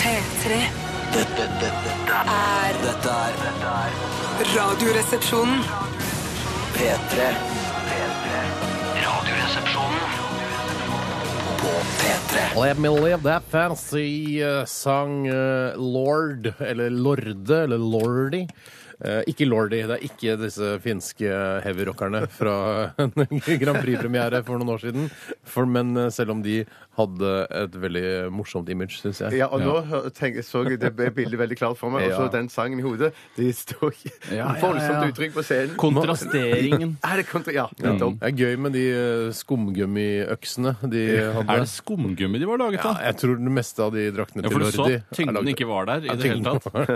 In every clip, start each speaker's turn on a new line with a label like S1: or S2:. S1: P3
S2: Dette, dette, dette,
S1: er
S2: dette er dette er
S1: Radioresepsjonen.
S2: P3. P3. Radioresepsjonen på P3.
S3: Let me live that fancy eh, sang eh, Lord, eller Lorde, eller Lordy. Eh, ikke Lordy, det er ikke disse finske heavyrockerne fra en Grand Prix-premiere for noen år siden. For, men eh, selv om de hadde et veldig morsomt image, syns jeg.
S4: Ja, og nå hø- tenk, så jeg det bildet veldig klart for meg, og så
S3: Ja.
S4: den sangen i hodet. Det står ikke
S5: Ja, ja,
S4: voldsomt
S5: ja.
S4: uttrykk på scenen.
S5: Kontrasteringen.
S4: Er det kontra... Ja,
S3: Ja.
S4: nettopp.
S3: Det er gøy med de eh, skumgummiøksene de hadde.
S5: Er det skumgummi de var laget
S3: Ja,
S5: av?
S3: jeg tror det meste av de draktene
S5: Ja,
S3: til
S5: for du så
S3: Lordi er
S5: tyngden
S3: laget-
S5: ikke var der i
S3: Ja,
S5: det hele
S3: tyngden
S5: tatt.
S3: var der.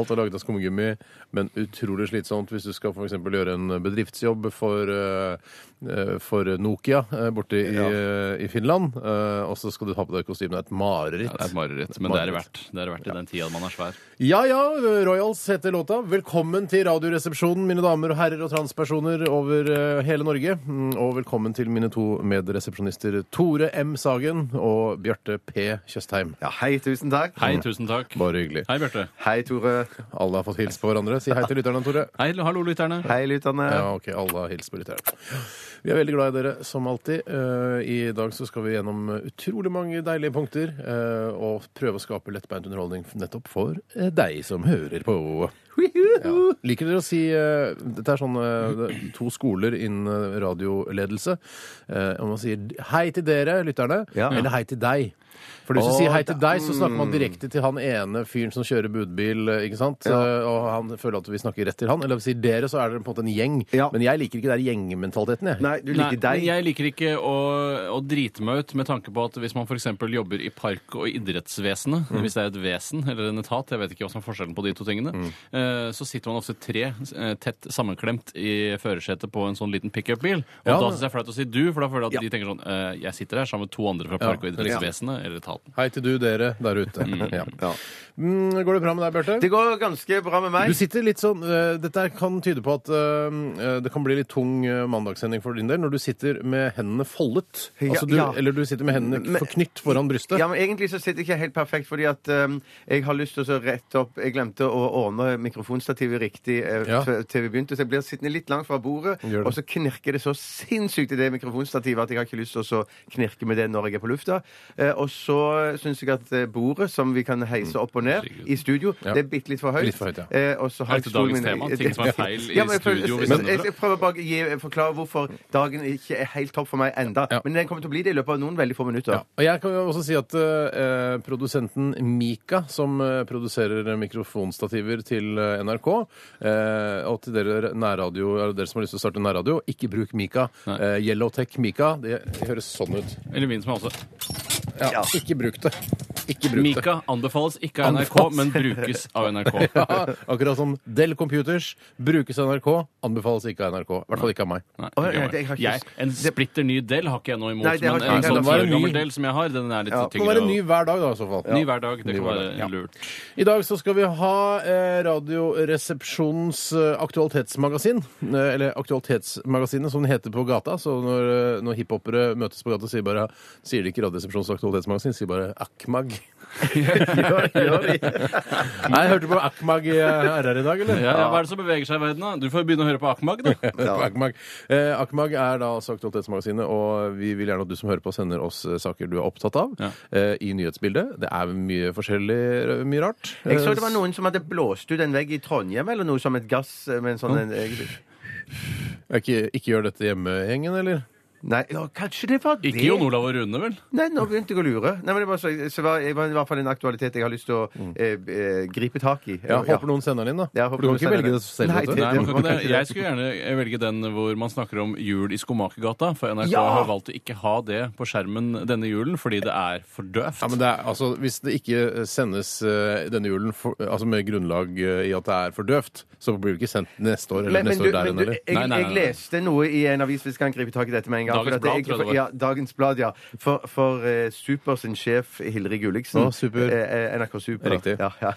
S3: Alt er laget av skumgummi, men utrolig slitsomt hvis du skal for eksempel gjøre en bedriftsjobb for, eh, eh, for Nokia eh, borte i, eh, i Finland, eh, og så skal du ha på deg kostymet. Det er et
S5: Ja, det er et
S3: mareritt.
S5: mareritt, men det er det verdt. Det er det verdt i den tida man er svær.
S3: Ja ja, Royals heter låta. Velkommen til Radioresepsjonen, mine damer og herrer og transpersoner over eh, hele Norge. Mm, Og velkommen til mine to medresepsjonister Tore M. Sagen og Bjarte P. Tjøstheim.
S4: Ja, hei, tusen takk.
S5: Hei, tusen takk.
S3: Bare hyggelig.
S5: Hei, Bjarte.
S4: Hei, Tore.
S3: Alle har fått hilse på hverandre. Si hei til lytterne, Tore.
S5: Hei, hallo, lytterne.
S4: Hei, lytterne.
S3: Ja, ok, alle har hilst på lytterne. Vi er veldig glad i dere, som alltid. Eh, I dag så skal vi gjennom utrolig mange deilige punkter eh, og prøve å skape lettbeint underholdning nettopp for eh, deg som hører på. Ja. Liker dere å si eh, Dette er sånn eh, det- to skoler innen eh, radioledelse. Eh, Om man sier hei til dere, lytterne,
S4: Ja.
S3: eller hei til deg. For hvis du
S4: Å, mm.
S3: sier hei til
S4: da-
S3: deg, så snakker man direkte til han ene fyren som kjører budbil, eh, ikke sant? Eh, Og han føler at vi snakker rett til han. Eller hvis vi sier dere, så er dere på en måte en gjeng.
S4: Ja.
S3: Men jeg liker ikke den gjengmentaliteten, jeg.
S4: Nei, du liker
S5: Nei,
S4: deg.
S5: Jeg liker ikke å, å drite meg ut med tanke på at hvis man f.eks. jobber i park- og idrettsvesenet,
S3: Mm.
S5: hvis det er et vesen eller en etat, jeg vet ikke hva som er forskjellen på de to tingene,
S3: Mm.
S5: eh, så sitter man ofte tre eh, tett sammenklemt i førersetet på en sånn liten pickupbil. Og
S3: Ja,
S5: da
S3: men-
S5: syns jeg det er flaut å si du, for da føler jeg at de tenker sånn eh, Jeg sitter her sammen med to andre fra park- og idrettsvesenet eller etaten.
S3: Hei til du, dere der ute. Ja.
S4: Ja.
S3: Mm, går det bra med deg, Bjarte?
S4: Det går ganske bra med
S3: Du
S4: meg.
S3: sitter litt sånn, eh, Dette her kan tyde på at eh, det kan bli litt tung eh, mandagssending for din del når du sitter med hendene foldet. Altså
S4: Ja,
S3: du,
S4: ja.
S3: Eller du sitter med hendene
S4: Men-
S3: forknytt foran brystet.
S4: Ja, men Egentlig så sitter jeg ikke helt perfekt, fordi at um, jeg har lyst til å rette opp Jeg glemte å ordne mikrofonstativet riktig eh,
S3: Ja.
S4: f- til vi begynte, så jeg blir sittende litt langt fra bordet,
S3: Gjør det.
S4: og så knirker det så sinnssykt i det mikrofonstativet at jeg har ikke lyst til å så knirke med det når jeg er på lufta. Eh, og så syns jeg at eh, bordet, som vi kan heise opp og ned i studio,
S3: Mm, Ja.
S4: det er bitte litt for høyt.
S3: Litt for høyt, ja.
S4: Eh, og så har
S5: Er
S4: jeg
S5: dette
S4: stolen
S5: dagens
S4: min-
S5: tema? Ting som er feil i
S4: Ja, men jeg føler-
S5: studio? vi
S4: men
S5: sender
S4: jeg,
S5: fra?
S4: jeg prøver bare å gi, forklare hvorfor dagen ikke er helt topp for meg enda
S3: Ja.
S4: Men den kommer til å bli det i løpet av noen veldig få minutter.
S3: Ja. Og jeg kan jo også si at eh, produsenten Mika, som eh, produserer mikrofonstativer til eh, NRK, eh, og til dere, nærradio, eller dere som har lyst til å starte nærradio, ikke bruk Mika.
S5: Nei.
S3: Eh, Yellowtech Mika, det høres sånn ut.
S5: Eller min som er også.
S3: Ja, Ikke bruk det. Ikke bruk det.
S5: Mika anbefales ikke av NRK,
S3: Anbefales.
S5: men brukes av NRK.
S3: Ja, akkurat som Dell Computers brukes av NRK, anbefales ikke av NRK. I hvert fall ikke av meg.
S4: Å,
S5: Nei, ikke
S4: nei,
S5: meg.
S4: det- jeg har ikke-
S5: jeg, en splitter ny del har ikke jeg noe imot,
S4: Nei, det har
S5: men
S4: ikke jeg
S5: en sånn
S4: heller.
S5: ti år
S3: Det var en ny-
S5: gammel del som jeg har, den er litt
S4: Ja,
S3: Det må
S5: tyngre.
S3: være ny
S5: og-
S3: hver dag, da, i så fall.
S5: Ny hver dag, det
S3: Ny
S5: kan
S3: hver
S5: være
S3: dag, ja.
S5: lurt.
S3: I dag så skal vi ha eh, Radioresepsjonens eh, aktualitetsmagasin. Eh, eller Aktualitetsmagasinet, som den heter på gata. Så når, eh, når hiphopere møtes på gata, sier, bare, sier de ikke Radioresepsjonens aktualitetsmagasin, sier bare Akmag. Nei, hørte du på Akmag i eh, RR i dag, eller?
S5: Ja, ja, hva er det som beveger seg i verden, da? Du får begynne å høre på Akmag, da.
S3: på Akmag. Eh, Akmag er da altså Aktualitetsmagasinet, og vi vil gjerne at du som hører på, sender oss eh, saker du er opptatt av
S5: Ja.
S3: eh, i nyhetsbildet. Det er mye forskjellig, eh, mye rart.
S4: Jeg så det var noen som hadde blåst ut en vegg i Trondheim eller noe som et gass eh, med en sånn en, eh,
S3: Eh, Ikke, ikke gjør dette hjemme-gjengen, eller?
S4: Nei, ja, kanskje det var det?
S5: Ikke Jon Olav og Rune, vel?
S4: Nei, nå begynte jeg å lure. Nei, men det var, så, så var, det var i hvert fall en aktualitet jeg har lyst til å eh, eh, gripe tak i.
S3: Ja, håper noen sender den inn, da.
S4: Ja, håper
S3: For du kan
S4: noen
S3: ikke velge
S4: sender den.
S3: det selv.
S4: Nei,
S3: vet du.
S5: Nei, man kan
S4: det-
S5: ikke det. Jeg skulle gjerne velge den hvor man snakker om jul i Skomakergata, for NRK
S4: Ja!
S5: har valgt å ikke ha det på skjermen denne julen fordi det er for døvt.
S3: Ja, men det er, altså, Hvis det ikke sendes eh, denne julen for, altså med grunnlag eh, i at det er for døvt, så blir det ikke sendt neste år eller
S4: Men, men,
S3: neste
S4: du,
S3: år der
S4: men
S3: igjen,
S4: du, jeg,
S3: eller?
S5: Nei, nei, nei,
S4: jeg
S5: nei.
S4: leste noe i en avis Vi skal gripe tak i dette med en gang.
S5: Dagens
S4: for at
S5: Blad,
S4: jeg-
S5: tror jeg det var.
S4: Ja, Dagens Blad, ja. For, for eh, Super sin sjef, Hilde Gulliksen
S3: Å, Super.
S4: eh, eh, NRK Super.
S3: Riktig.
S4: Ja, ja.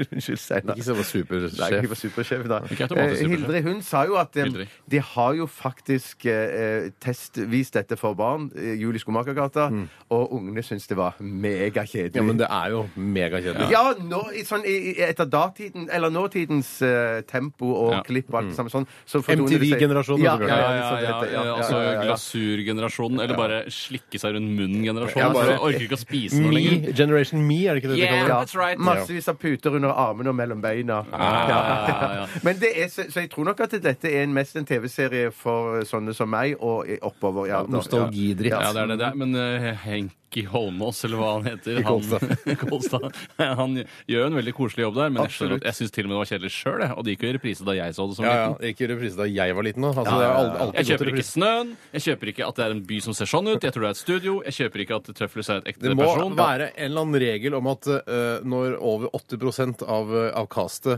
S4: Unnskyld, Steinar.
S3: Ikke så var
S4: Nei,
S3: supersjef.
S4: ikke for supersjef, da.
S5: Ikke automatisk
S4: Eh, Hildre hun sa jo at eh,
S5: Hildre.
S4: de har jo faktisk eh, testvist dette for barn, eh, Jul i Skomakergata, og ungene syns det var megakjedelig.
S3: Mm. Ja, men det er jo megakjedelig.
S4: Ja, nå, i, sånn, i, i- etter datiden, eller nåtidens eh, tempo og
S5: Ja.
S4: klipp og alt
S3: Mm.
S4: sammen sånn. Så fortoner det seg-
S3: MTV-generasjonen,
S4: Ja,
S3: altså, Bjørn.
S4: ja,
S5: Ja,
S4: ja,
S5: ja,
S4: liksom
S5: ja,
S4: dette, ja, ja,
S5: altså
S4: ja, ja, ja.
S5: glasurgenerasjonen, eller bare slikke seg rundt munnen-generasjonen.
S3: Ja, bare-
S5: altså, orker ikke å spise noe lenger.
S3: Me, Generation Me, er det ikke det de
S5: Yeah.
S3: kaller det?
S5: That's right. Ah.
S4: Massevis av puter under armene og mellom beina.
S5: ja, ja.
S4: Men det er, så, så jeg tror nok at dette er en, mest en TV-serie for eh, sånne som meg og i- oppover i alder.
S3: Nostalgidritt.
S5: Ja, det er det det er. Men eh, Henki Holmås, eller hva han heter han, Kolstad. han gjør jo en veldig koselig jobb der, men jeg, skjønner
S4: Absolutt.
S5: at- jeg syns til og med det var kjedelig sjøl, og det gikk jo i reprise da jeg så det som
S3: Ja, ja.
S5: liten.
S3: Ikke reprise da jeg var liten. nå. Altså, det er al- alltid
S5: Jeg
S3: gått i
S5: kjøper ikke
S3: reprise.
S5: snøen, jeg kjøper ikke at det er en by som ser sånn ut, jeg tror det er et studio, jeg kjøper ikke at Tøflus er et ekte
S3: Det må
S5: person.
S3: være en eller annen regel om at eh, når over 80 av, eh, av castet er,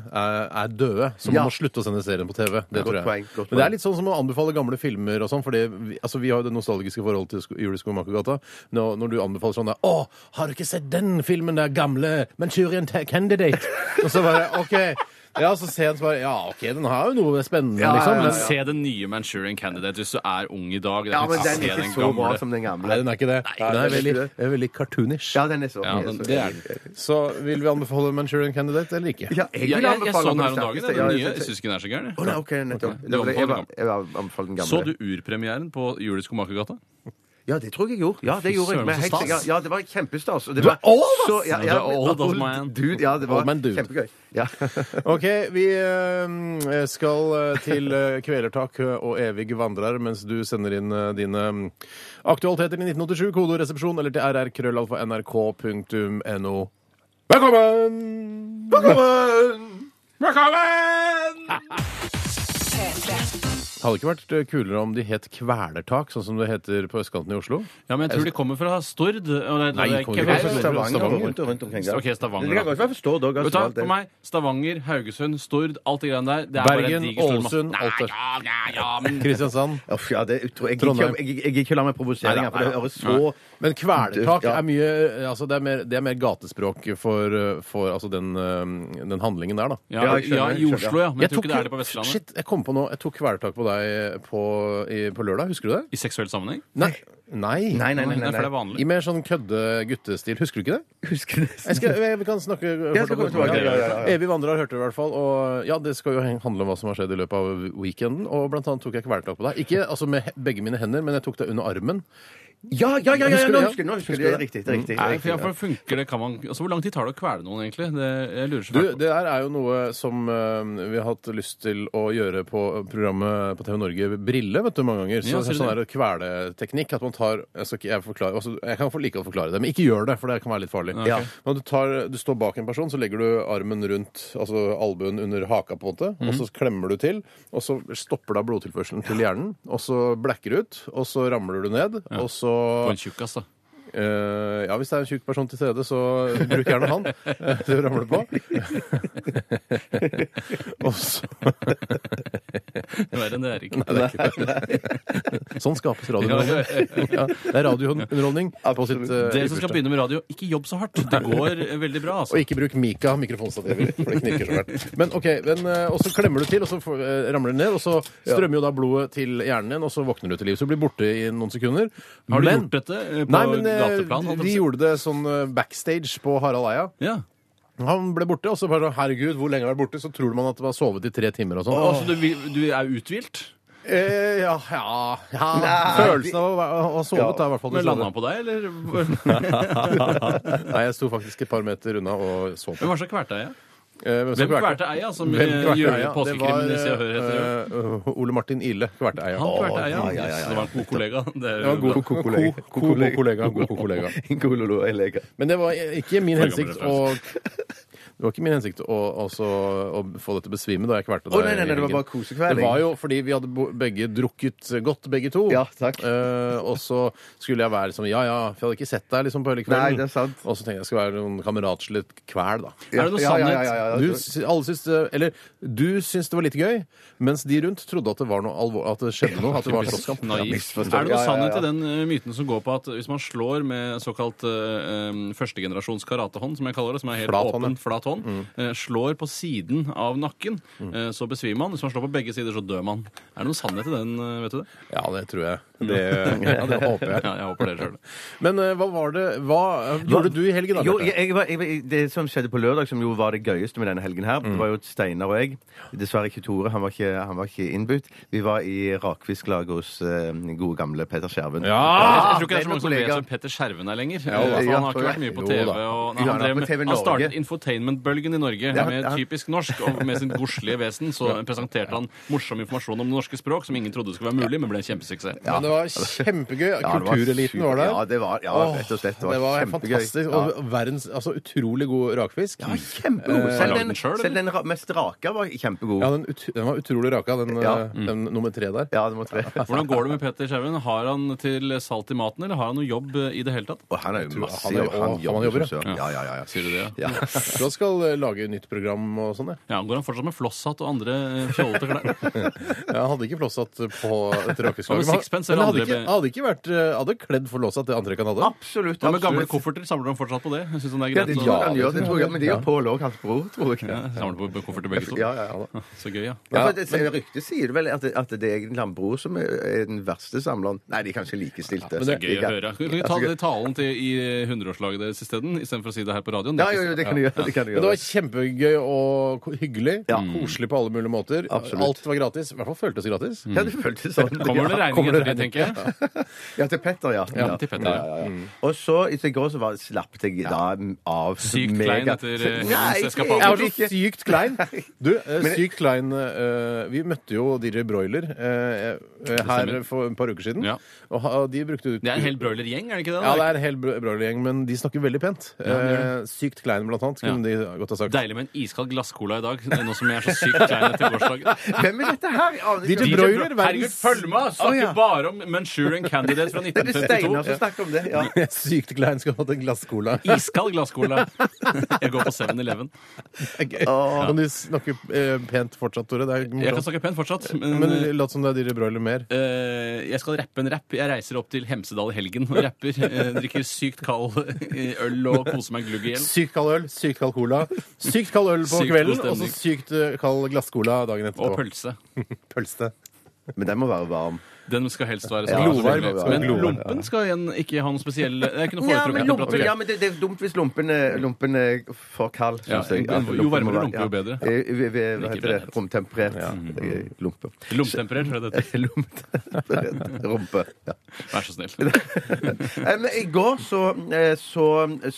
S3: er døde, så
S4: Ja.
S3: må man slutte å sende serien på TV. Det
S4: Godt
S3: tror jeg.
S4: poeng,
S3: Men
S4: godt
S3: det
S4: poeng.
S3: er litt sånn som å anbefale gamle filmer og sånn, for vi, altså, vi har jo det nostalgiske forholdet til sko- Jul i Skomakergata. Når, når du anbefaler sånn der Å, har du ikke sett den filmen der gamle Manchurian Ta- Candidate? og så bare OK. Ja, så ser jeg den så bare Ja, OK, den har jo noe spennende,
S4: Ja, ja,
S3: liksom.
S4: ja,
S5: Men
S3: Men
S5: se den nye Manchurian Candidate hvis du er ung i dag. Det
S4: Ja, men
S5: ikke
S4: den
S5: se
S4: er
S5: den
S4: ikke så bra
S5: gamle.
S4: som den gamle.
S3: Nei, den er ikke det. den er
S4: den er
S3: veldig,
S4: ikke det.
S3: den er veldig cartoonish.
S4: Ja, den er så.
S5: Ja, den,
S4: så-
S5: det er den.
S3: Så vil vi anbefale Manchurian Candidate eller ikke?
S4: Ja, jeg
S5: Jeg,
S4: vil
S5: jeg, jeg så
S4: anbefale
S5: den her om
S4: det
S5: dagen.
S4: sterkeste.
S5: Den
S4: Ja,
S5: nye.
S4: jeg-
S5: Jeg syns ikke den er så gæren.
S4: Å,
S5: jeg.
S4: nei, OK, nettopp.
S5: Ok.
S4: Det var det- Jeg,
S5: Du
S4: var-
S5: anbefaler
S4: jeg var- anbefaler den gamle.
S5: Så du urpremieren på Jul i Skomakergata?
S4: Ja, det tror jeg jeg gjorde. Ja, det
S5: Fy
S4: gjorde jeg.
S5: søren,
S4: Men
S5: så
S4: helt
S5: stas.
S4: sikkert. Ja, det var kjempestas. og det
S3: Du er
S4: var
S3: old, ass!
S4: så- ja, ja,
S5: Du er old,
S4: old
S5: man.
S4: Dude, ja, det var
S3: Old man dude.
S4: kjempegøy. Ja.
S3: OK, vi eh, skal eh, til eh, Kvelertak og evig vandrer mens du sender inn eh, dine mm, aktualiteter til 1987, kodoresepsjon eller til rrkrøllalfa.nrk.no. Velkommen! Velkommen! Hadde ikke vært eh, kulere om de het Kvelertak, sånn som det heter på østkanten i Oslo?
S5: Ja, men jeg tror de kommer fra Stord. og det-
S3: Nei,
S5: det
S3: kommer
S5: er ikke-
S3: de
S4: Kanskje
S3: fra
S4: Stavanger,
S3: Stavanger.
S4: rundt og rundt omkring, ja.
S5: Ok, Stavanger,
S4: Det kan
S5: da.
S4: godt være forstå, dog.
S5: Vet
S4: altså,
S5: du hva,
S4: alt det.
S5: for meg, Stavanger, Haugesund, Stord, alt det greiene der. Det er bare en
S3: Bergen,
S5: diger stor masse-
S3: Ålesund,
S5: Nei,
S3: Alta.
S5: ja, ja, ja, men
S3: Kristiansand.
S4: Uff, ja, det, jeg, tror- jeg, jeg,
S3: Trondheim.
S4: jeg, jeg, jeg ikke la meg provosere,
S3: Neida,
S4: engang, for det
S3: neida.
S4: høres så
S3: Men kvelertak
S4: Ja.
S3: er mye eh, altså det, er mer, det er mer gatespråk for, eh, for altså den, eh, den handlingen der, da.
S5: ja,
S4: Ja, jeg skjønner,
S5: ja, i
S4: jeg skjønner.
S5: Oslo, ja. Men jeg, tror
S3: tok
S5: ikke det er
S3: jo-
S5: det på Vestlandet.
S3: Shit, jeg kom på noe. Jeg tok kvelertak på deg eh, på, i, på lørdag. Husker du det?
S5: I seksuell sammenheng?
S3: Nei. Nei.
S4: Nei, nei, nei. nei,
S5: Nei, for det
S4: nei.
S5: er
S3: I
S5: vanlig.
S3: mer sånn kødde guttestil. Husker du ikke det?
S4: Husker
S3: Jeg
S4: nesten
S3: skal, jeg, vi kan snakke
S4: Jeg skal komme tilbake. Ja, ja, ja, ja.
S3: Evig vandrer hørte du i hvert fall. Og ja, det skal jo heng- handle om hva som har skjedd i løpet av weekenden. Og blant annet tok jeg kvelertak på deg. Ikke altså med he- begge mine hender, men jeg tok deg under armen.
S4: Ja, ja, ja, ja, ja,
S3: Husker du
S4: nå
S3: det?
S4: husker jeg nå husker jeg
S3: Husker
S4: det.
S3: du
S4: er
S3: det?
S4: Riktig, det er riktig. det er
S5: Nei,
S4: riktig,
S5: for, for funker det, kan man altså, Hvor lang tid tar det å kvele noen, egentlig? Det, jeg lurer så
S3: Du,
S5: fælt på.
S3: det der er jo noe som eh, vi har hatt lyst til å gjøre på programmet på TV Norge Brille, vet du, mange ganger. Så det er
S5: Ja, ser du
S3: sånn der kveleteknikk at man tar Jeg, skal ikke, jeg, forklarer, altså, jeg kan for like godt forklare det, men ikke gjør det, for det kan være litt farlig.
S5: Ja, ok.
S3: Når du, tar, du står bak en person, så legger du armen rundt altså albuen under haka, på en måte, og
S5: Mhm.
S3: så klemmer du til, og så stopper da blodtilførselen til hjernen, og så blacker du ut, og så ramler du ned, og så
S5: På en tjukkas, da.
S3: Eh, ja, hvis det er en tjukk person til stede, så bruk gjerne han. Eh, Det ramler på. Og så,
S5: Verre enn det er ikke.
S3: sånn skapes
S5: Ja,
S3: radiounderholdning. Ja, det er radiounderholdning på sitt eh,
S5: Dere som skal
S3: ypperste.
S5: begynne med radio, ikke jobb så hardt. Det går eh, veldig bra, altså.
S3: Og ikke bruk Mika mikrofonstativer, for det knirker så fælt. Men ok, men, eh, og så klemmer du til, og så får- eh, ramler det ned, og så strømmer jo da blodet til hjernen din, og så våkner du til liv. Så du blir borte i noen sekunder.
S5: Har du
S3: Men-
S5: gjort dette eh, på
S3: Nei, men eh,
S5: gateplan? holdt jeg på å
S3: de
S5: si?
S3: gjorde det sånn eh, backstage på Harald Eia.
S5: Ja.
S3: Han ble borte, og så bare sånn, herregud, hvor lenge har jeg vært borte? Så tror man at man har sovet i tre timer og sånn.
S5: Å, så du, vil- du er uthvilt?
S3: Eh, ja, ja, ja. Følelsen av å være- å ha sovet er i hvert fall
S5: Men
S3: det
S5: landa
S3: sovet.
S5: han på deg, eller?
S3: Nei, jeg sto faktisk et par meter unna og så på.
S5: Hvem var så kverta jeg?
S3: Eh,
S5: Hvem kvalte eia, som
S3: Hvem kvalte
S5: gjør
S3: eia? Det var,
S5: påskekrimmen i Se og Hør heter? det.
S3: eh, eh, Ole Martin Ile kvalte eia.
S5: Han kvalte eia.
S4: ja, ja, ja, ja.
S5: Så Det var en god kollega. Det er
S3: Det var en god god-
S5: bra.
S4: kollega.
S3: god- god kollega. God kollega.
S4: Gololo, jeg leker.
S3: Men det var ikke min
S5: gammel
S3: hensikt å
S5: referanse.
S3: det var ikke min hensikt å, altså, å få deg til å besvime da jeg kvalte deg.
S4: Å, nei, nei, nei, det var
S3: i helgen.
S4: bare kosekveling.
S3: Det var jo fordi vi hadde bo- begge drukket godt, begge to.
S4: Ja, takk.
S3: Eh, og så skulle jeg være liksom Ja, ja, for jeg hadde ikke sett deg liksom på hele kvelden.
S4: Nei, det er sant.
S3: Og så tenkte jeg jeg skulle være noen kameratslig kvel, da.
S5: Er det noe
S4: Ja, ja, ja,
S5: sannhet?
S4: ja, ja, ja.
S3: Du, sy- alle syns, eh, eller, du syns det var litt gøy, mens de rundt trodde at det var noe alvor, at det skjedde noe. At det var en slåsskamp.
S5: Naivt. Er
S4: misforstått.
S5: det noe
S4: Ja, ja,
S5: sannhet
S4: ja.
S5: i den eh, myten som går på at hvis man slår med såkalt eh, em, førstegenerasjons eh, karatehånd, som jeg kaller det, som er helt
S3: Flat hånd, ja. Mm.
S5: åpen, flat hånd, eh, slår på siden av nakken, eh, så besvimer man. Hvis man slår på begge sider, så dør man. Er det noen sannhet i den, eh, vet du det?
S3: Ja, det tror jeg. Det, Eh, ja, det håper jeg.
S5: Ja, jeg håper det sjøl.
S3: Men eh, hva var det Hva eh, gjorde du i helgen, da?
S4: Jo,
S3: Bjarte?
S4: jeg, jeg, var- jeg, var- det som skjedde på lørdag, som jo var det gøyeste med denne helgen her, det var jo at Steinar og jeg Dessverre ikke Tore, han var ikke, han var ikke innbudt. Vi var i rakfisklag hos eh, gode gamle Peter Skjerven.
S5: Jeg,
S3: Ja!
S5: jeg tror ikke det er
S4: det er
S5: så mange som vet
S4: kollega.
S5: hvem Petter Skjerven er lenger.
S4: da.
S5: Eh, for
S4: Ja,
S5: han har ikke
S4: tror
S5: vært mye på
S3: jeg.
S5: TV.
S3: Jo da.
S5: Og,
S4: Jo,
S5: nei,
S4: han er
S5: han, drev,
S4: på TV
S5: med- han startet
S4: Norge.
S5: infotainment-bølgen i Norge
S4: Ja,
S5: med
S4: han-
S5: typisk norsk. Og med sin godslige vesen så presenterte han morsom informasjon om det norske språk som ingen trodde skulle være mulig, men ble en kjempesuksess.
S3: Men det var kjempegøy.
S4: Ja, det var
S3: Kultureliten
S4: super-
S3: var der.
S4: Ja, det var, ja, rett og slett. Det var,
S3: det var
S4: kjempegøy.
S3: fantastisk.
S4: Ja.
S3: Og verdens altså, utrolig god rakfisk.
S4: Ja, kjempegod.
S5: Eh,
S4: Selv
S5: lagde
S4: den,
S5: den selv,
S4: selv den ra- mest rake var kjempegod.
S3: Ja,
S4: Ja,
S3: den, ut, den var utrolig raka, den,
S4: Ja. Mm.
S3: eh, den nummer tre der.
S4: det må tre.
S5: eh, Hvordan går det med Petter Skjerven? Har han til salt i maten, eller har han noe jobb eh, i det hele tatt?
S4: Og han er
S3: Jeg
S4: jo
S3: tror
S4: masse
S3: han er-
S4: jobb.
S3: og han
S4: Han jobber
S3: jobber,
S4: som søren. Ja, ja, ja. ja.
S5: Sier du det? Ja.
S4: Ja.
S3: Så han skal eh, lage nytt program og sånn, ja.
S5: Ja, Går han fortsatt med flosshatt og andre eh, fjollete klær?
S3: Jeg hadde ikke flosshatt på et
S5: Og
S3: rakeslag.
S5: med
S3: Men han-
S5: sixpence
S3: men
S5: eller
S3: hadde
S5: andre
S3: ikke,
S5: med-
S3: hadde ikke vært eh, Hadde kledd for låsa til antrekk han hadde.
S4: Absolutt.
S5: Hva med gamle
S4: absolutt.
S5: kofferter? Samler han fortsatt på det? Jeg synes han det
S4: Ja,
S5: er greit
S4: det
S5: å-
S4: tror jeg
S3: Ja,
S4: han gjør.
S3: det
S4: Det
S3: tror
S4: tror
S3: jeg.
S4: jeg, men de
S3: Ja.
S4: har Pål òg, hans bror, tror jeg.
S5: Ja, Samler på på kofferter begge to?
S4: Ja, ja, ja.
S5: Så gøy, ja.
S4: Ja, for det, Ryktet sier vel at, at det er egentlig han bror som er, er den verste samleren. Nei, de er altså, kanskje likestilte.
S3: men det er
S5: Gøy å høre. Kan vi ta den talen til i eh, hundreårslaget deres isteden, istedenfor å si det her på radioen?
S4: Ja, jo, jo, det kan du gjøre. Det kan du
S3: Men det
S4: gjøre.
S3: var kjempegøy og ko- hyggelig. Koselig på alle mulige måter.
S4: Absolutt.
S3: Alt var gratis. I hvert fall føltes gratis.
S4: Ja, det føltes sånn.
S5: Kommer det
S4: ja.
S5: regning
S3: kommer det
S5: etter det, tenker jeg.
S4: ja, til Petter, ja.
S5: Ja, til Petter, ja.
S4: Og så i går så var, slapp jeg da av
S5: Sykt
S4: mega-
S5: klein etter
S4: Nei,
S5: eh, Helens
S4: egentlig
S5: eskapader.
S3: Jeg var så
S4: ikke.
S3: sykt klein. Du, eh, sykt klein eh, Vi møtte jo DJ Broiler eh, eh, her
S5: stemmer.
S3: for et par uker siden.
S5: Ja.
S3: Og ha- de brukte
S5: Det er en hel broilergjeng, er det ikke det?
S3: ja,
S5: da?
S3: det er en hel bro- Broiler-gjeng, men de snakker veldig pent. Eh, sykt klein, blant annet, kunne de godt ha sagt.
S5: Deilig med en iskald glasscola i dag, nå som jeg er så sykt klein etter gårsdagen.
S4: Hvem er dette her? Jeg aner ikke.
S3: DJ
S5: DJ
S3: Broiler,
S5: Bro- Herregud,
S3: verdens
S5: følg med! oss. Snakker
S4: Å, ja.
S5: bare om Manchurian Candidate fra
S4: Det altså. er Steinar
S5: 1952.
S4: som snakker om det. Ja.
S3: Sykt klein skulle hatt en glass cola.
S5: Iskald glasscola. Jeg går på 7-Eleven.
S4: Åh.
S3: Kan du snakke eh, pent fortsatt, Tore? Det er jo
S5: Jeg kan
S3: morsomt.
S5: snakke eh, pent fortsatt,
S3: Men
S5: men
S3: lat som det er Dirre Broiler mer.
S5: Eh, jeg skal rappe en rapp. Jeg reiser opp til Hemsedal i helgen og rapper. eh, drikker sykt kald eh, øl og koser meg glugg i hjel.
S3: Sykt kald øl, sykt kald cola. Sykt kald øl på
S5: Sykt god
S3: kvelden, og så
S5: stemning.
S3: sykt eh, kald glasscola dagen
S5: Og
S3: etterpå.
S5: pølse.
S3: Pølse.
S4: Men den må være varm.
S5: Den skal helst være
S3: Ja,
S5: sånn.
S3: glovarm,
S5: Men
S3: ja.
S5: Men
S3: Glovarm,
S5: lompen skal igjen ikke ha noe spesiell Det er ikke noe
S4: Ja, men,
S5: foretrukket
S4: lumpen,
S5: temperatur.
S4: ja, men det, det er dumt hvis lumpen er, lumpen er for kald. synes
S5: Ja,
S4: jeg.
S5: jo
S4: lumpen må
S5: varmere
S4: være-
S5: lumpe, jo bedre.
S4: Eh, vi- vi- Hva
S5: Like
S4: heter det?
S5: bredt.
S4: Romtemperert eh, lumpe.
S5: Lompetemperert, tror jeg det heter.
S4: Romtemperert rumpe. Ja.
S5: Vær så snill.
S4: Eh, Men I går så eh, så,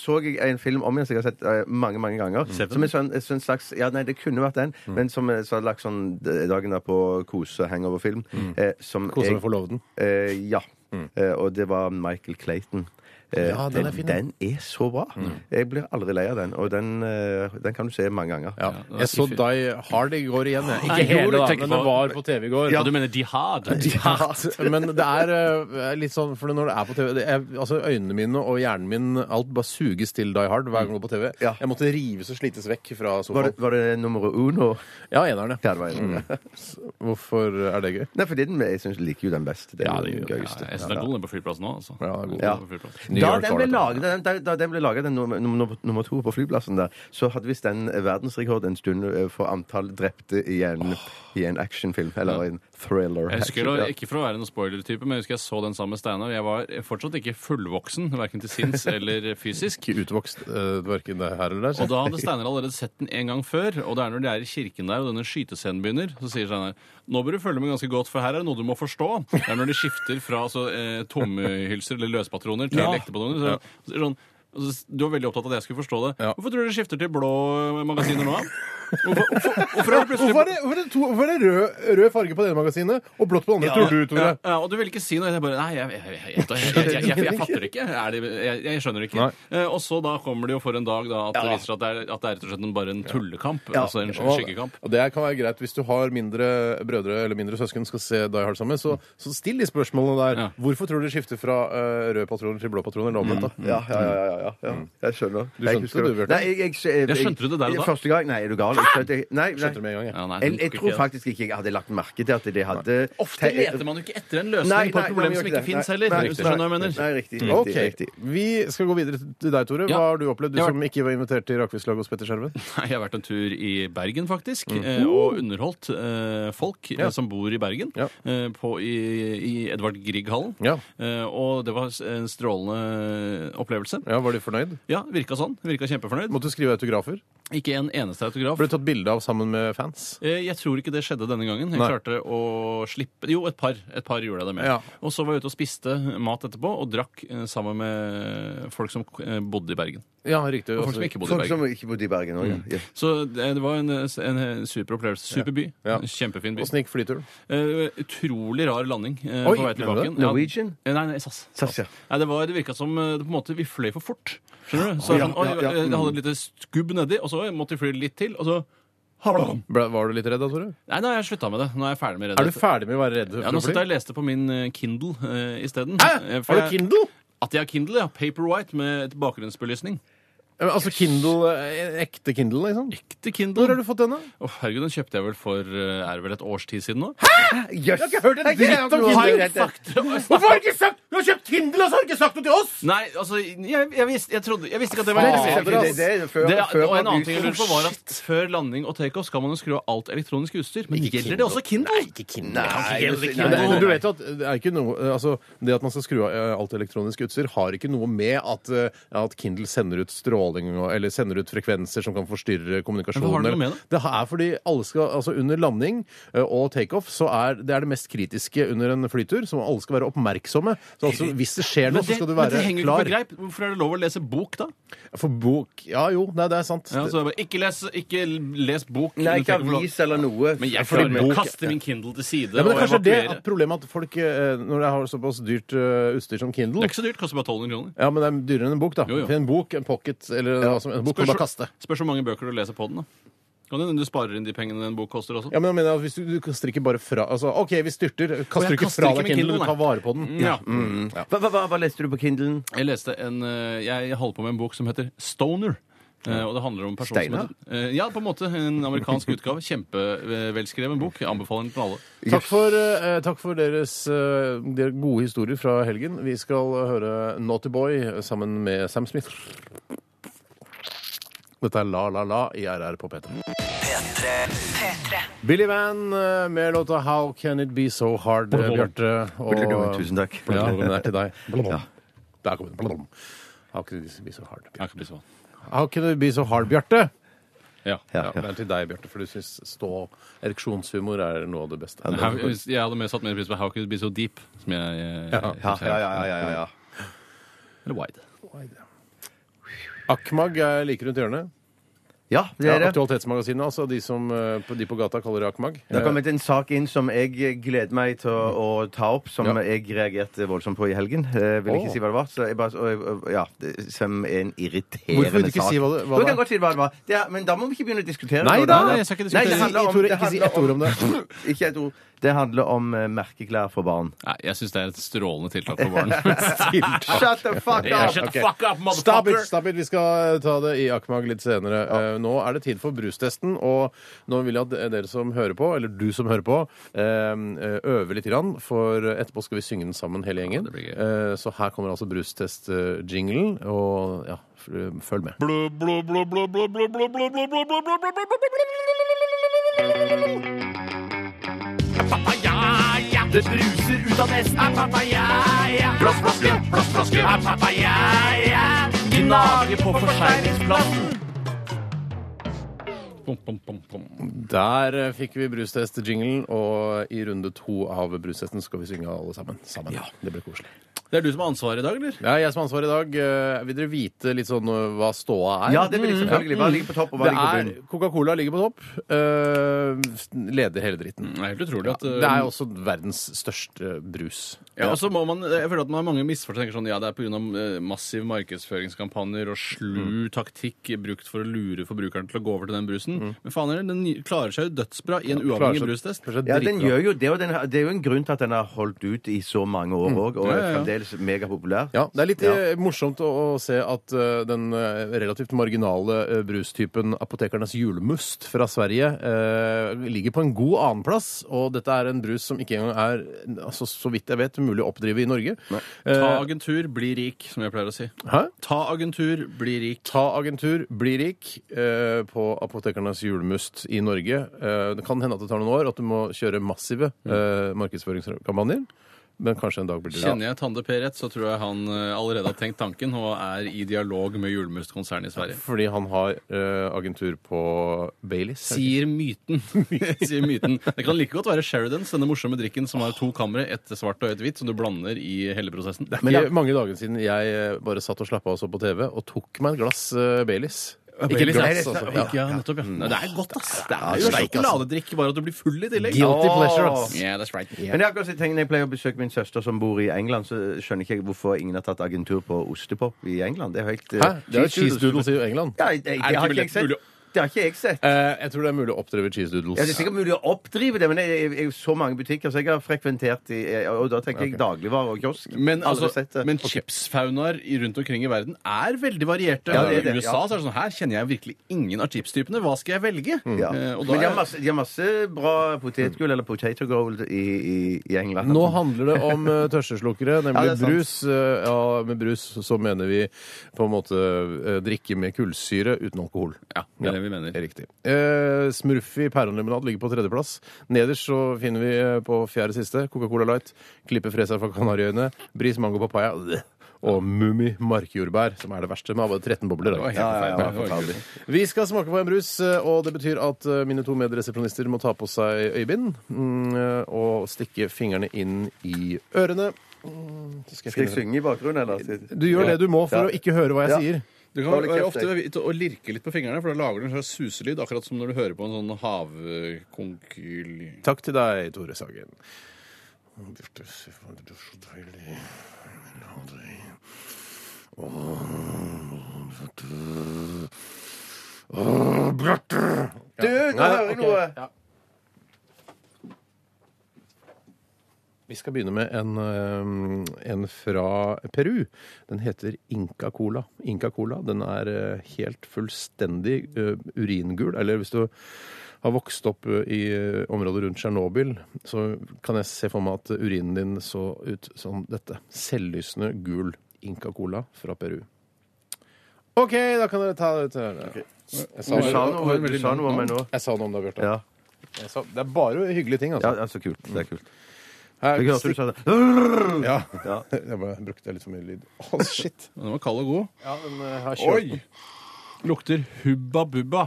S4: så jeg en film om igjen som jeg har sett eh, mange mange ganger.
S5: Ser på
S4: Som
S5: den?
S4: en sånn, en sånn slags Ja, nei, det kunne vært den, men som eh, så hadde lagt sånn eh, dagen der på kose-hangover-film. Eh, som
S3: Kose
S4: jeg-
S3: med forloveden.
S4: Eh, ja. Eh, og det var Michael Clayton. Eh,
S3: Mm. Ja, den er fin, den. Mm.
S4: den er så bra. Jeg blir aldri lei av den, og den, eh, den kan du se mange ganger.
S3: Ja.
S5: det er
S3: Jeg så
S5: ikke
S3: Die Hard i går igjen. Jeg. Ikke
S5: Nei, jo, du
S3: hele, da,
S5: tenker
S3: men
S5: på-
S3: den var på TV i går.
S5: Og du mener jihad?
S3: Men det er eh, litt sånn For når det er på TV det er, Altså Øynene mine og hjernen min Alt bare suges til Die Hard hver gang jeg går på TV.
S4: Ja.
S3: Jeg måtte rives og slites vekk fra
S4: Var, det,
S3: sofaen.
S4: var det nummer uno?
S3: Ja, eneren, ja.
S4: Ja, det var en.
S3: Mm. Hvorfor er det gøy?
S4: Nei, for den, jeg synes, liker jo den best. Det er
S3: Ja,
S4: jo
S3: det
S4: den
S3: gjør jeg.
S4: gøyeste.
S5: Ja, jeg syns det er god den på flyplassen nå, altså.
S3: Ja, det er god.
S5: Den på flyplassen.
S3: New
S4: Da
S3: York
S4: den
S3: har
S4: ble
S3: det.
S4: laget, den, da, da den, ble laget, den nummer, nummer, nummer to på flyplassen der, så hadde visst den verdensrekord en stund eh, for antall drepte i en, i en actionfilm. Eller en thriller.
S5: Jeg husker,
S4: action,
S5: da-
S4: ja.
S5: ikke for å være noen spoiler-type, men jeg husker jeg så den sammen med Steinar. Jeg var fortsatt ikke fullvoksen, verken til sinns eller fysisk.
S3: Ikke utvokst uh, verken det her eller der.
S5: Og da hadde Steinar allerede sett den en gang før. Og det er når de er i kirken der, og denne skytescenen begynner, så sier Steinar nå bør du følge med ganske godt, for her er det noe du må forstå. Det er når de skifter fra altså, eh, tomhylser eller løspatroner til
S3: Ja.
S5: ekte patroner. Så, så, sier sånn, og så- du var veldig opptatt av at jeg skulle forstå det.
S3: Ja.
S5: Hvorfor tror du de skifter til blå magasiner nå? da? Hvorfor, hvorfor, hvorfor er det plutselig
S3: Hvorfor er det, hvorfor er det, to, hvorfor er det rød, rød farge på det ene magasinet og blått på det andre, tror du, Tore?
S5: Ja, ja, og du vil ikke si noe. Jeg bare Nei, jeg, jeg, jeg, jeg, jeg, jeg, jeg, jeg fatter det ikke. Er det, jeg, jeg skjønner det ikke. Eh, og så da kommer det jo for en dag da, at det viser seg at det er, at det er rett og slett en, bare en tullekamp. Altså en
S3: Og-
S5: skyggekamp.
S3: Og det kan være greit hvis du har mindre brødre eller mindre søsken skal se Die Hard sammen, så, så still de spørsmålene der.
S5: Ja.
S3: Hvorfor tror du de skifter fra eh, røde patroner til blå patroner eller omvendt? da?
S4: Mm.
S3: Mm.
S4: Ja, ja, ja, ja, ja, ja. Jeg skjønner.
S3: Du skjønte det, du, Bjørte?
S4: Nei, jeg, jeg, jeg,
S5: Ja, skjønte du det der og da?
S4: Første gang? Nei, er du gal? har skjønt jeg- Nei, nei.
S3: Skjønte det med en gang, jeg.
S5: Ja, nei,
S4: Jeg,
S5: den
S4: jeg
S5: tok
S4: tror
S5: ikke-
S4: faktisk ikke jeg hadde lagt merke til at de hadde
S5: Ofte leter man jo ikke etter en løsning
S4: Nei,
S5: på
S4: nei,
S5: et
S4: man
S5: problem
S4: gjør
S5: som
S4: ikke
S5: ikke
S4: det.
S5: fins
S4: Nei,
S5: heller.
S4: nei,
S5: Hvis du skjønner hva jeg mener. Mm.
S4: Nei, riktig. riktig,
S3: Ok,
S4: riktig.
S3: Vi skal gå videre til deg, Tore.
S5: Ja.
S3: Hva har du opplevd, du
S5: Jeg har-
S3: som ikke var invitert til rakfisklaget hos Petter Skjerven?
S5: Nei, Jeg har vært en tur i Bergen, faktisk, eh, og underholdt eh, folk eh, som bor i Bergen,
S3: Ja.
S5: eh, på, i, i Edvard Grieg-hallen.
S3: Ja.
S5: Eh, og det var s- en strålende opplevelse.
S3: Ja, Var du fornøyd?
S5: Ja, virka sånn. Virka kjempefornøyd.
S3: Måtte du skrive autografer?
S5: Ikke en eneste autograf.
S3: Ble du tatt bilde av sammen med fans?
S5: Eh, Jeg tror ikke det skjedde denne gangen. Jeg
S3: Nei.
S5: klarte å slippe Jo, et par. Et par gjorde jeg det med.
S3: Ja.
S5: Og så var jeg ute og spiste mat etterpå og drakk eh, sammen med folk som eh, bodde i Bergen.
S3: Ja, riktig.
S5: Og folk som ikke bodde i
S4: Folk
S5: Bergen. Mm.
S4: som ikke bodde i Bergen òg, ja.
S5: Så det det var en, eh, en super opplevelse. Super by.
S3: Ja.
S5: Kjempefin by.
S3: Åssen gikk flyturen?
S5: Eh, utrolig rar landing eh,
S3: Oi,
S5: på vei tilbake.
S3: mener du
S5: igjen.
S4: det? Norwegian?
S5: Ja, Eh, nei, nei, SAS.
S4: SAS, ja.
S5: Nei, det, var, det virka som eh, det på en måte, vi fløy for fort. Skjønner du? Så
S4: Å, ja,
S5: sånn, oi,
S4: ja, ja,
S5: eh, Det
S4: mm.
S5: hadde et lite skubb nedi, og så måtte vi fly litt til, og så Nei,
S3: Ble, var du litt redd da, Tore?
S5: nå har jeg slutta med det. Nå er jeg ferdig med
S3: Er
S5: reddhet.
S3: du ferdig med å være redd
S5: Ja,
S3: for
S5: nå
S3: å
S5: satt jeg
S3: fly?
S5: og leste på min eh, Kindle uh, isteden. Eh, for
S3: Har du
S5: jeg-
S3: Kindle?
S5: At jeg har Kindle, ja. Paperwhite med et bakgrunnsbelysning.
S3: Eh, Altså Kindle, eh, ekte Kindle, liksom?
S5: Ekte Kindle.
S3: Hvor har du fått den, da?
S5: Å, herregud, den kjøpte jeg vel for eh, er det vel et års tid siden nå?
S4: Jøss!
S3: Jeg har ikke hørt en dritt om Kindle. Hvorfor har du ikke sagt Du har kjøpt Kindle, og så har du ikke sagt noe til oss!
S5: Nei, altså, jeg, jeg, visste, jeg, trodde, jeg visste ikke at det var
S3: Fader,
S5: interessert.
S3: ass.
S5: Det, og en annen ting jeg lurer på var at Før landing og takeoff skal man jo skru av alt elektronisk utstyr. Men gjelder det også Kindle? Nei, ikke Kindle.
S3: Men det, men du vet jo at det er ikke noe eh, Altså, det at man skal skru av eh, alt elektronisk utstyr, har ikke noe med at, eh, at Kindle sender ut stråling og, eller sender ut frekvenser som kan forstyrre kommunikasjonen.
S5: Men hva har det
S3: eller-
S5: noe med det?
S3: er fordi alle skal Altså, under landing eh, og takeoff så er det er det mest kritiske under en flytur, så alle skal være oppmerksomme. Så altså, hvis det skjer
S5: Men
S3: noe,
S5: det,
S3: så skal du
S5: men det
S3: være
S5: henger jo ikke på
S3: klar.
S5: greip. Hvorfor er det lov å lese bok, da?
S3: For bok Ja jo, nei, det er sant.
S5: Ja, så det er bare, ikke, les, ikke les bok.
S4: Nei, ikke
S5: under takeoff.
S4: avis eller noe.
S5: Men jeg
S4: Fordi
S5: klarer
S4: bok-
S5: å kaste min Kindle til side.
S3: Ja, men det
S5: og
S3: er kanskje det
S5: evakuere.
S3: at problemet at folk, eh, når de har såpass dyrt eh, utstyr som Kindle
S5: Det er ikke så dyrt. Koster bare 1200 kroner.
S3: Ja, men det er dyrere enn en bok, da.
S5: Jo, jo.
S3: For en bok, en pocket eller hva som en bok kan du bare kaste.
S5: spørs hvor mange bøker du leser på den, da. Kan det hende du sparer inn de pengene en bok koster også?
S3: Ja, men jeg mener at hvis du, du kaster ikke bare fra Altså, OK, vi styrter.
S5: jeg
S3: Kaster du ikke
S5: kaster
S3: fra
S5: ikke
S3: deg
S5: med
S3: Kindle,
S5: Kindle, Mm.
S3: du tar vare på den.
S5: Ja.
S4: Hva, hva, hva, hva leste du på Kindlen?
S5: Jeg leste en eh, Jeg holder på med en bok som heter Stoner. Eh, Og det handler om en person
S4: Steinar?
S5: som heter, eh, Ja, på en måte. En amerikansk utgave. Kjempevelskreven bok. Jeg anbefaler den til alle.
S3: Takk for, eh, takk for deres, eh, dere gode historier fra helgen. Vi skal høre Naughty Boy sammen med Sam Smith. Dette er La La La i RR på P3.
S2: P3.
S3: Billy Van eh, med låta How Can It Be So Hard, eh, Bjarte. Og
S4: Tusen takk.
S3: Ja, men det er til deg. Der kom den. Blom. How Can It Be So Hard.
S5: Jeg kan bli sånn.
S3: How can it be so hard, Bjarte?
S5: Ja.
S4: Ja,
S3: Det er til deg, Bjarte, for du syns stå ereksjonshumor er noe av det beste.
S5: Men How, hvis- jeg hadde mer satt mer pris på How Could It Be So Deep. Som jeg, eh,
S4: Ja, ja, ja, ja, ja, ja.
S5: Eller Wide.
S3: Akmag er like rundt hjørnet.
S4: ja det
S3: Ja,
S4: er det.
S3: Aktualitetsmagasinet, altså. De, som, eh, på- de på gata kaller det Akmag. Eh,
S4: Det har kommet en sak inn som jeg gleder meg til å, å ta opp, som
S3: Ja.
S4: jeg reagerte voldsomt på i helgen. Jeg vil
S3: Åh.
S4: ikke si hva det var. Så jeg bare, og, og, ja, det- Som er en irriterende
S3: Hvorfor vil du ikke
S4: sak.
S3: si hva det- hva
S4: Jo,
S3: det
S4: jeg kan godt si hva det var. Det er, men da må vi ikke begynne å diskutere
S3: Nei
S4: det.
S3: da,
S4: Nei,
S5: jeg skal ikke
S4: Nei,
S5: diskutere
S4: det
S5: det.
S4: handler om,
S3: Tore,
S4: det
S3: ikke si
S4: handler
S3: ett ord om det.
S4: Ikke et ord. Det handler om eh, merkeklær for barn.
S5: Nei, jeg syns det er et strålende tiltak for barn.
S4: Shut the fuck
S5: Yeah,
S4: up!
S5: shut the fuck up,
S3: Stop it,
S5: motherfucker!
S3: stop it! Vi skal eh, ta det i Akmag litt senere. Eh, Nå er det tid for brustesten, og nå vil jeg at dere som hører på, eller du som hører på, eh, øver litt, grann, for etterpå skal vi synge den sammen hele gjengen.
S5: det blir gøy.
S3: Eh, Så her kommer altså brustest-jinglen, og ja, f- følg med.
S1: Det bruser ut av nesten Er papaya Blåsflaske, blåsflaske Er papaya Gnager på forseglingsplassen
S5: Pom, pom, pom, pom.
S3: Der eh, fikk vi brustest-jinglen, og i runde to av brustesten skal vi synge alle sammen. sammen. Det blir koselig.
S5: Det er du som har ansvaret i dag, eller?
S3: Det er jeg som har ansvaret i dag. Eh, Vil dere vite litt sånn eh, hva ståa er?
S4: Ja, det vil jeg selvfølgelig. Hva ligger på topp, og hva
S3: Det
S4: ligger på
S3: er
S4: bunn?
S3: Coca-Cola ligger på topp. eh, leder hele dritten.
S5: Det er helt utrolig at eh,
S3: Det er også verdens største brus.
S5: Ja, og så må man, jeg føler at man har mange misforstått. tenker sånn, ja, Det er pga.
S3: Mm.
S5: massive markedsføringskampanjer og slu taktikk brukt for å lure forbrukeren til å gå over til den brusen. brusen. Men faen heller, den klarer seg jo dødsbra i en
S3: Mm. Klarer
S5: uavhengig
S3: seg-
S5: brustest.
S3: klarer seg
S4: Ja, den
S3: dritbra.
S4: gjør jo det, og den, har- det er jo en grunn til at den har holdt ut i så mange
S3: Mm.
S4: år òg, og
S5: Ja,
S4: er
S5: ja, ja.
S4: fremdeles megapopulær.
S3: Ja, Det er litt
S4: Ja.
S3: eh, morsomt å, å se at eh, den eh, relativt marginale eh, brustypen Apotekernes julmust fra Sverige eh, ligger på en god annenplass. Og dette er en brus som ikke engang er, altså, så vidt jeg vet, mulig å oppdrive i Norge. Eh,
S5: Ta agentur, bli rik, som jeg pleier å si.
S3: Hæ?
S5: Ta agentur, bli rik.
S3: Ta agentur, bli rik eh, på Apotekernes julmust i Norge. Eh, det kan hende at det tar noen år, at du må kjøre massive eh, markedsføringskampanjer. Men kanskje en dag blir det
S5: Kjenner jeg Tande P rett, så tror jeg han eh, allerede har tenkt tanken og er i dialog med julemustkonsernet i Sverige.
S3: Fordi han har eh, agentur på Baileys. er det ikke?
S5: Sier myten. Sier myten. Det kan like godt være Sheridans, denne morsomme drikken som har to kamre, ett svart og ett hvitt, som du blander i hele prosessen.
S3: Det er ikke mange dager siden jeg eh, bare satt og slappa av og så på TV, og tok meg et glass eh, Baileys. Ikke
S5: Baileys, ja.
S3: glass, altså.
S5: Ikke,
S3: Ja.
S5: ja, nettopp, ja. Nei, det er godt, ass. Det er jo
S3: steik, ass.
S5: sjokoladedrikk, bare at du blir full i tillegg.
S3: Guilty
S4: Åh.
S3: pleasure, ass.
S5: Yeah, that's right.
S4: Men det er akkurat som jeg tenker, når jeg pleier å besøke min søster som bor i England, så skjønner ikke jeg hvorfor ingen har tatt agentur på ostepop i England. Det er jo helt eh,
S3: Hæ? Det er jo
S4: cheese
S3: cheese doodles i England.
S4: Ja, det, det,
S5: ikke
S4: har ikke
S5: mulig-
S4: jeg sett.
S5: mulig å-
S4: Det har ikke jeg sett.
S3: Eh, jeg tror det er mulig å oppdrive cheese doodles.
S4: Ja, det er sikkert mulig å oppdrive det, men det er er jo så mange butikker så jeg har frekventert i Og da tenker jeg dagligvarer og kiosk.
S5: Men,
S4: Aldri
S5: altså,
S4: sett det.
S5: men chipsfaunaer i- rundt omkring i verden er veldig varierte.
S4: Ja, det er det,
S5: I USA
S4: ja.
S5: så er det sånn her kjenner jeg virkelig ingen av chipstypene. Hva skal jeg velge?
S4: Mm. ja.
S5: Eh, og da
S4: Men de har,
S5: er-
S4: masse, de har masse bra potetgull, eller potato gold, i, i, i England.
S3: Nå handler det om eh, tørsteslukere, nemlig
S4: Ja, det er sant.
S3: brus. Eh, ja, med brus så mener vi på en måte eh, drikke med kullsyre uten alkohol.
S5: ja, det er det vi mener.
S3: Det er riktig. Eh, Smurfy pærenlimonade ligger på tredjeplass. Nederst så finner vi eh, på fjerde siste Coca-Cola Light, Klippe Freser fra Kanariøyene, Bris Mango Papaya øh, og Mummi markjordbær, som er det verste. med bare 13 bobler.
S5: Det var helt
S3: Da.
S4: ja,
S5: forferdelig.
S4: ja,
S5: Det var
S4: forferdelig.
S5: ikke-
S3: Vi skal smake på en brus, eh, og det betyr at eh, mine to medresepsjonister må ta på seg øyebind mm, eh, og stikke fingrene inn i ørene. Mm, Så skal jeg
S4: Skal jeg
S3: finne
S4: synge i bakgrunnen, eller?
S3: du gjør det du må for
S4: Ja.
S3: å ikke høre hva jeg
S4: Ja.
S3: sier.
S5: Du kan
S4: Da er det
S5: være
S4: kreft,
S5: ofte vite å lirke litt på fingrene, for da lager du en slags suselyd, akkurat som når du hører på en sånn havkonkyl...
S3: Takk til deg, Tore Sagen. Birte, se for deg, det er så deilig. Ja, det er- Åh, Birte. Åh, Birte!
S4: Du, nå hører jeg noe!
S3: Vi skal begynne med en, øhm, en fra Peru. Den heter Inca Cola. Inca Cola den er øh, helt fullstendig øh, uringul. Eller hvis du har vokst opp øh, i øh, området rundt Tsjernobyl, så kan jeg se for meg at urinen din så ut som dette. Selvlysende gul Inca Cola fra Peru. OK, da kan dere ta det ut. Jeg, sa,
S4: Du sa
S5: det var
S4: noe,
S5: en
S4: du
S5: veldig
S4: sa
S5: lang
S4: noe om
S5: navn.
S4: meg nå.
S3: jeg sa noe om det, Bjarte.
S4: Ja.
S3: Jeg sa- Det er bare hyggelige ting,
S4: ja,
S3: altså.
S4: altså kult. Det er kult.
S3: Her,
S4: Jeg hørte du sa det.
S3: ja.
S4: Ja.
S3: Jeg bare brukte litt for mye lyd. Å, shit.
S5: Den var kald og god.
S3: Ja, den eh, har kjørt
S5: Oi! Lukter hubba bubba.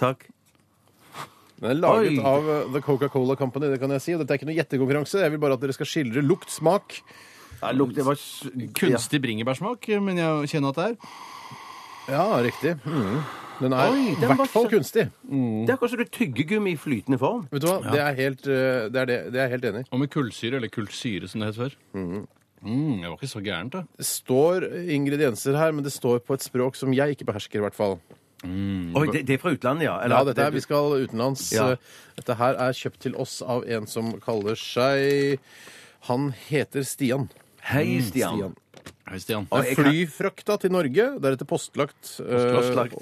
S4: Takk.
S3: Den er laget
S5: Oi.
S3: av eh, The Coca-Cola Company, det kan jeg si. og Dette er ikke noe gjettekonkurranse. Jeg vil bare at dere skal skildre lukt, smak.
S4: Ja, lukt, det var s-
S5: Kunstig bringebærsmak, eh, men jeg kjenner at det er.
S3: Ja, riktig. Mhm. Den er
S4: Oi,
S3: i
S4: den var
S3: hvert fall
S4: så-
S3: kunstig.
S4: Ja. Det er akkurat som du tyggegummi i flytende form.
S3: Vet du hva? Det, er helt, eh, det, er det, det er jeg helt enig i.
S5: Og med kullsyre, eller kullsyre som det het før. Mm, det var ikke så gærent, da.
S3: Det står ingredienser her, men det står på et språk som jeg ikke behersker, i hvert fall.
S4: Mm. Oi, det, det er fra utlandet, ja? Eller-
S3: Ja, dette her, Vi skal utenlands.
S4: Ja.
S3: Eh, Dette her er kjøpt til oss av en som kaller seg Han heter Stian.
S4: Hei, Stian.
S3: Mm, Stian.
S5: Hei, Stian.
S4: Oi.
S3: Det er
S4: jeg kan-
S3: flyfrakta til Norge, deretter postlagt, eh,
S4: Postlagt.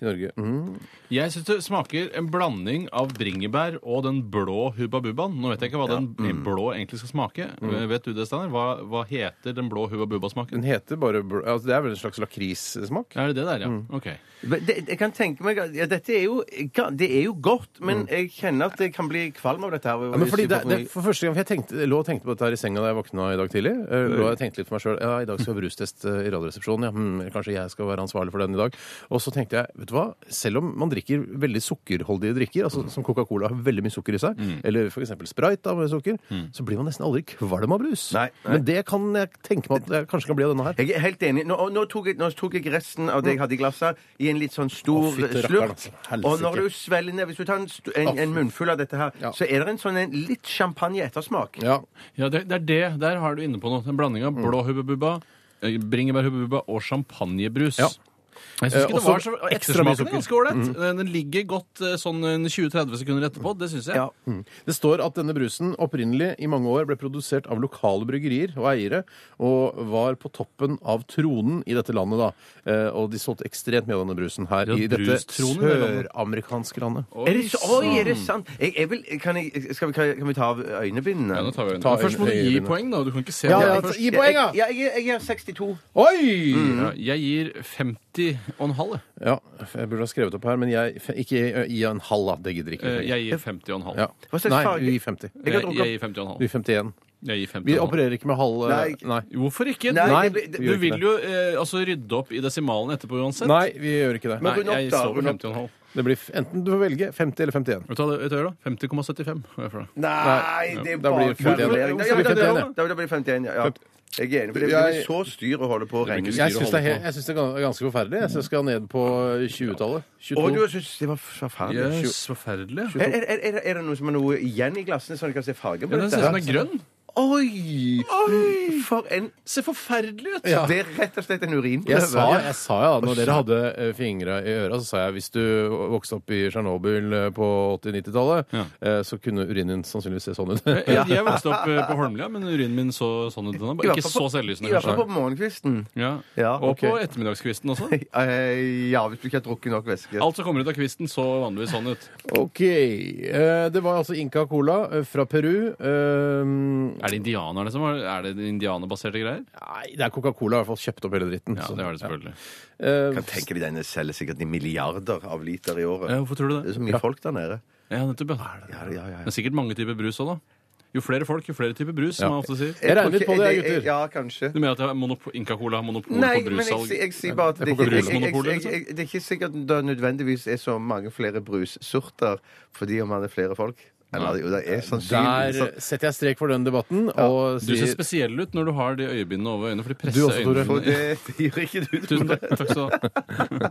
S3: til Norge. Mhm.
S5: Jeg syns det smaker en blanding av bringebær og den blå Hubba Bubbaen. Nå vet jeg ikke hva den
S3: Mm.
S5: blå egentlig skal smake. Vet du det, Steinar? Hva, hva heter den blå Hubba
S3: Den
S5: Bubba-smaken?
S3: heter bare bl- altså, Det er vel en slags lakrissmak?
S5: Er det det der, ja?
S3: Mm.
S5: OK.
S4: Men Det, jeg kan tenke meg at- ja, Dette er jo, ga- det er jo godt, men jeg kjenner at jeg kan bli kvalm av dette. her
S3: Mm. Ja, men fordi det, det, for første gang, for jeg, tenkte, jeg lå og tenkte på dette her i senga da jeg våkna i dag tidlig. Jeg lå og tenkte litt for meg selv, ja, I dag skal vi ha brustest eh, i Radioresepsjonen. Ja, hmm, eller kanskje jeg skal være ansvarlig for den i dag. Og så tenkte jeg, vet du hva, selv om man drikker veldig sukkerholdige drikker, altså Mm. som Coca-Cola har veldig mye sukker i seg, eller f.eks. Sprite da, med sukker, så blir man nesten aldri kvalm av brus.
S4: Nei, nei.
S3: Men det kan jeg tenke meg at jeg kanskje kan bli av denne her.
S4: Jeg er helt enig. Nå, og nå, tok jeg, nå tok jeg resten av det jeg hadde i glasset, i en litt sånn stor
S3: Mm. Å, fytti rakkeren,
S4: slurk.
S3: altså. Helsike.
S4: Og når du svelger ned Hvis du tar en, st- en, en munnfull av dette her,
S3: Ja.
S4: så er det en sånn en litt champagne-ettersmak.
S3: Ja,
S5: Ja, det, det er det. Der har
S3: Mm.
S5: du inne på noe. En blanding av blå Hubba Bubba, eh, bringebær Hubba Bubba og champagnebrus.
S3: Ja.
S5: Jeg synes ikke
S3: Eh,
S5: det var
S3: også Mm. ekstra
S5: så
S3: mye
S5: Ettersmaken
S3: sukker.
S5: er ganske ålreit. Den- Den ligger godt eh, sånn en 20-30 sekunder etterpå. Det syns jeg.
S4: Ja.
S3: Mm. Det står at denne brusen opprinnelig i mange år ble produsert av lokale bryggerier og eiere, og var på toppen av tronen i dette landet da. Eh, Og de solgte ekstremt mye av denne brusen her
S5: Ja,
S3: i dette
S5: brustronen i det landet.
S3: søramerikanske landet.
S5: Oi, sånn.
S4: Er det så, oi, er det sant? Jeg, jeg vil, kan, jeg, skal vi, kan vi ta av øynebindene?
S5: Ja, nå tar vi
S3: Ta
S5: øynene. Først må du
S3: øynene.
S5: gi poeng, da. Du kan ikke se
S3: Ja,
S5: det
S3: ja,
S5: først.
S3: gi poeng, da!
S4: Jeg, jeg, jeg er 62.
S3: Oi!
S5: Ja, Jeg gir 50 og en halv. jeg.
S3: Ja, jeg burde ha skrevet opp her, men jeg Ikke gi en halv, da. Det gidder ikke.
S5: Eh,
S3: vi.
S5: Jeg gir 50 og en halv.
S3: Ja.
S4: Hva slags
S3: Nei,
S4: farge?
S3: vi gir 50.
S5: Jeg,
S4: Jeg kan
S5: jeg
S4: drukke
S5: gir 50 og en
S3: Vi
S5: halv.
S3: gir 51.
S5: Jeg gir 50
S3: Vi
S5: og en halv.
S3: opererer ikke med halv eh,
S4: Nei.
S3: Nei.
S5: Hvorfor ikke?
S4: Nei,
S5: Nei,
S4: det blir- det-
S5: du
S3: vi gjør ikke
S5: vil jo eh, altså, rydde opp i desimalene etterpå uansett.
S3: Nei, vi gjør ikke det.
S5: Nei,
S4: Men rund opp,
S5: jeg
S4: da,
S5: står
S4: rund
S5: på
S4: opp.
S5: 50 og en halv.
S3: Det blir f- enten du får velge 50 eller 51.
S5: Vet du hva det det gjør, da? 50,75. hva er det for noe?
S4: Nei, det
S3: Da
S4: er
S3: blir
S4: bare
S3: det 51.
S4: kalkulering.
S3: Da
S4: Ja, ja,
S3: blir det
S4: ja,
S3: 51,
S4: ja. Da blir det 51, ja. ja. Jeg er enig, for det
S3: Jeg-
S4: blir så styr å holde på å regne.
S5: styr.
S3: Jeg syns det, er he- jeg synes det er gan- ganske forferdelig. Jeg synes jeg skal ned på eh, 20-tallet.
S4: Og du
S3: 22.
S4: syns det var forferdelig.
S5: Jøs, forferdelig.
S4: Er, er, er, er- er det noe som er noe igjen i glassene, sånn at jeg kan se fargen
S5: Ja,
S4: på
S5: den
S4: dette?
S5: ser ut som
S4: her?
S5: den er grønn.
S4: Oi! For en
S5: Ser forferdelig ut!
S4: Det er rett og slett en urinprøve.
S3: Jeg sa, jeg sa ja, da når dere hadde eh, fingre i øra, så sa jeg hvis du vokste opp i Tsjernobyl eh, på 80-90-tallet,
S5: Ja.
S3: eh, så kunne urinen din sannsynligvis se sånn ut.
S5: Jeg, jeg vokste opp eh, på Holmlia, men urinen min så sånn ut. Den er
S4: I
S5: bare
S4: hvert
S5: ikke
S4: fall
S5: så
S4: på- I
S5: selvlysende.
S4: hvert fall
S5: kanskje.
S4: på morgenkvisten.
S5: Ja.
S4: Ja,
S5: Og på
S3: ok.
S5: ettermiddagskvisten også.
S4: Eh, ja, hvis du ikke har drukket nok væske.
S5: Alt som kommer ut av kvisten, så vanligvis sånn ut.
S3: OK. eh, Det var altså Inca Cola eh, fra Peru. Eh,
S5: Er det indianerne som har Er det indianerbaserte greier?
S3: Nei, det er Coca-Cola i hvert fall kjøpt opp hele dritten.
S5: Ja,
S3: så-
S5: det er det selvfølgelig.
S3: Eh,
S4: Kan tenke deg denne selger sikkert i milliarder av liter i året.
S5: Ja, Eh, hvorfor tror du
S4: Det
S5: det?
S4: er så mye folk der nede.
S5: Ja, nettopp. ja.
S4: Ja, ja, ja.
S5: Det er sikkert mange typer brus òg, da. Jo flere folk, jo flere typer brus, som man ofte sier.
S3: Jeg regner litt på det,
S4: Jeg-
S3: gutter.
S4: Ja, kanskje.
S5: Du mener at det er monop- Inca-Cola har monopol
S4: Nei,
S5: på
S4: men jeg,
S5: brussalg?
S4: si- jeg sier bare at det,
S3: Det er
S4: ikke- jeg, jeg,
S5: Brusmonopolet,
S4: jeg,
S5: liksom.
S4: jeg, det er ikke sikkert det nødvendigvis er så mange flere brussorter fordi om man er flere folk. Eller jo, det er sannsynligvis
S3: Eh, Der setter jeg strek for den debatten. Og
S5: Du ser
S3: sier
S5: spesiell ut når du har de øyebindene over øynene, for de presser
S3: Du også, Tore.
S4: For
S5: øynene.
S4: det, det gjør ikke du.
S5: Tusen takk. takk skal du ha.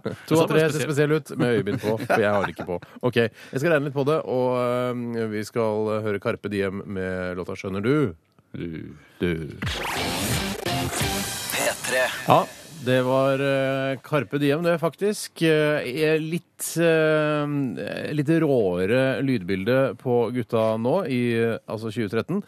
S3: to av
S5: Så
S3: tre
S5: bare
S3: ser
S5: spesiell.
S3: spesielle ut med øyebind på, for jeg har ikke på. Ok, Jeg skal regne litt på det, og øhm, vi skal øh, høre Karpe Diem med låta 'Skjønner du'. Du.
S2: P3.
S3: Ja, det var eh, Carpe Diem, det, faktisk. Eh, er litt, eh, litt råere lydbilde på gutta nå, i eh, altså 2013.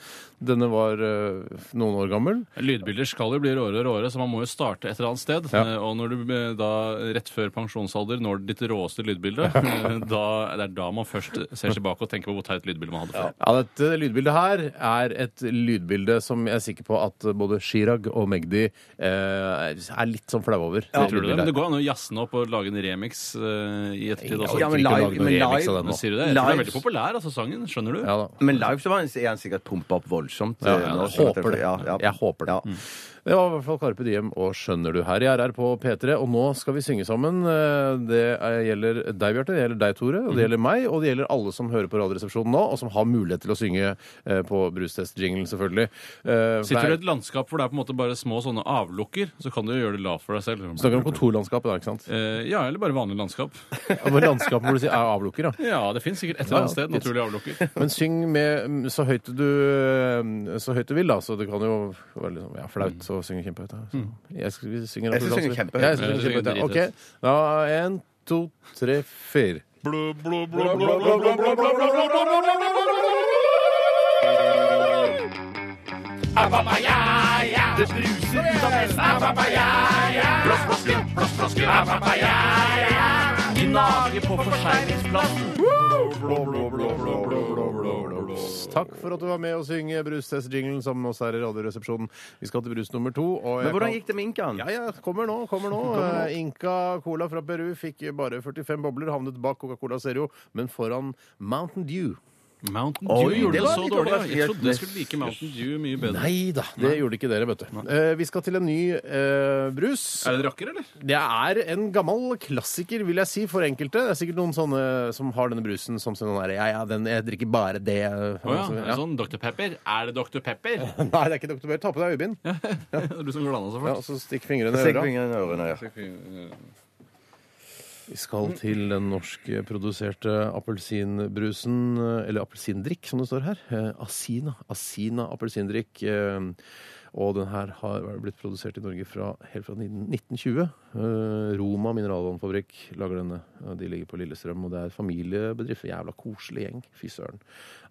S3: Denne var eh, noen år gammel.
S5: Lydbilder skal jo bli råere og råere, så man må jo starte et eller annet sted.
S3: Ja.
S5: Eh, Og når du eh, da rett før pensjonsalder når ditt råeste lydbilde, eh, da, det er da man først ser tilbake og tenker på hvor teit lydbilde man hadde før.
S3: Ja, Dette lydbildet her er et lydbilde som jeg er sikker på at både Chirag og Magdi eh, er litt sånn flaue over.
S5: Det tror du det? Men det går an å jazze den opp og lage en remix eh, i ettertid.
S3: Ja,
S5: Også.
S4: Ja, men
S3: ikke
S4: live-
S3: lag noen
S4: men
S3: remix
S4: live-
S3: av den
S5: Men
S3: nå.
S5: sier du det? Jeg tror den er
S4: Live-
S5: veldig populær, altså sangen. Skjønner du?
S3: Ja da.
S4: Men live så var han, er han sikkert pumpa opp voldsomt. eh,
S3: Ja,
S4: nå.
S3: jeg håper det.
S4: Ja, ja.
S3: Jeg håper det. Mm.
S4: Ja.
S3: Det var i hvert fall Carpe Diem og 'Skjønner du' her i RR på P3. Og nå skal vi synge sammen. Eh, Det er- gjelder deg, Bjarte, det gjelder deg, Tore, og det gjelder meg, og det gjelder alle som hører på Radioresepsjonen nå, og som har mulighet til å synge eh, på brustest-jinglen, selvfølgelig. Eh, for
S5: Sitter
S3: det
S5: du
S3: er-
S5: i et landskap hvor det er på en måte bare små sånne avlukker, så kan du jo gjøre det lavt for deg selv.
S3: Vi snakker om kontorlandskapet, da, ikke sant?
S5: Eh, ja, eller bare vanlig landskap.
S3: Hvor landskapet hvor du sier er avlukker, da.
S5: Ja, det fins sikkert et
S3: Ja,
S5: eller annet
S3: det
S5: sted
S3: finnes.
S5: naturlig avlukker.
S3: Men syng med mm, så høyt du, eh, så høyt du vil, da. Så det kan jo være litt sånn ja, flaut å synge kjempehøyt. Da. Så Jeg skal vi synger
S4: Jeg skal synge
S3: naturligvis.
S4: kjempehøyt.
S3: Ja, jeg skal synge
S5: Jeg skal
S3: kjempehøyt.
S5: synge
S3: ja.
S5: drithøyt.
S3: OK. Da én, to, tre, fire.
S1: Apapaya, det bruser ut av nesen. Apapaya, blås, blås, blås, blås, blås, apapaya. Gnager på forseglingsplassen.
S3: Takk for at du var med å synge brustest-jinglen sammen med oss her i Radioresepsjonen. Vi skal til brus nummer to. Og jeg
S4: Men hvordan
S3: kan-
S4: gikk det med Inkan?
S3: Ja, ja, kommer nå, Mm. kommer nå. Eh, Inca Cola fra Peru fikk bare 45 bobler, havnet bak Coca-Cola Zero, men foran Mountain Dew.
S5: Mountain
S4: Oi,
S5: Dew gjorde
S4: det
S5: det,
S4: var
S5: så
S4: litt
S5: dårlig. ja. Jeg
S4: overraskende.
S5: trodde jeg skulle like Mountain Dew mye bedre.
S3: Nei da, det gjorde ikke dere, vet du. Eh, vi skal til en ny eh, brus.
S5: Er det en rakker, eller?
S3: Det er en gammel klassiker, vil jeg si, for enkelte. Det er sikkert noen sånne som har denne brusen som sånn der, ja, ja, den, jeg drikker bare det.
S5: Å ja.
S3: Altså,
S5: er det Sånn Dr. Pepper. Er det Dr. Pepper?
S3: Nei, det er ikke Dr. Bjørn. Ta på deg øyebind,
S5: du som glana så
S3: ja, altså.
S5: eh, fælt.
S3: og så stikk fingrene i
S4: Stikk
S3: øra.
S4: fingeren i ørene, ja.
S3: Vi skal til den norskproduserte appelsinbrusen, eller appelsindrikk, som det står her. Eh, Asina. Asina appelsindrikk. eh, Og den her har blitt produsert i Norge fra, helt fra 19- 1920. Eh, Roma mineralvannfabrikk lager denne. Eh, De ligger på Lillestrøm, og det er familiebedrift. Jævla koselig gjeng. Fy søren.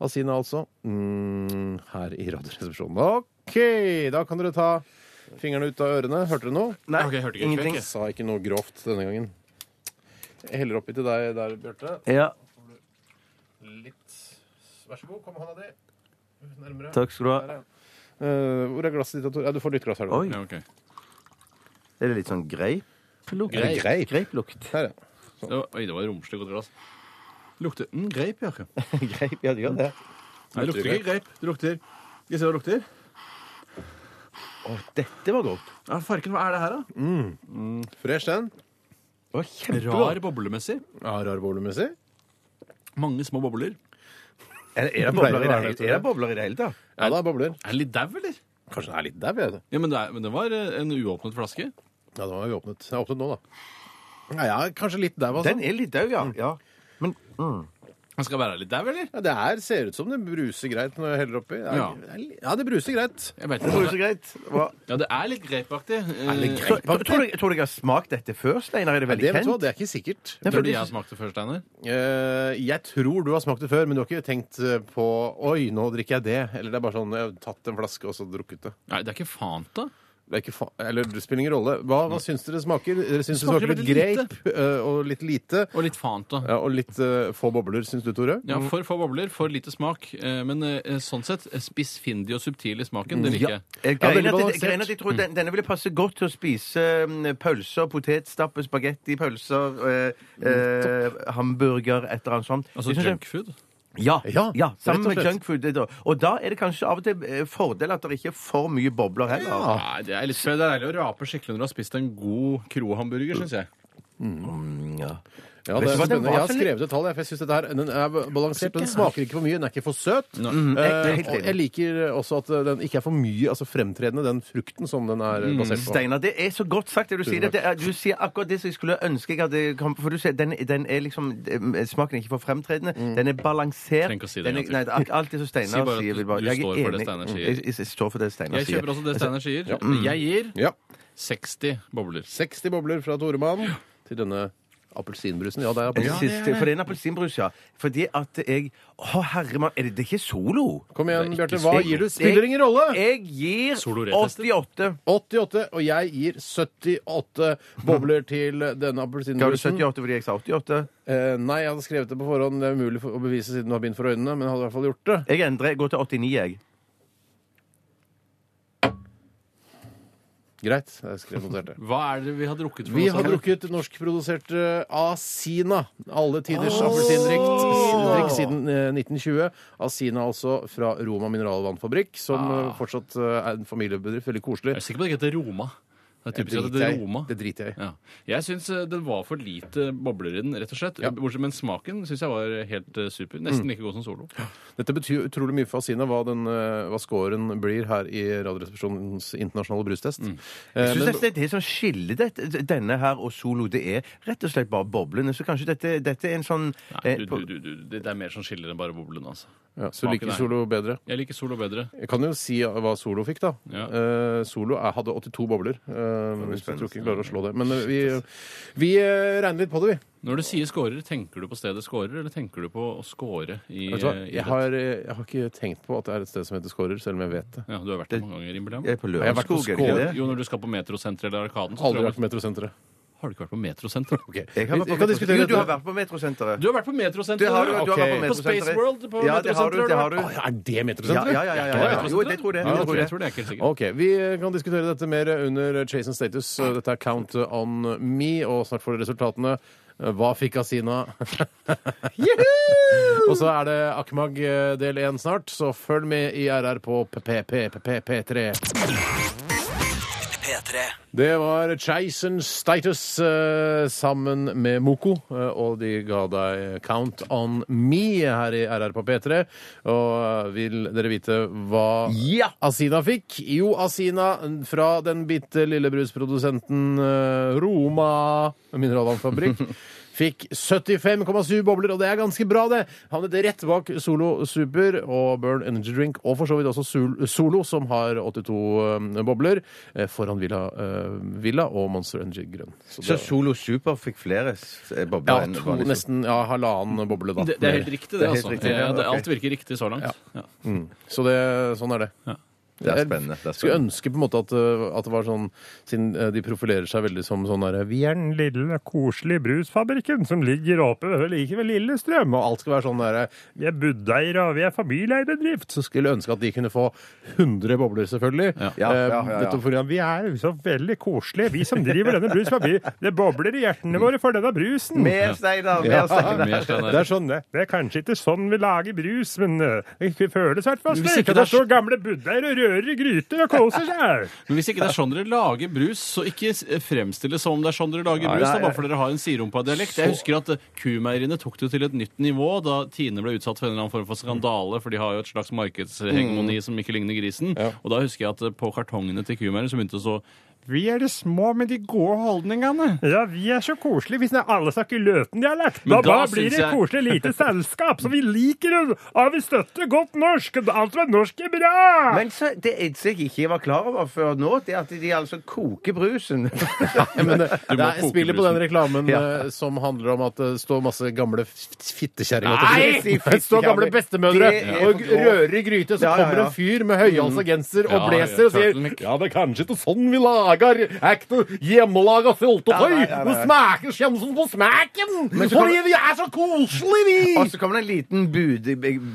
S3: Asina altså, mm, her i Radioresepsjonen. OK, da kan dere ta fingrene ut av ørene. Hørte dere noe?
S4: Nei,
S5: Ok, jeg hørte ikke.
S4: ingenting.
S3: Jeg sa ikke noe grovt denne gangen. Jeg heller oppi til deg der, Bjarte.
S4: Ja,
S3: Litt. Vær så god, kom hånda di nærmere.
S4: takk skal du ha.
S3: Eh, hvor er glasset ditt? Tor? Ja, du får nytt glass her. nå.
S4: Oi,
S5: Ja, ok.
S4: er det litt sånn greiplukt?
S3: Er det greip?
S4: Greiplukt.
S3: Her, ja.
S5: Det var, oi, det var romslig godt glass. Lukter mm, greip, ja. ikke? Nei,
S4: Greip, ja, det gjør det.
S5: det lukter ikke greip. Det lukter Skal vi se hva det lukter?
S4: Å, dette var godt.
S5: Ja, farken, hva er det her, da?
S3: Fresh den.
S4: Det var kjempegodt.
S5: Rar boblemessig.
S3: Ja, rar volumessig.
S5: Mange små bobler.
S4: Er, er, det
S3: pleier
S4: bobler i
S3: å
S4: det
S3: være
S4: hele-
S3: det, tror jeg.
S4: er det bobler i det hele tatt?
S3: Ja, da bobler.
S5: Er den litt dau, eller?
S3: Kanskje den er litt dau, jeg.
S5: Ja, men det, er, men det var eh, en uåpnet flaske.
S3: Ja, da har vi åpnet. Jeg har åpnet nå, da. Ja, ja kanskje litt dau, altså.
S4: Den er litt død, ja. ja. Men mm.
S5: Den skal være litt dau, eller?
S3: Ja, det her ser ut som det bruser greit når jeg heller oppi. Det er-
S5: Ja.
S3: det er li- ja, det bruser greit.
S5: Jeg vet
S4: det
S5: ikke.
S4: var
S5: hva
S4: jo
S5: det
S4: så
S5: er.
S4: greit. Det var-
S5: Ja, det er litt greipaktig. Eh, Er
S3: litt
S4: Tror tror- tror du tror du jeg har smakt dette før, Steinar? Er sånn. det veldig
S3: Det, vet du hva,
S4: kjent?
S3: det er ikke sikkert.
S4: Ja, for
S5: Tror du
S4: det-
S5: jeg smakte først, Steiner?
S3: Eh, jeg tror du har smakt det før, men du har ikke tenkt eh, på Oi, nå drikker jeg det. Eller det er bare sånn Jeg har tatt en flaske og så drukket det.
S5: Nei, det er ikke Fanta.
S3: Det, er ikke fa eller, det spiller ingen rolle. Hva, hva syns dere smaker? Dere syns det
S5: Smaker
S3: smaker litt
S5: veldig lite.
S3: grape eh, og litt lite.
S5: Og litt Fanta.
S3: Ja, og litt eh, få bobler, syns du, Tore?
S5: Ja, For få bobler, for lite smak. Eh, Men eh, sånn sett, eh, spissfindig og subtil i smaken, det liker jeg.
S4: Jeg
S3: Ja, veldig
S4: greier at, jeg
S3: balansert.
S4: greier at jeg tror den, denne ville passe godt til å spise mm, pølser, potetstappe, spagetti, pølser, eh, eh, hamburger, et eller annet sånt.
S5: Altså
S4: Jeg synes det-
S5: junkfood.
S4: Ja,
S3: Ja,
S4: ja,
S3: rett og
S4: sammen med
S3: slett.
S4: junkfood. det da. Og da er det kanskje av og til eh, fordel at det ikke er for mye bobler heller.
S3: Ah.
S5: Nei, det er litt det er deilig å rape skikkelig når du har spist en god krohamburger, syns jeg.
S4: Ja.
S3: Ja,
S4: Vet
S3: det er
S4: du hva, den
S3: spennende.
S4: var
S3: Jeg har
S4: så litt-
S3: skrevet et tall. jeg, for Jeg synes dette her, Den er balansert. Den smaker ikke for mye, den er ikke for søt.
S4: Mm, jeg- jeg er
S3: Eh,
S4: helt
S3: og
S4: enig.
S3: jeg liker også at eh, den ikke er for mye altså fremtredende, den frukten som den er
S4: Mm,
S3: eh, basert på.
S4: Steinar, det er så godt sagt det du sier. Det er, du sier akkurat det som jeg skulle ønske jeg hadde kommet For du sier den, den er liksom Smaken er ikke for fremtredende. Den er balansert.
S5: Trenger ikke å si det
S4: den er,
S5: en
S4: nei,
S5: gang til.
S4: det er alt det som
S5: Si
S4: Steinar
S5: bare at
S4: sier. vil
S5: du- du
S4: er
S5: står for
S4: enig.
S5: det Steinar sier.
S4: Jeg, jeg, står for det Steinar
S5: Jeg
S4: sier.
S5: kjøper også det Steinar sier. Jeg gir
S3: Ja. Mm.
S5: 60 bobler.
S3: 60 bobler fra Toremann til denne appelsinbrusen. Ja, det er
S4: En
S3: appelsin.
S4: siste, For Altså, det er en appelsinbrus, ja. Fordi at jeg Å, herremann, er det, det er ikke solo?
S3: Kom igjen,
S5: Det er
S3: Bjarte.
S5: ikke
S3: Hva
S5: solo.
S3: gir du? Spiller ingen rolle!
S4: Jeg gir
S5: Solo retestet.
S4: 88.
S3: 88, og jeg gir 78 bobler til denne
S4: Ga du
S3: appelsinbrusen.
S4: 78 fordi jeg sa 88?
S3: Eh, nei, jeg hadde skrevet det på forhånd. Det er umulig for, å bevise siden du har bind for øynene, men jeg hadde i hvert fall gjort det.
S4: Jeg endrer. Jeg går til 89, jeg.
S3: Greit. Jeg skrev notert det.
S5: Hva er det vi har drukket? for
S3: Vi
S5: noe
S3: har
S5: sånt?
S3: drukket norskprodusert eh, Asina. Alle tiders appelsindrikk drikk siden eh, 1920. Asina altså fra Roma mineralvannfabrikk, som eh, fortsatt eh, er en familiebedrift. Veldig koselig.
S5: Ah. Jeg er sikker på at det ikke heter Roma. Det er typisk at det
S3: driter jeg
S5: heter
S3: i.
S5: Roma.
S3: Det driter jeg i.
S5: Ja. Jeg syns eh, det var for lite bobler i den, rett og slett. Bortsett Men smaken syns jeg var helt eh, super.
S3: Mm.
S5: Nesten like god som Solo.
S3: Dette betyr utrolig mye for Asina, hva, den, eh, hva scoren blir her i Radioresepsjonens internasjonale brustest. Eh,
S4: Jeg synes
S3: men-
S4: nesten det er det som skiller dette, denne her og Solo, det er rett og slett bare boblene. Så kanskje dette, dette er en sånn
S5: Nei,
S4: eh,
S5: du,
S4: på-
S5: du, du, du, det det er mer som skiller enn bare boblene. Altså.
S3: ja, så
S5: smaken
S3: liker
S5: er-
S3: Solo bedre.
S5: Jeg liker Solo bedre.
S3: Jeg kan jo si eh, hva Solo fikk, da.
S5: Ja.
S3: Eh, Solo er, hadde 82 bobler. Eh, hvis jeg tror ikke jeg klarer å slå det. Men eh, vi, vi eh, regner litt på det, vi.
S5: Når du sier scorer, tenker du på stedet scorer, eller tenker du på å score i
S3: Vet du hva?
S5: eh,
S3: Jeg,
S5: idrett?
S3: har, eh, jeg har ikke tenkt på at det er et sted som heter Skårer, selv om jeg vet det.
S5: Ja, Du har vært der mange ganger, innbiller
S4: Jeg
S5: jeg
S4: er eh, på
S3: Jeg har vært på
S4: Lørenskog, er det ikke
S3: Skål.
S4: det?
S5: meg. Jo, når du skal på Metrosenteret eller Arkaden, så
S3: Aldri
S5: tror
S3: vært
S5: jeg
S3: på Metrosenteret.
S5: Har du ikke vært på Metrosenteret?
S3: Okay.
S4: Jeg har vært
S3: vi
S4: på
S3: kan diskutere
S4: Metrosenteret. Jo, du har
S3: dette.
S4: vært på Metrosenteret.
S5: Du har vært på
S4: Det
S5: Metrosenteret!
S4: har du, du
S3: Ok.
S4: har vært på
S3: På
S4: Metrosenteret.
S5: Space World på
S4: ja, det har du,
S5: Metrosenteret,
S4: det har du.
S3: Å, ja, er det
S4: Ja,
S3: Metrosenteret?
S4: ja, ja, ja, ja, ja. Jo, det tror jeg.
S3: Ja,
S4: det tror
S5: Jeg
S4: jeg.
S5: tror det er ikke helt sikkert.
S3: OK. Vi eh, kan diskutere dette mer under Chase and Status. Eh, Dette er Count on Me, og snart får dere resultatene. Eh, Hva fikk Asina? og så er det Akmag eh, del 1 snart, så følg med i RR på PPPPP3.
S2: P3.
S3: Det var Chase and Status eh, sammen med Moko, eh, og de ga deg Count on Me her i RR på P3. Og eh, vil dere vite hva
S4: Ja!
S3: Asina fikk? Jo, Asina fra den bitte lille brusprodusenten eh, Roma mineralvannfabrikk Fikk 75,7 bobler, og det er ganske bra, det! Havnet rett bak Solo Super og Burn Energy Drink, og for så vidt også Sol- Solo, som har 82 eh, bobler, eh, foran Villa, eh, Villa og Monster Energy Grønn. Så
S4: Så
S3: det,
S4: Solo Super fikk flere s- eh, bobler
S3: ja,
S4: enn
S3: to,
S4: vanlig Super.
S3: nesten ja, halvannen boble, da.
S5: Det, det er helt riktig, det.
S4: Det er helt
S5: altså.
S4: riktig, ja,
S5: Ja, det,
S4: ok.
S5: alt virker riktig så langt. Ja.
S3: Så det, sånn er det.
S4: Det er spennende. Det er
S3: Skulle
S4: spennende.
S3: ønske på en måte at, uh, at det var sånn Siden uh, de profilerer seg veldig som sånn derre Vi er den lille, koselige brusfabrikken som ligger oppe ved like ved Lillestrøm, og alt skal være sånn derre Vi er budeiere, og vi er familieeierbedrift. Så skulle jeg ønske at de kunne få 100 bobler, selvfølgelig.
S4: Ja, ja, ja, ja.
S3: Eh, dette fordi at Vi er jo så veldig koselige, vi som driver denne brusfabrikken. Det bobler i hjertene våre for denne brusen.
S4: Mer Steinar!
S3: Ja.
S4: Mer Steinar!
S5: Mer Steinar.
S3: Det er sånn, det. Det er kanskje ikke sånn vi lager brus, men eh, det føles i hvert fall
S5: Men hvis
S3: slik.
S5: ikke
S3: at Det
S5: det er
S3: står gamle buddaer og rører i gryter og koser seg.
S5: Men hvis ikke det er sånn dere lager brus, så ikke s- fremstill det som det er sånn dere lager brus.
S4: nei,
S5: da, bare fordi dere har en sirumpadialekt. Jeg husker at eh, kumeieriene tok det jo til et nytt nivå da Tine ble utsatt for en eller annen form for skandale, for de har jo et slags markedshegemoni som ikke ligner grisen. Og da husker jeg at eh, på kartongene til kumeierne så begynte det så Vi er de små med de gode holdningene.
S3: Ja, vi er så koselige. Hvis alle snakker Løten-dialekt, da,
S5: Men da
S3: bare blir
S5: syns
S3: det
S5: jeg-
S3: koselig lite selskap. Så vi liker det, og vi støtter godt norsk. Alt som er norsk, er bra.
S4: Men så, det eneste jeg ikke var klar over før nå, det er at de altså koker brusen.
S3: Men det, det
S5: Du må
S3: er-
S5: koke
S3: spiller på
S5: brusen.
S3: den reklamen
S4: Ja.
S3: eh, som handler om at det står masse gamle f- fittekjerringer
S4: Nei!
S3: Det står gamle bestemødre
S4: Det er
S3: og
S4: for grov.
S3: rører i gryte, så
S4: Ja, ja, ja. Mm.
S3: kommer en fyr med høyhalsa genser og
S5: Ja,
S3: blazer og
S5: ja,
S3: sier
S5: turtleneck.
S3: Ja, det er kanskje ikke sånn vi lager ekte hjemmelaga syltetøy.
S4: Ja, nei, ja, nei.
S3: Det smaker kjemsen på smaken! Fordi vi er så koselige, vi!
S4: Og så kommer det en liten bud,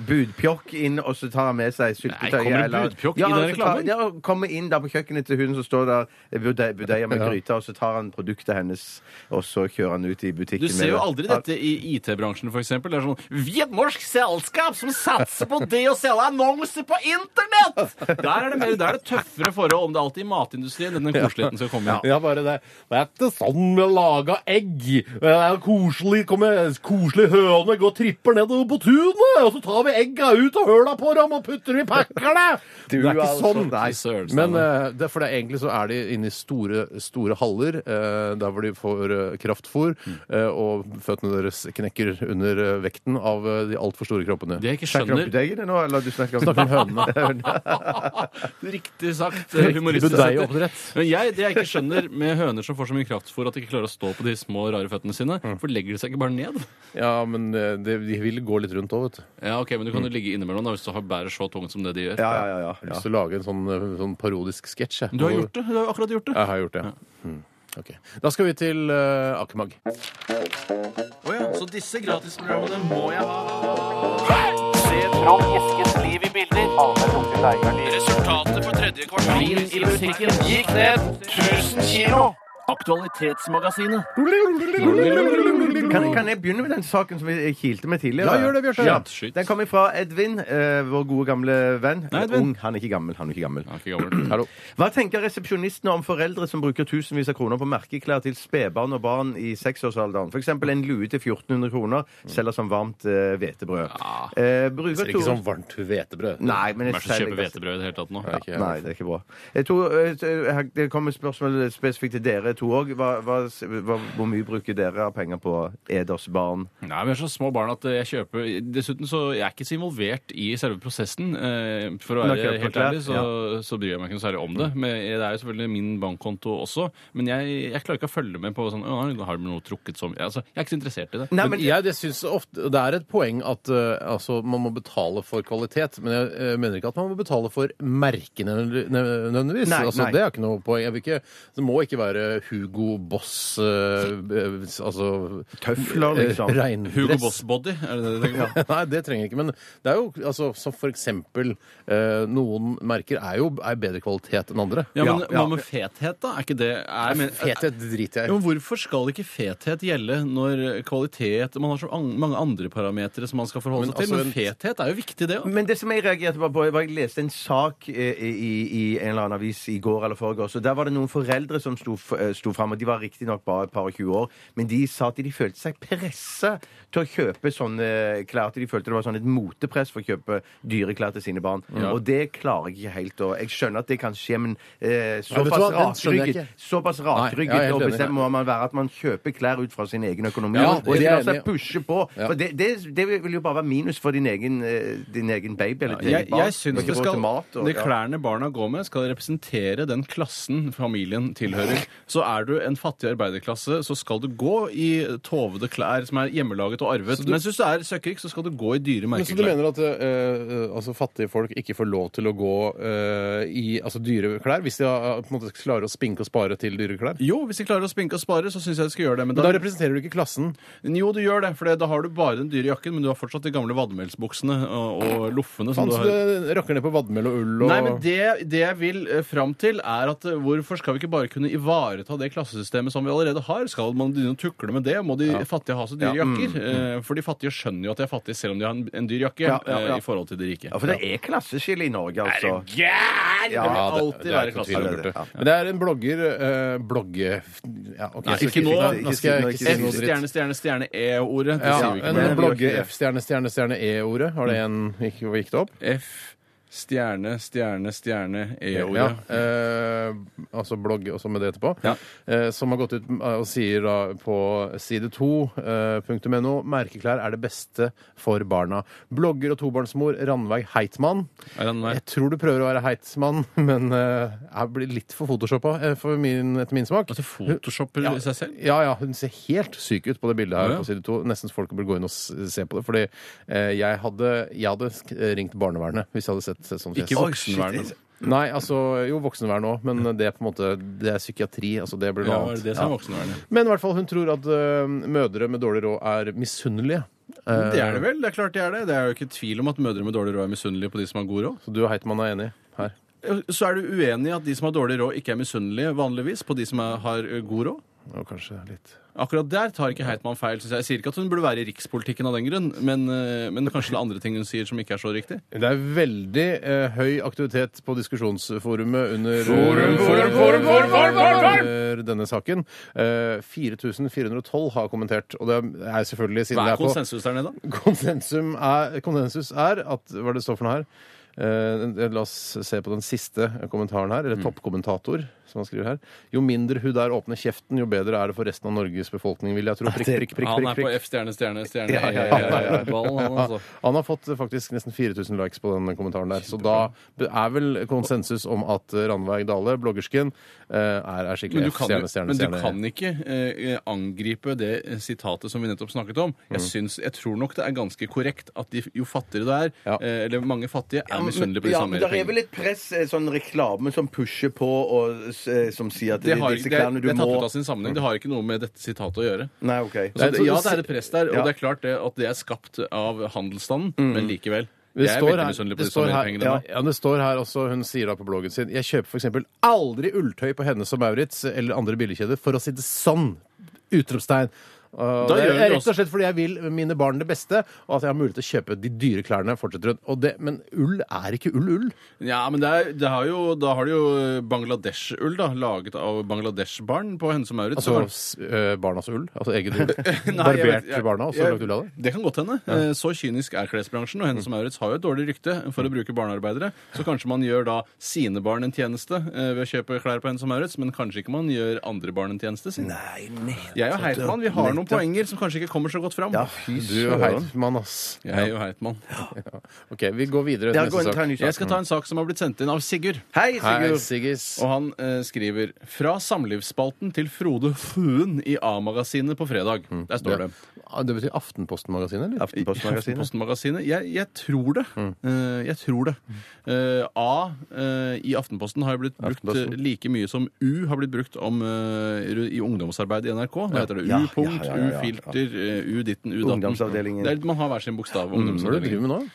S4: budpjokk inn, og så tar han med seg syltetøyet.
S5: Nei, kommer det
S4: eller- ja,
S5: budpjokk i den
S4: altså, tar-
S5: reklamen?
S4: Ja, og kommer inn der på kjøkkenet til hun som står der, budei- budeier med gryta, og så tar han produktet hennes, og så kjører han ut i butikken.
S5: Du ser
S4: med
S5: jo
S4: det.
S5: aldri dette i IT-bransjen, f.eks. Det er sånn Vi er et norsk selskap som satser på det å selge annonser på internett! Der er det, mer, der er det tøffere forhold, om det er alltid i matindustrien den koseligheten skal komme inn.
S3: Ja, bare det. Det er ikke sånn vi lager egg. Det er koselig, kommer koselig høne, går og tripper nedover på tunet, og så tar vi egga ut av høla på dem og putter dem i pakkerne. Det er ikke
S4: altså,
S3: sånn.
S5: Fy søren,
S3: Men
S5: Steinar.
S3: eh, det, for det er egentlig så er de inne i store, store haller, eh, der hvor de får eh, kraftfôr, eh, og føttene deres knekker under eh, vekten av eh, de altfor store kroppene.
S5: det jeg ikke
S4: Snakker du om
S5: skjønner
S4: budeigene nå, eller du snakker om
S3: Snakker om hønene.
S5: Riktig sagt. eh, humoristisk
S3: Budeie
S5: sett.
S3: oppdrett.
S5: Men jeg, det jeg ikke skjønner med høner som får så mye kraftfôr at de ikke klarer å stå på de små, rare føttene sine, for legger de seg ikke bare ned?
S3: Ja, men eh, de, de vil gå litt rundt òg, vet du.
S5: Ja, ok, Men du kan jo ligge innimellom da, hvis du har bærer så tungt som det de gjør.
S4: Ja, ja, ja.
S3: Jeg har
S4: ja.
S3: lyst til å lage en sånn, eh, sånn parodisk sketsj. jeg.
S5: Du har gjort det. Du har jo akkurat gjort det.
S3: Jeg har gjort det. ja. Mm. Ok. Da skal vi til uh, Akemag.
S5: Så disse gratisprogrammene må jeg ha. Resultatet for tredje kvartal i musikken gikk ned 1000 kilo. Aktualitetsmagasinet.
S4: Kan, kan jeg begynne med den saken som vi kilte med tidligere?
S3: Ja, gjør det, Bjørte.
S4: Ja.
S5: Skyt.
S4: Den kommer fra Edvin, eh, vår gode gamle venn. Eh,
S5: Nei, Edvin.
S4: Ung. Han er ikke gammel. Han er ikke gammel.
S5: Ja, ikke gammel.
S3: Hallo.
S4: Hva tenker resepsjonistene om foreldre som bruker tusenvis av kroner på merkeklær til spedbarn og barn i seksårsalderen? F.eks. en lue til 1400 kroner, selger som varmt eh, hvetebrød. Eh, bruker
S3: Ser ikke
S4: Tore-
S3: sånn varmt hvetebrød.
S4: Nei, men
S5: Hvem er det som
S4: selger-
S5: kjøper hvetebrød i det hele tatt nå?
S3: Nei, ikke jeg.
S4: Nei, det er ikke bra. Jeg tror, eh, jeg- det kommer spørsmål spesifikt til dere to òg. Hva, hva, hva, hvor mye bruker dere av penger på eders barn?
S5: Nei, men jeg er så små barn at eh, jeg kjøper Dessuten så jeg er ikke så involvert i selve prosessen. eh, For å
S4: Men å
S5: være
S4: kjøpe
S5: helt
S4: klær,
S5: ærlig så, så bryr jeg meg ikke noe særlig om det. Men jeg- det er jo selvfølgelig min bankkonto også, men jeg, jeg klarer ikke å følge med på sånn «Å, Har du noe trukket som altså, Jeg er ikke så interessert i det.
S4: Nei,
S3: Men jeg, det, synes ofte, det er et poeng at eh, altså, man må betale for kvalitet, men jeg eh, mener ikke at man må betale for merkene nø- nø- nødvendigvis.
S4: Nei,
S3: altså,
S4: nei.
S3: Det er ikke noe poeng. Jeg vil ikke, det må ikke være Hugo Boss eh, eh, altså,
S4: Tøfler, liksom.
S3: eh, regndress.
S5: Hugo Boss Body, er det det du tenker på?
S3: Nei, det trenger jeg ikke. Men det er jo altså, som for eksempel eh, noen merker er jo er bedre kvalitet enn andre.
S5: Ja,
S4: Ja,
S5: men
S4: ja.
S5: Hva med fethet, da? Er ikke det er, men,
S3: Fethet driter jeg
S5: Jo,
S3: i.
S5: men Hvorfor skal ikke fethet gjelde når kvalitet Man har så an mange andre parametere som man skal forholde
S3: Men
S5: seg til,
S3: altså,
S5: men fethet er jo viktig, det òg.
S4: Men det som jeg reagerte bare på, var at jeg leste en sak eh, i, i en eller annen avis i går eller foregårs, og der var det noen foreldre som sto, f- eh, sto fram, og de var riktignok bare et par og 20 år, men de sa at de følte seg seg pressa til å kjøpe sånne klær til de følte det var sånn et motepress for å kjøpe dyre klær til sine barn. Og det klarer jeg ikke helt. Og jeg skjønner at det kan skje, men eh,
S3: Ja, vet du
S4: såpass
S3: hva? Den skjønner jeg
S4: rakrygget Såpass rakrygget
S3: Nei, jeg er helt
S4: og
S3: enig.
S4: bestemt må man være at man kjøper klær ut fra sin egen økonomi.
S3: Ja,
S4: og
S3: det
S4: ikke
S3: er
S4: la
S3: jeg
S4: seg
S3: enig i.
S4: pushe på.
S3: Ja.
S4: For det, det, det vil jo bare være minus for din egen, eh, din egen baby eller ditt
S5: Jeg,
S4: eget barn.
S5: jeg syns
S4: Ikke
S5: det
S4: råd
S5: skal
S4: til mat og-
S5: De
S4: ja.
S5: klærne barna går med, skal representere den klassen familien tilhører. Så er du en fattig arbeiderklasse, så skal du gå i tovede klær som er hjemmelaget og arvet. Men hvis du er søkkrik, så skal du gå i dyre
S3: Men så du
S5: merkeklær.
S3: mener at eh, eh, altså fattige folk ikke får lov til å gå eh, i altså dyre klær, hvis de har, på en måte klarer å spinke og spare til dyre klær?
S5: Jo, hvis de klarer å spinke og spare, så syns jeg de skal gjøre det. Men
S3: Men da
S5: da,
S3: representerer du ikke klassen.
S5: jo, du gjør det, for da har du bare den dyre jakken, men du har fortsatt de gamle vadmelsbuksene og, og loffene. som
S3: Faen,
S5: du
S3: så
S5: har...
S3: du rakker ned på vadmel og ull og
S5: Nei, men det, det jeg vil eh, fram til, er at eh, hvorfor skal vi ikke bare kunne ivareta det klassesystemet som vi allerede har? Skal man begynne å tukle med det? Må de fattige ha så dyre
S3: Mm,
S5: jakker? Eh, For de fattige skjønner jo at de er fattige selv om de har en, en dyr jakke
S4: Ja, ja, ja.
S5: eh, i forhold til de rike.
S4: Ja, for det er klasseskille i Norge, altså.
S5: Gæren!
S4: Ja,
S5: det vil
S3: det-
S5: alltid
S3: det er
S5: være
S3: ikke noe tvil om
S5: klassesystemet.
S3: det. Men det er en blogger eh, blogge... Ja, ok,
S5: Nei,
S3: så
S5: ikke
S3: si-
S5: nå.
S3: Nå skal jeg
S4: Ikke
S3: ikke
S4: si
S3: si
S5: F,
S3: noe dritt.
S5: stjerne, stjerne, stjerne, E-ordet. Det
S3: Ja,
S5: sier vi ikke.
S3: en
S5: mer.
S4: men-
S3: blogge F, stjerne, stjerne, stjerne, E-ordet. Var det en gikk, gikk det opp?
S5: F, stjerne, stjerne, stjerne,
S3: Ja,
S5: E-ordet.
S3: eh, altså blogg og så med det etterpå.
S5: Ja.
S3: Eh, som har gått ut eh, og sier da på eh, side2.no merkeklær er det beste for barna. Blogger og tobarnsmor Randveig Heitmann.
S5: Er han med?
S3: Jeg tror du prøver å være Heitmann, men eh, jeg blir litt for photoshoppa eh, for min, etter min smak.
S5: At du photoshopper seg selv?
S3: Ja, ja, hun ser helt syk ut på det bildet her
S5: Ja.
S3: på side 2. Nesten så folk burde gå inn og s- se på det. Fordi eh, jeg hadde, jeg hadde sk- ringt barnevernet hvis jeg hadde sett, sett sånn fjes.
S5: Ikke voksenvernet.
S3: Nei, altså Jo, voksenvern òg, men det er på en måte Det er psykiatri. Altså, det blir
S5: Ja,
S3: noe
S5: var det
S3: annet.
S5: det som er
S3: Ja.
S5: voksenvernet?
S3: Men i hvert fall, hun tror at eh, mødre med dårlig råd er misunnelige. Eh,
S5: Det er det vel. Det er klart det er det. Det er jo ikke tvil om at mødre med dårlig råd er misunnelige på de som har god råd.
S3: Så du og Heitmann er enig her?
S5: Så er du uenig i at de som har dårlig råd, ikke er misunnelige vanligvis på de som er, har ø, god råd?
S3: Og kanskje litt
S5: Akkurat der tar ikke Heitmann feil. Synes jeg. jeg sier ikke at hun burde være i rikspolitikken av den grunn, men, ø, men kanskje det er andre ting hun sier som ikke er så riktig.
S3: Det er veldig eh, høy aktivitet på diskusjonsforumet under eh,
S5: Forum, forum, forum, forum, forum, forum, forum!
S3: under denne saken. Eh, 4412 har kommentert, og det er selvfølgelig siden
S5: Hva
S3: det
S5: er
S3: er på
S5: konsensus der nede, da?
S3: Konsensum er, konsensus er at Hva er det det står for noe her? Eh, la oss se på den siste kommentaren her,
S5: Mm.
S3: eller toppkommentator, som han skriver her. Jo mindre hun der åpner kjeften, jo bedre er det for resten av Norges befolkning, vil jeg tro. Prikk, prikk, prikk,
S5: Han
S3: prikk,
S5: er på
S3: prikk.
S5: F stjerne stjerne stjerne
S4: Ja, ja, ja, ja, ja.
S5: E-ballen, han altså.
S3: Han har fått eh, faktisk nesten 4000 likes på den kommentaren der. Så da er vel konsensus om at eh, Randveig Dale, bloggersken, eh, er, er
S5: Men
S3: skikkelig
S5: du kan, jo-
S3: F-stjerne, stjerne,
S5: men du
S3: stjerne.
S5: kan ikke eh, angripe det eh, sitatet som vi nettopp snakket om. Jeg,
S4: Mm.
S5: syns, jeg tror nok det er ganske korrekt at de, jo fattigere du er,
S3: Ja.
S5: eh, eller mange fattige, er misunnelige på de
S4: ja,
S5: samme
S4: men det er
S5: pengene.
S4: vel et press, eh, sånn reklame som pusher på, og s- eh, som sier at det,
S5: Det, har,
S4: disse
S5: ikke- det,
S4: klærne
S5: det
S4: du
S5: er tatt ut
S4: må
S5: av sin sammenheng. Det har ikke noe med dette sitatet å gjøre.
S4: Nei, OK.
S5: Så det,
S3: så-
S5: ja, det er et press der, og
S4: Ja.
S5: det er klart det, at det er skapt av handelsstanden, men likevel.
S3: Mm. Det
S5: Jeg er
S3: står
S5: veldig
S3: her,
S5: misunnelig på
S3: det,
S5: de
S3: står
S5: samme
S3: her,
S5: pengene.
S3: ja,
S5: der.
S3: ja, det står her også, hun sier da på bloggen sin Jeg kjøper f.eks. aldri ulltøy på Hennes og Maurits eller andre billigkjeder, for å si det sånn! Utropstegn. Og
S5: Da
S3: det
S5: gjør hun
S3: er
S5: det
S3: rett og slett fordi jeg vil mine barn det beste, og at jeg har mulighet til å kjøpe de dyre klærne. fortsetter hun. Og det, men ull er ikke ull, ull.
S5: Ja, men det er, det har jo, da har du jo Bangladesh-ull, da, laget av Bangladesh-barn på Hennes og Maurits.
S3: Altså s- øh, barnas ull? Altså eget ull?
S5: Nei, jeg
S3: Barbert
S5: vet- jeg-
S3: barna, og så
S5: jeg-
S3: lagt ull av det?
S5: Det kan godt hende. Eh, Så kynisk er klesbransjen. Og Hennes og Maurits har jo et dårlig rykte for å bruke barnearbeidere. Så kanskje man gjør da sine barn en tjeneste eh, ved å kjøpe klær på Hennes og Maurits, men kanskje ikke man gjør andre barn en tjeneste. Si.
S4: Nei, nettopp.
S5: Jeg og Heitmann vi har noen poenger som kanskje ikke kommer så godt fram.
S4: Ja, fy
S3: Du og
S4: søren.
S3: Heitmann, ass.
S5: Jeg og Heitmann.
S3: OK, vi går videre til
S4: Ja, gå
S3: neste
S4: inn, ta
S3: sak.
S4: en ny
S5: Jeg
S4: sak.
S5: skal ta en sak som har blitt sendt inn av Sigurd.
S4: Hei,
S3: Hei,
S4: Sigurd.
S3: Siggis.
S5: Og han eh, skriver Fra samlivsspalten til Frode Fuen i A-magasinet på fredag.
S4: Mm.
S5: Der står det.
S3: Ja, Ah, Det betyr Aftenposten-magasinet, eller?
S4: Aftenpostmagasinet.
S5: Aftenposten-magasinet. Jeg, jeg tror det.
S4: Mm.
S5: Eh, jeg tror det. Eh, A eh, i Aftenposten har jo blitt brukt
S3: Aftenposten.
S5: eh, like mye som U har blitt brukt om, eh, ru- i ungdomsarbeid i NRK. Nå heter det
S4: Ja,
S5: U-punkt,
S4: ja, ja, ja, ja.
S5: U-filter, eh, U-ditten, U-datten.
S4: Ungdomsavdelingen. Mm,
S5: Det er- Man har hver sin bokstav.
S3: Hva er det du driver
S5: Ungdomsavdelingen.
S3: med nå?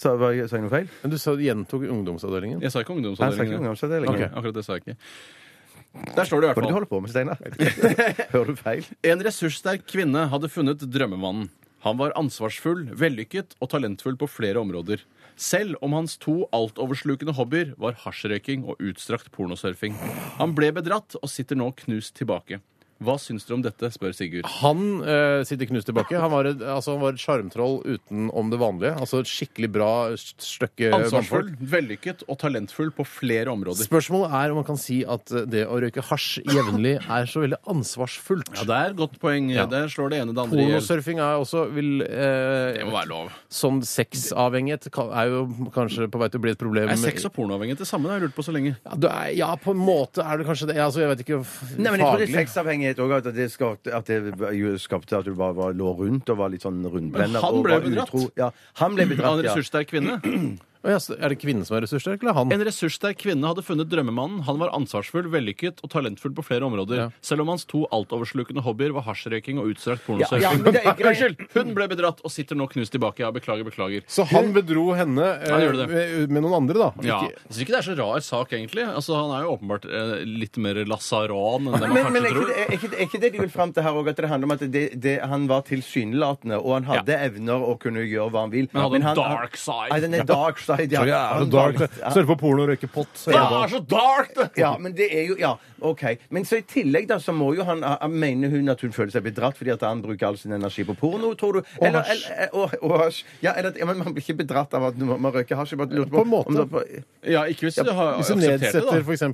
S4: Sa var jeg- sa jeg noe feil?
S3: Men Du sa du gjentok ungdomsavdelingen.
S5: Jeg sa ikke
S4: Jeg sa ikke
S5: ungdomsavdelingen.
S4: ungdomsavdelingen.
S5: Nei, Akkurat det sa jeg ikke. Der står det i
S4: Hva er det du
S5: hvert fall.
S4: holder på med, Steinar? Hører du feil?
S5: En ressurssterk kvinne hadde funnet drømmemannen. Han var ansvarsfull, vellykket og talentfull på flere områder. Selv om hans to altoverslukende hobbyer var hasjrøyking og utstrakt pornosurfing. Han ble bedratt og sitter nå knust tilbake. Hva syns dere om dette, spør Sigurd.
S3: Han eh, sitter knust tilbake. Han var et altså, han var et sjarmtroll utenom det vanlige. Altså et skikkelig bra stykke
S5: Ansvarsfull, vellykket og talentfull på flere områder.
S3: Spørsmålet er om man kan si at eh, det å røyke hasj jevnlig er så veldig ansvarsfullt.
S5: Ja, det er et godt poeng. Der slår det ene det andre i hjel.
S3: Pornosurfing er også vil
S5: Det
S3: eh,
S5: må være lov.
S3: Sånn sexavhengighet ka- er jo kanskje på vei til å bli et problem.
S5: Er sex og pornoavhengighet det samme? Det har jeg lurt på så lenge.
S3: ja, det er, ja, på en måte er det kanskje det. Altså, jeg vet ikke f-
S4: Nei, men jeg tror det er
S3: faglig.
S4: sexavhengighet òg. At det skapte at, det jo skapte at du bare var, lå rundt og var litt sånn rundbrenner.
S5: Men han
S4: og
S5: ble
S4: var
S5: bedratt.
S4: utro. Ja, han ble
S5: Av
S4: bedratt,
S5: en
S4: ja.
S5: ressurssterk kvinne.
S3: Å, ja, så Er det kvinnen som er ressurssterk, eller han?
S5: En ressurssterk kvinne hadde funnet drømmemannen. Han var ansvarsfull, vellykket og talentfull på flere områder.
S3: Ja.
S5: Selv om hans to altoverslukende hobbyer var hasjrøyking og
S4: Ja, ja,
S5: utstrakt pornosurfing.
S4: men det er ikke-
S5: Unnskyld! Hun ble bedratt og sitter nå knust tilbake. Ja, beklager, beklager.
S3: Så han bedro henne eh,
S5: Han gjorde det.
S3: med, med noen andre, da?
S5: Ja,
S3: Ikke-
S5: jeg syns ikke det er så rar sak, egentlig. Altså, Han er jo åpenbart eh, litt mer lasaran enn det man
S4: Men, men er,
S5: kanskje
S4: ikke,
S5: tror.
S4: det- er, ikke, er ikke det de vil fram til her òg, at det handler om at det, det, han var tilsynelatende, og han hadde evner og kunne gjøre hva han vil.
S5: Men hadde en dark side.
S4: Ja, den er dark side, ja.
S3: Så jævla
S4: Han
S3: dark.
S4: var-
S3: Surfe på porno og røyke pott. så
S5: Det
S3: jævla dark.
S5: er så dark, det!
S4: Ja, men det er jo Ja, OK. Men så i tillegg, da, så må jo han ah, Mener hun at hun føler seg bedratt fordi at han bruker all sin energi på porno, tror du? Eller,
S3: hasj.
S4: eller- og, og hasj. Ja, eller at ja, men man blir ikke bedratt av at man man røyker hasj. Jeg bare lurte
S3: På en måte.
S4: om det var på-
S5: Ja, ikke hvis du har
S3: Hvis du
S5: akseptert det, da.
S3: nedsetter f.eks.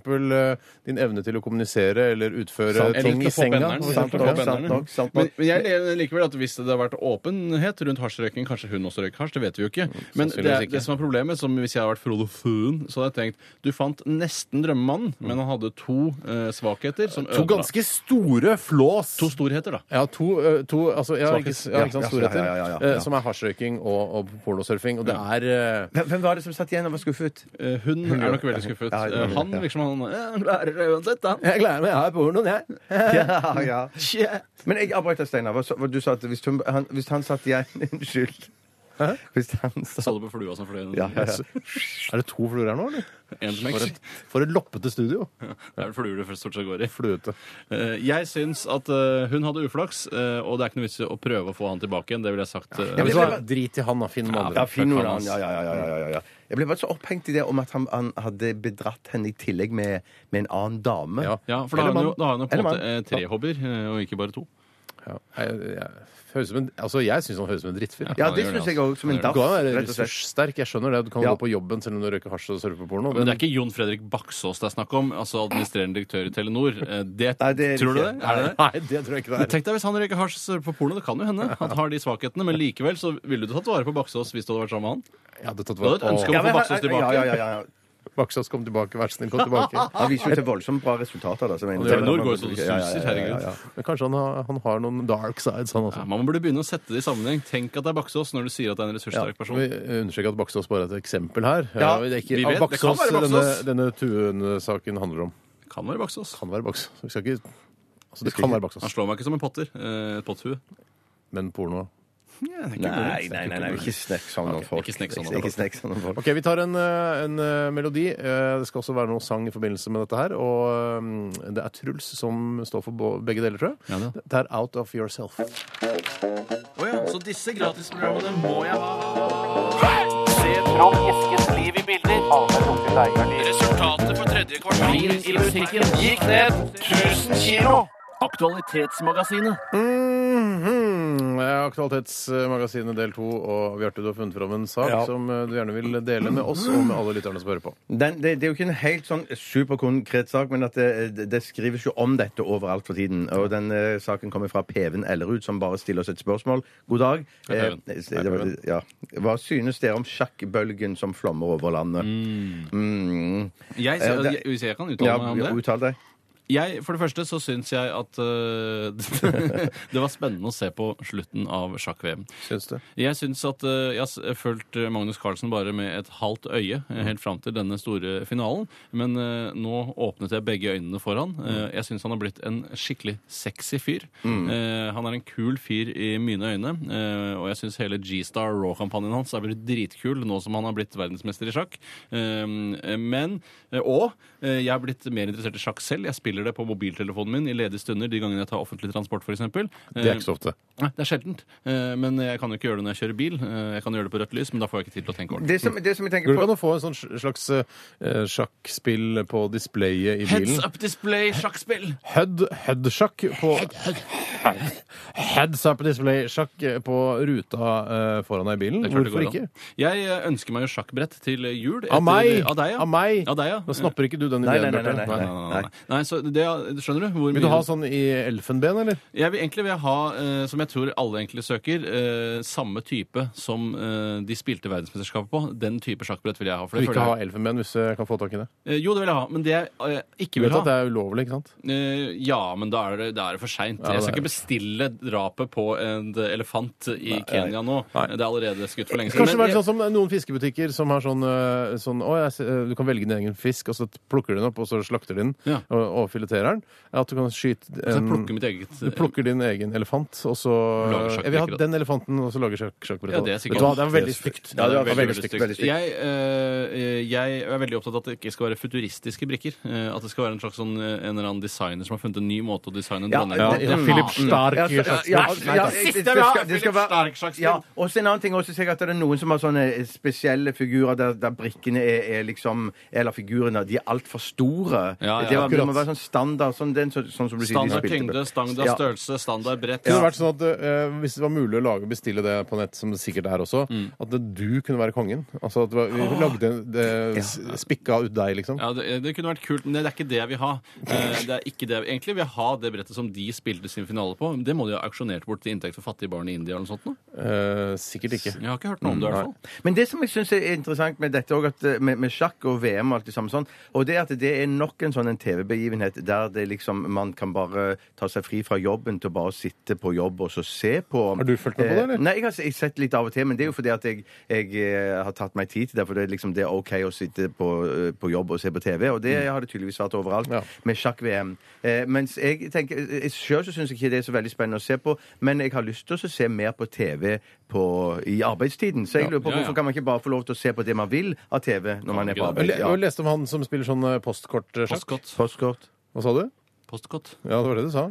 S3: din evne til å kommunisere eller utføre
S5: Sant.
S3: ting
S5: Eller
S3: i
S5: til å få
S3: senga
S5: benderen.
S3: for
S4: Sant
S3: eksempel,
S4: nok,
S3: ja.
S4: sant nok, sant
S5: Men,
S4: nok.
S5: men jeg mener likevel at hvis det hadde vært åpenhet rundt hasjrøyking Kanskje hun også røyker hasj, det vet vi jo Mm, ikke. Men det,
S3: sannsynligvis ikke.
S5: det som er problemet, som hvis jeg hadde vært Frode Fuen, så hadde jeg tenkt Du fant nesten drømmemannen, men han hadde to eh, svakheter som
S3: To
S5: ødela-
S3: ganske store flås.
S5: To storheter, da.
S3: ja, to, ø, to altså, ja, ikke,
S5: Svakhet.
S3: ja, ikke sant,
S4: Ja,
S3: storheter.
S4: ja, ja, ja, ja.
S3: eh, Som er hasjrøyking og, og pornosurfing. Og det er eh,
S4: Hvem- Hvem var det som satt igjen og var skuffet?
S5: Eh, Hun er nok veldig skuffet.
S4: Ja, ja, ja.
S5: Eh, Han liksom han, eh, han klarer det uansett, han.
S3: eh, Jeg gleder meg, jeg har pornoen, jeg.
S4: Ja, ja. Men jeg avbrøt deg, Steinar. Hva så- hva Du sa at hvis, hun, han, hvis han satt igjen Unnskyld. Hvis han satt
S5: Så du på flua som fløy?
S4: ja, ja, ja.
S3: Er det to fluer her nå, eller?
S5: En smekk.
S3: For et, for et loppete studio.
S5: Det er vel fluer det stort sett går i.
S3: Fluete.
S5: Eh, Jeg syns at eh, hun hadde uflaks, eh, og det er ikke noe vits i å prøve å få han tilbake igjen. Det ville jeg sagt.
S4: Ja,
S5: eh,
S4: men
S3: Men
S4: det
S3: så
S4: ble-
S3: drit i han, da. Finn noen
S4: Ja,
S3: andre.
S4: fin Oran. Ja, ja, ja, ja, ja, ja, ja. Jeg ble bare så opphengt i det om at han, han hadde bedratt henne i tillegg med, med en annen dame.
S3: Ja.
S5: Ja, for da
S4: Eller
S5: har hun jo
S4: mann.
S5: da har hun jo på en
S4: Eller
S5: måte eh,
S4: mann.
S5: tre hobbyer, eh, og ikke bare to.
S3: Ja. Jeg, jeg, høres ut som en- altså, jeg syns han høres ut som en drittfyr.
S4: Ja,
S5: Ja,
S4: det
S5: gjør
S4: syns
S5: det,
S4: jeg òg. Som en
S5: altså.
S3: Du
S4: dass,
S3: kan være
S4: rett og slett.
S3: ressurssterk. Jeg skjønner det. Du kan
S4: Ja.
S3: gå på jobben selv om du røyker hasj og surfer på porno.
S5: Men det er ikke Jon Fredrik Baksås det er snakk om, altså administrerende direktør i Telenor. Eh, Det,
S4: Nei, det er
S5: tror du det?
S4: ikke.
S5: Er det det?
S3: Nei, det tror jeg ikke det er.
S5: Tenk deg hvis han røyker hasj på porno. Det kan jo hende. Han har de svakhetene, men likevel så ville du tatt vare på Baksås hvis du hadde vært sammen med han.
S3: Jeg hadde tatt
S5: Du hadde et
S3: vare
S5: ønske
S3: på
S5: om-
S4: Ja, men
S5: Få Baksås tilbake.
S4: Ja, ja, ja, ja.
S3: Baksås kom tilbake, vær så snill, kom tilbake.
S4: Han viser jo til voldsomt bra resultater. Da, som en-
S5: Telenor går jo så det
S4: Ja, ja, ja,
S5: suser,
S4: ja, ja, ja.
S5: herregud.
S3: Men kanskje han har, han har noen dark sides, han
S5: Ja,
S3: også.
S5: man burde begynne å sette det i sammenheng. Tenk at det er Baksås når du sier at det er en ressurssterk
S3: Vi
S5: person.
S3: understreker at Baksås bare er et eksempel her.
S4: Ja,
S3: det er ikke,
S5: vi vet, det kan
S3: Baksås,
S5: være
S3: denne,
S5: Baksås.
S3: denne Tuen-saken handler om.
S5: Kan være Baksås.
S3: Kan være Baksås. Vi skal ikke Altså, det kan være
S5: Han
S3: Baksås,
S5: slår meg ikke som en potter. eh, Et potthue.
S3: men porno
S4: Nei, nei, nei, nei, ikke snakk sånn om folk.
S5: ikke snakk sånn om
S4: Ikke
S5: folk.
S4: snakk sånn om folk.
S3: OK, vi tar en, eh, en eh, melodi. Eh, Det skal også være noe sang i forbindelse med dette her. Og eh, det er Truls som står for bo- begge deler, tror jeg.
S5: Ja, det er.
S3: det er Out of Yourself.
S5: Så disse gratisprogrammene må jeg ha. Resultatet på tredje kvartal i musikken gikk ned 1000 kilo. Aktualitetsmagasinet.
S3: Mhm. Eh, Aktualitetsmagasinet del to, og Bjarte, du har funnet fram en sak som eh, du gjerne vil dele med oss og med alle lytterne som hører på.
S4: Den, det, det er jo ikke en helt sånn superkonkret sak, men at det, det, det skrives jo om dette overalt for tiden. Og den eh, saken kommer fra Peven Ellerud, som bare stiller oss et spørsmål. God dag.
S5: Hei, Peven.
S4: Eh, det var- ja. Hva synes dere om sjakkbølgen som flommer over landet? Mm.
S5: Jeg,
S4: Eh, det-
S5: hvis jeg kan uttale
S4: Ja,
S5: meg om det?
S4: uttal deg.
S5: Jeg, for det første så syns jeg at øh, det var spennende å se på slutten av sjakk-VM.
S3: Syns du?
S5: Jeg syns at øh, jeg har s- fulgt øh, Magnus Carlsen bare med et halvt øye øh, helt fram til denne store finalen, men øh, nå åpnet jeg begge øynene for han.
S3: Mm.
S5: Eh, Jeg syns han har blitt en skikkelig sexy fyr. Eh, Han er en kul fyr i mine øyne, eh, og jeg syns hele G-Star Raw-kampanjen hans er blitt dritkul nå som han har blitt verdensmester i sjakk. Eh, Men, eh, og eh, jeg er blitt mer interessert i sjakk selv. Jeg spiller spiller det på mobiltelefonen min i ledige stunder de gangene jeg tar offentlig transport, Eh, f.eks.
S3: Det er ikke så ofte.
S5: Nei, det er sjeldent. Eh, Men jeg kan jo ikke gjøre det når jeg kjører bil. Eh, Jeg kan gjøre det på rødt lys, men da får jeg ikke tid til å tenke ordentlig.
S4: Det som, det som jeg
S3: Går det
S4: tenker på
S3: an å få en sånn sj- slags eh, sjakkspill på displayet i
S5: Heads
S3: bilen?
S5: up display sjakkspill!
S3: Hud, Hud-sjakk på Heads up display-sjakk på ruta eh, foran deg i bilen.
S5: Det er klart det
S3: Hvorfor
S5: går
S3: ikke?
S5: an. Jeg eh, ønsker meg jo sjakkbrett til jul. etter-
S3: Av meg!
S5: Av deg, ja.
S3: Av meg!
S5: Av deg, ja.
S3: Nå snapper ikke du den
S4: Nei,
S3: ideen,
S4: nei, nei, nei,
S5: Nei,
S3: Bjarte.
S5: nei, nei, nei. nei, så det, skjønner du? Hvor
S3: Vil du
S5: mye-
S3: ha sånn i elfenben, eller?
S5: Jeg vil egentlig vil jeg ha, eh, som jeg tror alle egentlig søker, eh, samme type som eh, de spilte verdensmesterskapet på. Den type sjakkbrett vil jeg ha. For
S3: Du vil
S5: det
S3: ikke ha
S5: føler jeg-
S3: elfenben hvis jeg kan få tak i det?
S5: Eh, jo, det vil jeg ha, men det jeg eh, ikke
S3: Du
S5: vil
S3: vet
S5: ha
S3: at det er ulovlig, ikke sant?
S5: eh, Ja, men da er det, da er det for seint.
S3: det
S5: jeg skal
S3: er det.
S5: ikke bestille drapet på en elefant i Kenya nå.
S3: Nei.
S5: Det er allerede skutt for lenge siden.
S3: Kanskje
S5: Men
S3: vært sånn som noen fiskebutikker som har sånn, øh, sånn å, jeg, ser- øh, Du kan velge din egen fisk, og så plukker du den opp, og så slakter du den
S5: Ja.
S3: og, og fileterer den. At du kan skyte
S5: jeg,
S3: en,
S5: jeg plukker mitt eget
S3: Du plukker din egen elefant, og så
S5: Lager sjakkbrekker
S3: Jeg vil ha
S5: av det.
S3: den elefanten, og så lager sjakk- sjakkbrett
S5: Ja,
S3: av
S5: det er sikkert-
S3: Vet du hva, Det er veldig stygt.
S5: Ja, det er eh, veldig,
S4: veldig
S5: veldig
S4: stygt, veldig
S5: stygt. Jeg, eh, jeg er veldig opptatt av at det ikke skal være futuristiske brikker. eh, at det skal være en slags sånn, eh, en eller annen designer som har funnet en ny måte å designe en
S4: Ja,
S5: dronning
S4: ja,
S5: på.
S4: ja,
S5: Det-
S3: Philip
S5: det-
S3: Stark
S4: Ja,
S3: i
S4: ja,
S3: sjakk- Nei,
S4: ja, ja,
S3: takk.
S4: det- det
S5: Siste vi har,
S4: skal- det skal
S5: Philip
S4: være-
S5: Stark-sjakk.
S4: Ja, og så en annen ting også, ser jeg at det er noen som har sånne eh, spesielle figurer der, der brikkene er, er liksom Eller figurene, de er altfor store.
S5: Ja, ja,
S4: det, var, det må
S3: akkurat.
S4: være sånn standard, sånn, den, sånn, sånn som du sier de
S5: Standard
S4: spilte på.
S5: tyngde, standard
S4: Ja.
S5: størrelse, standard brett.
S3: Det kunne vært sånn at øh, Hvis det var mulig å lage bestille det på nett, som det sikkert er også,
S5: Mm.
S3: at det, du kunne være kongen. Altså at det var, vi lagde en- det, s- Spikka ut deg, liksom.
S5: Ja, det, det kunne vært kult, men det er ikke det jeg vil ha. Eh, Det er ikke det jeg, egentlig vil jeg ha det brettet som de spilte sin finale på. Det må de ha auksjonert bort til inntekt for fattige barn i India eller noe sånt. nå.
S3: Eh, sikkert ikke.
S5: Jeg har ikke hørt noe om det, i hvert fall.
S4: Men det som jeg syns er interessant med dette også, at eh, med, med sjakk og VM og alt det samme sånn, og det er at det er nok en sånn en TV-begivenhet der det liksom man kan bare ta seg fri fra jobben til å bare sitte på jobb og så se på
S3: Har du fulgt med på det, eller?
S4: Eh, Nei, jeg har s- jeg har sett litt av og til, men det er jo fordi at jeg, jeg eh, har tatt meg tid til det. For det er liksom det er OK å sitte på, eh, på jobb og se på TV, og det har det tydeligvis vært overalt
S3: Mm. Ja.
S4: med sjakk-VM. Eh, mens jeg tenker eh, Sjøl så syns jeg ikke det er så veldig spennende å se på, men jeg har lyst til å se mer på TV på, i arbeidstiden. Så jeg lurer på
S5: Ja, ja.
S4: hvorfor kan man ikke bare få lov til å se på det man vil av TV når man er på
S3: Jeg
S5: ikke
S4: arbeid?
S3: le- jeg leste om han som spiller sånn eh, postkortsjakk.
S5: Postkott.
S4: Postkort.
S3: Hva sa du?
S5: Postkott.
S3: Ja, det var det du sa.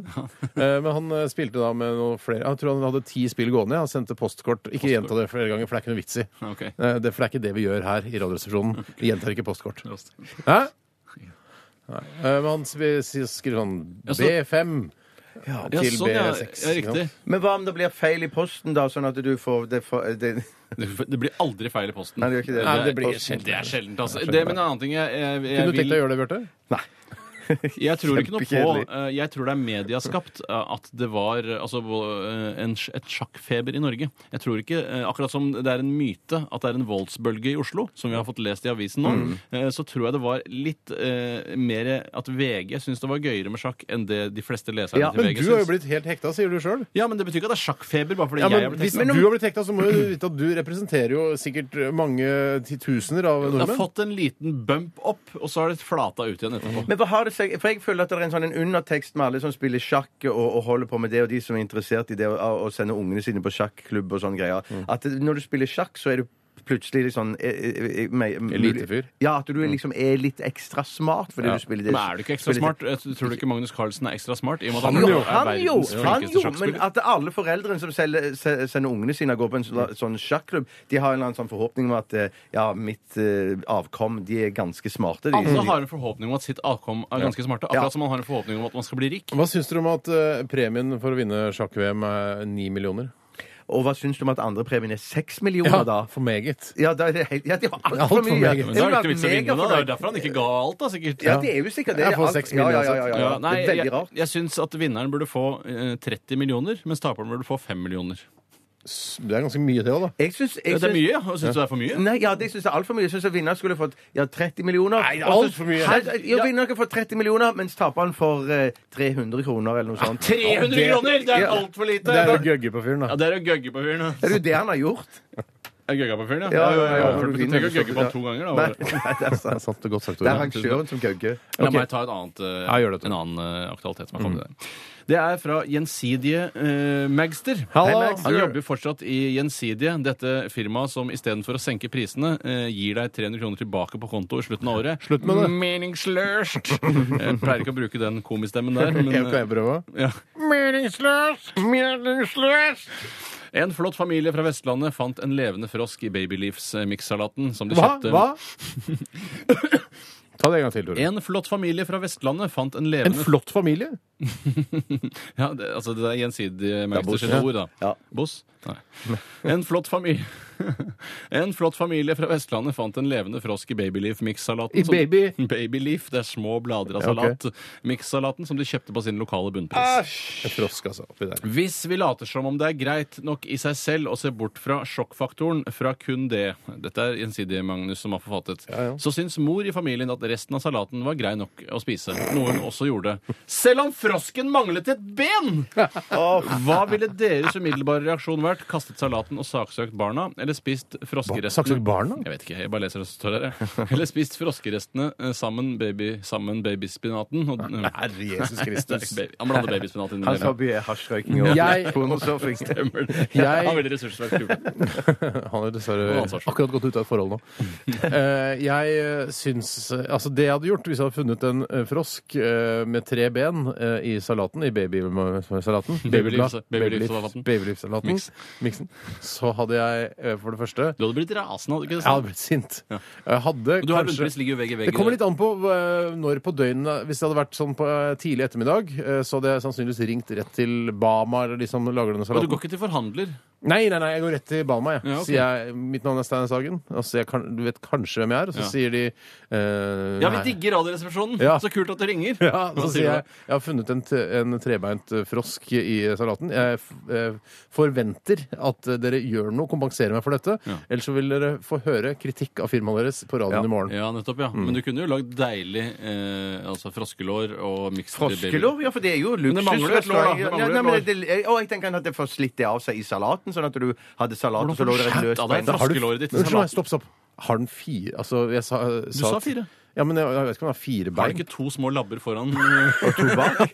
S3: Eh, Men han eh, spilte da med noen flere Jeg tror han hadde ti spill gående. Han sendte postkort. Ikke gjenta det flere ganger, for det er ikke noe vits i.
S5: Ja, ok.
S3: Eh, Det, for det er ikke det vi gjør her i Radioresepsjonen. Vi gjentar ikke postkort. Hæ? Nei. Eh, Men han sp- s- skriver sånn
S5: Ja, så-
S3: B5
S5: Ja,
S3: til
S5: sånn, ja.
S3: B6.
S5: ja,
S3: ikke sant?
S5: riktig.
S4: Men hva om det blir feil i posten, da, sånn at du får det, får- det
S5: Det det blir aldri feil i posten.
S4: Nei, det gjør ikke det.
S3: Nei, det blir
S5: posten-
S3: sjeldent.
S5: det er sjeldent, altså. Det, men en annen ting jeg, jeg, jeg,
S3: Kunne du tenkt
S5: vil,
S3: deg å gjøre det, Bjarte?
S5: jeg tror ikke noe på
S4: Kjempekjedelig.
S5: eh, Jeg tror det er medieskapt eh, at det var eh, altså, eh, en, sj- et sjakkfeber i Norge. Jeg tror ikke, eh, Akkurat som det er en myte at det er en voldsbølge i Oslo, som vi har fått lest i avisen nå, eh, så tror jeg det var litt eh, mer at VG syntes det var gøyere med sjakk enn det de fleste leserne
S4: Ja,
S5: til
S3: Men
S5: VG
S3: du har jo
S5: syns.
S3: blitt helt hekta, sier du sjøl.
S5: Ja, men det betyr ikke at det er sjakkfeber bare fordi
S3: Ja,
S5: jeg
S3: men
S5: har blitt
S3: hvis
S5: hekta.
S3: du har blitt hekta, så må du vite at du representerer jo sikkert mange titusener av
S5: Det har
S3: nordmenn.
S5: fått en liten bump opp, og så har det flata ut igjen etterpå.
S4: Men hva har det seg, for Jeg føler at det er en sånn en undertekst med alle som spiller sjakk og, og holder på med det, og de som er interessert i det, og, og sender ungene sine på sjakklubb og sånne greier.
S5: Mm.
S4: At det- når du spiller sjakk, så er du plutselig litt sånn eh, eh, eh, meg-
S3: Elitefyr.
S4: Ja, at du liksom er litt ekstra smart fordi du spiller det.
S5: Mm. Men er du ikke ekstra
S4: spiller-
S5: smart? Jeg Tror du ikke Magnus Carlsen er ekstra smart? I og med at
S4: Han
S5: er
S4: jo, han jo,
S5: verdens
S4: han
S5: flinkeste
S4: jo, men
S5: sjakkspiller?
S4: at alle foreldrene som selger, se- sender ungene sine og går på en sånn, sånn sjakklubb, de har en eller annen sånn forhåpning om at eh, ja, mitt eh, avkom, de er ganske smarte. De,
S5: Alle Altså, har en forhåpning om at sitt avkom er ganske smarte. Akkurat
S4: Mm. Ja.
S5: som man har en forhåpning om at man skal bli rik.
S3: Hva syns dere om at eh, premien for å vinne sjakk-VM er ni millioner?
S4: Og hva syns du om at andrepremien er seks millioner, da?
S3: for meget.
S4: Ja, da er det helt, ja, de har
S3: Alt for
S4: altfor mye.
S3: mye.
S4: Det
S5: Men
S4: ville
S5: da er det
S4: vært
S5: ikke vits å vinne.
S4: mega
S5: da. Det er
S4: fornøyd.
S5: derfor han ikke ga alt, da, sikkert.
S4: Ja, det er jo
S3: Jeg
S4: sikkert det. Det er
S3: får
S4: alt-
S3: seks millioner,
S4: Ja, ja, ja, ja, ja.
S5: altså. Ja, nei,
S4: det er veldig
S5: jeg,
S4: rart.
S5: jeg syns at vinneren burde få eh, 30 millioner, mens taperen burde få 5 millioner.
S3: Det er ganske mye, det òg, da.
S4: Jeg syns jeg
S5: Ja,
S4: syns-
S5: det er mye, ja. Syns du det er for mye?
S4: Nei, ja, det syns jeg er altfor mye. Jeg syns at vinneren skulle fått ja, 30 millioner.
S3: Nei, det er
S4: Og så-
S3: alt for mye.
S4: Nei, Jo, vinneren kan få 30 millioner, mens taperen får eh, 300 kroner eller noe sånt.
S5: 300 kroner! Det er
S4: Ja.
S5: altfor lite!
S3: Det er å gøgge på fyren,
S5: Ja,
S3: da.
S5: det er å gøgge på fyren. da.
S4: Det er jo det han har gjort.
S5: Jeg gøgga på fyren, ja.
S4: Ja, ja, ja, ja.
S5: For Du trenger ikke å gøgge på han to ganger.
S4: Nei,
S5: da. bare.
S4: nei, det er
S3: Det er
S4: sant.
S3: sant, det er godt sagt,
S4: Det
S3: Tore.
S4: er arrangøren som gøgger.
S5: La meg ta et annet, eh,
S3: Ja, gjør det, Tore. Mm.
S5: en annen eh, aktualitet som har kommet der. Det er fra Gjensidige eh, Magster.
S3: Hallo!
S4: Hei, Max.
S5: Han jobber fortsatt i Gjensidige, dette firmaet som istedenfor å senke prisene, eh, gir deg 300 kroner tilbake på konto i slutten av året. Slutt
S3: med det.
S5: Meningsløst! Jeg pleier ikke å bruke den komistemmen der, men
S3: Jeg
S5: eh,
S3: kan prøve.
S5: ja. Meningsløst! Meningsløst! En flott familie fra Vestlandet fant en levende frosk i Babyleafs-mikssalaten som de
S3: Hva?
S5: kjøpte
S3: Hva? Ta det en gang til, Tore.
S5: En flott familie fra Vestlandet fant en
S3: En
S5: levende
S3: flott familie?
S5: Ja, det, altså det er gjensidig Magster
S4: Boss,
S5: sine
S4: ja.
S5: ord, da.
S4: Ja.
S5: Boss? Nei. En flott familie En flott familie fra Vestlandet fant en levende frosk i babyleaf-mikssalaten.
S3: I
S5: som-
S3: baby-
S5: Babyleaf, det er små blader av
S3: Ja, ok.
S5: salat. Mikssalaten som de kjøpte på sin lokale bunnpris.
S3: En frosk, altså. Oppi der.
S5: Hvis vi later som om det er greit nok i seg selv å se bort fra sjokkfaktoren fra kun det Dette er gjensidige Magnus som har forfattet. Så syns mor i familien at resten av salaten var grei nok å spise, noe hun også gjorde. Selv om frosken manglet et ben! Hva ville deres umiddelbare reaksjon vært? Kastet salaten og saksøkt barna, eller spist froskerestene?
S3: Saksøkt barna?
S5: Jeg vet ikke, jeg bare leser det som står her. jeg. Eller spist froskerestene eh, sammen, baby, sammen babyspinaten. Og,
S3: Herre Jesus Kristus.
S5: Baby- Han blanda babyspinat inn i
S4: Han
S5: det.
S4: sa by hasjrøyking og
S3: Jeg-
S4: pornosurfing.
S5: Stemmer det.
S3: Jeg-
S5: Han er veldig ressurssterk kule.
S3: Han har
S5: Og
S3: dessverre
S5: ansvarsfull.
S3: akkurat gått ut av et forhold nå.
S5: Mm.
S3: Eh, jeg eh, syns eh, Altså, det jeg hadde gjort hvis jeg hadde funnet en eh, frosk eh, med tre ben eh, i salaten, i eh, babysalaten
S5: Babyleaf- babyleaf-salaten.
S3: Babyleaf-salaten.
S5: Mix.
S3: Miksen. Så hadde jeg eh, for det første
S5: Du hadde blitt rasende, hadde du ikke
S3: Jeg hadde blitt sint. Jeg hadde
S5: Du har
S3: kanskje
S5: rundpris ligger jo vegg i vegg.
S3: det kommer litt an på eh, når på døgnet. Hvis det hadde vært sånn på eh, tidlig ettermiddag, eh, så hadde jeg sannsynligvis ringt rett til Bama eller de som lager denne
S5: Og du
S3: salaten.
S5: går ikke til forhandler.
S3: Nei, nei, nei, jeg går rett til Balma. Jeg.
S5: Ja, ok.
S3: Sier jeg, mitt navn er Stein Sagen. Altså, jeg kan, du vet kanskje hvem jeg er. Og så
S5: Ja.
S3: sier de eh,
S5: Ja, vi
S3: nei.
S5: digger Radioresepsjonen!
S3: Ja.
S5: Så kult at du ringer!
S3: Ja,
S5: Hva
S3: så sier jeg jeg har funnet en, t- en trebeint eh, frosk i salaten. Jeg f eh, forventer at eh, dere gjør noe, kompenserer meg for dette.
S5: Ja.
S3: Ellers så vil dere få høre kritikk av firmaet deres på radioen i morgen.
S5: Ja, nettopp,
S3: Mm.
S5: ja. Men du kunne jo lagd deilig eh, altså froskelår og mixed
S4: Froskelår? Ja, for det er jo
S5: det mangler et lår, da. Det
S4: Ja,
S5: mangler
S4: nei,
S5: et
S4: men
S5: lår.
S4: det- det- Å, jeg tenker at det får slitt det av seg i salaten, sånn at du hadde salat og
S5: Hvordan
S4: så
S5: får
S4: lå
S5: du
S4: det et
S5: skjært
S4: løst
S5: av deg
S4: bein.
S5: en froskelåret ditt? i
S3: Unnskyld meg,
S5: salaten?
S3: stopp, stopp. Har den fire Altså, jeg sa,
S5: Du sa
S3: at-
S5: fire.
S3: Ja, men jeg, jeg vet ikke om den har fire
S5: Har du
S3: bein.
S5: ikke to små labber foran? Nei,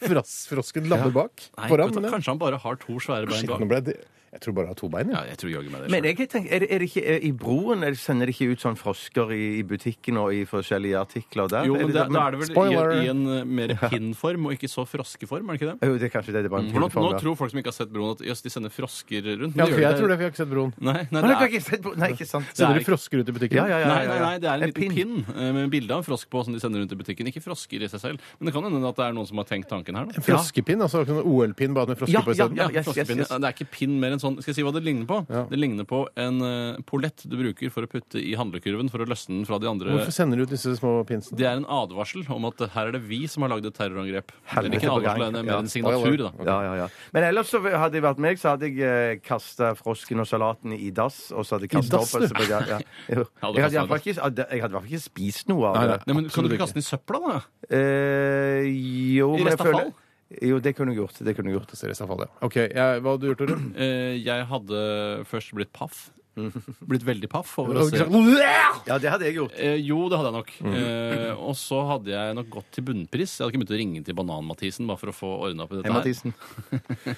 S3: Fros- Frosken labber bak. Foran, men jeg,
S5: kanskje han bare har to svære bein
S3: shit,
S5: bak?
S3: nå ble det, jeg tror bare jeg har to bein. Ja.
S5: Ja, jeg tror jaggu meg det.
S4: Men
S5: selv.
S4: jeg tenker, er det, er det ikke er, i broen er det- sender de ikke ut sånn frosker i, i butikken og i forskjellige artikler der?
S5: Jo, men
S4: det
S5: da,
S4: det-
S5: da er det vel i,
S3: Spoiler.
S5: i en eh, mer pinnform og ikke så froskeform, er det ikke det?
S4: Jo, det er kanskje det. det er bare en
S5: For nå, nå
S4: pinneform, da.
S5: tror folk som ikke har sett Broen, at jøss, de sender frosker rundt. men
S3: Ja,
S5: de
S3: for
S5: gjør
S3: jeg tror det, for jeg har ikke sett Broen.
S5: Nei, nei,
S4: Nei,
S5: det
S4: jeg har
S5: er
S4: ikke sett på- Nei, ikke sant.
S5: Det er
S3: Sender de
S5: ikke-
S3: frosker ut i butikken?
S4: Ja, ja, ja.
S5: Nei, nei, nei, det er en,
S4: En
S5: liten pinn eh, med bilde av en frosk på som de sender rundt i butikken. Ikke frosker i seg selv, men det kan hende at det er noen som har tenkt tanken her. Da.
S3: En Froskepinn? Altså sånn OL-pinn bare med frosker
S4: Ja,
S3: på isteden?
S4: ja, yes,
S5: froskepinn.
S4: yes, yes.
S5: Det er ikke pinn mer enn sånn. Skal jeg si hva det ligner på? Det ligner på en eh, pollett du bruker for å putte i handlekurven for å løsne den fra de andre.
S3: Hvorfor sender de ut disse små pinsene?
S5: Det er en advarsel om at eh, her er det vi som har lagd et terrorangrep. Det er
S4: Helvete
S5: ikke en
S4: på gang.
S5: advarsel, det er mer
S4: Ja.
S5: en signatur, da.
S4: Ja, ja, ja. Men ellers så hadde jeg vært meg, så hadde jeg kasta frosken og salaten i dass. Og så hadde jeg kastet
S3: dass,
S4: opp. og så- Ja, ja. Jo. Jeg hadde i
S5: hadde
S4: hvert
S5: kastet
S4: fall ikke, jeg hadde i hvert fall ikke spist noe av det.
S5: Nei, men Kan du
S3: Absolutt
S5: ikke kaste den i søpla, da?
S4: Eh, jo, men jeg
S5: restavfall?
S4: føler Jo, det kunne jeg gjort. Det kunne jeg gjort.
S3: Ser i så fall det. Ok, jeg, Hva hadde du gjort, Tore?
S5: Eh, Jeg hadde først blitt paff. Blitt veldig paff over å
S3: Hadde du
S5: se
S3: ikke sagt, "Bleh!"
S4: Ja, det hadde jeg gjort.
S5: Eh, jo, det hadde jeg nok. Eh, og så hadde jeg nok gått til bunnpris. Jeg hadde ikke begynt å ringe til Banan-Mathisen bare for å få ordna opp i
S4: Hei,
S5: dette.
S4: Mathisen.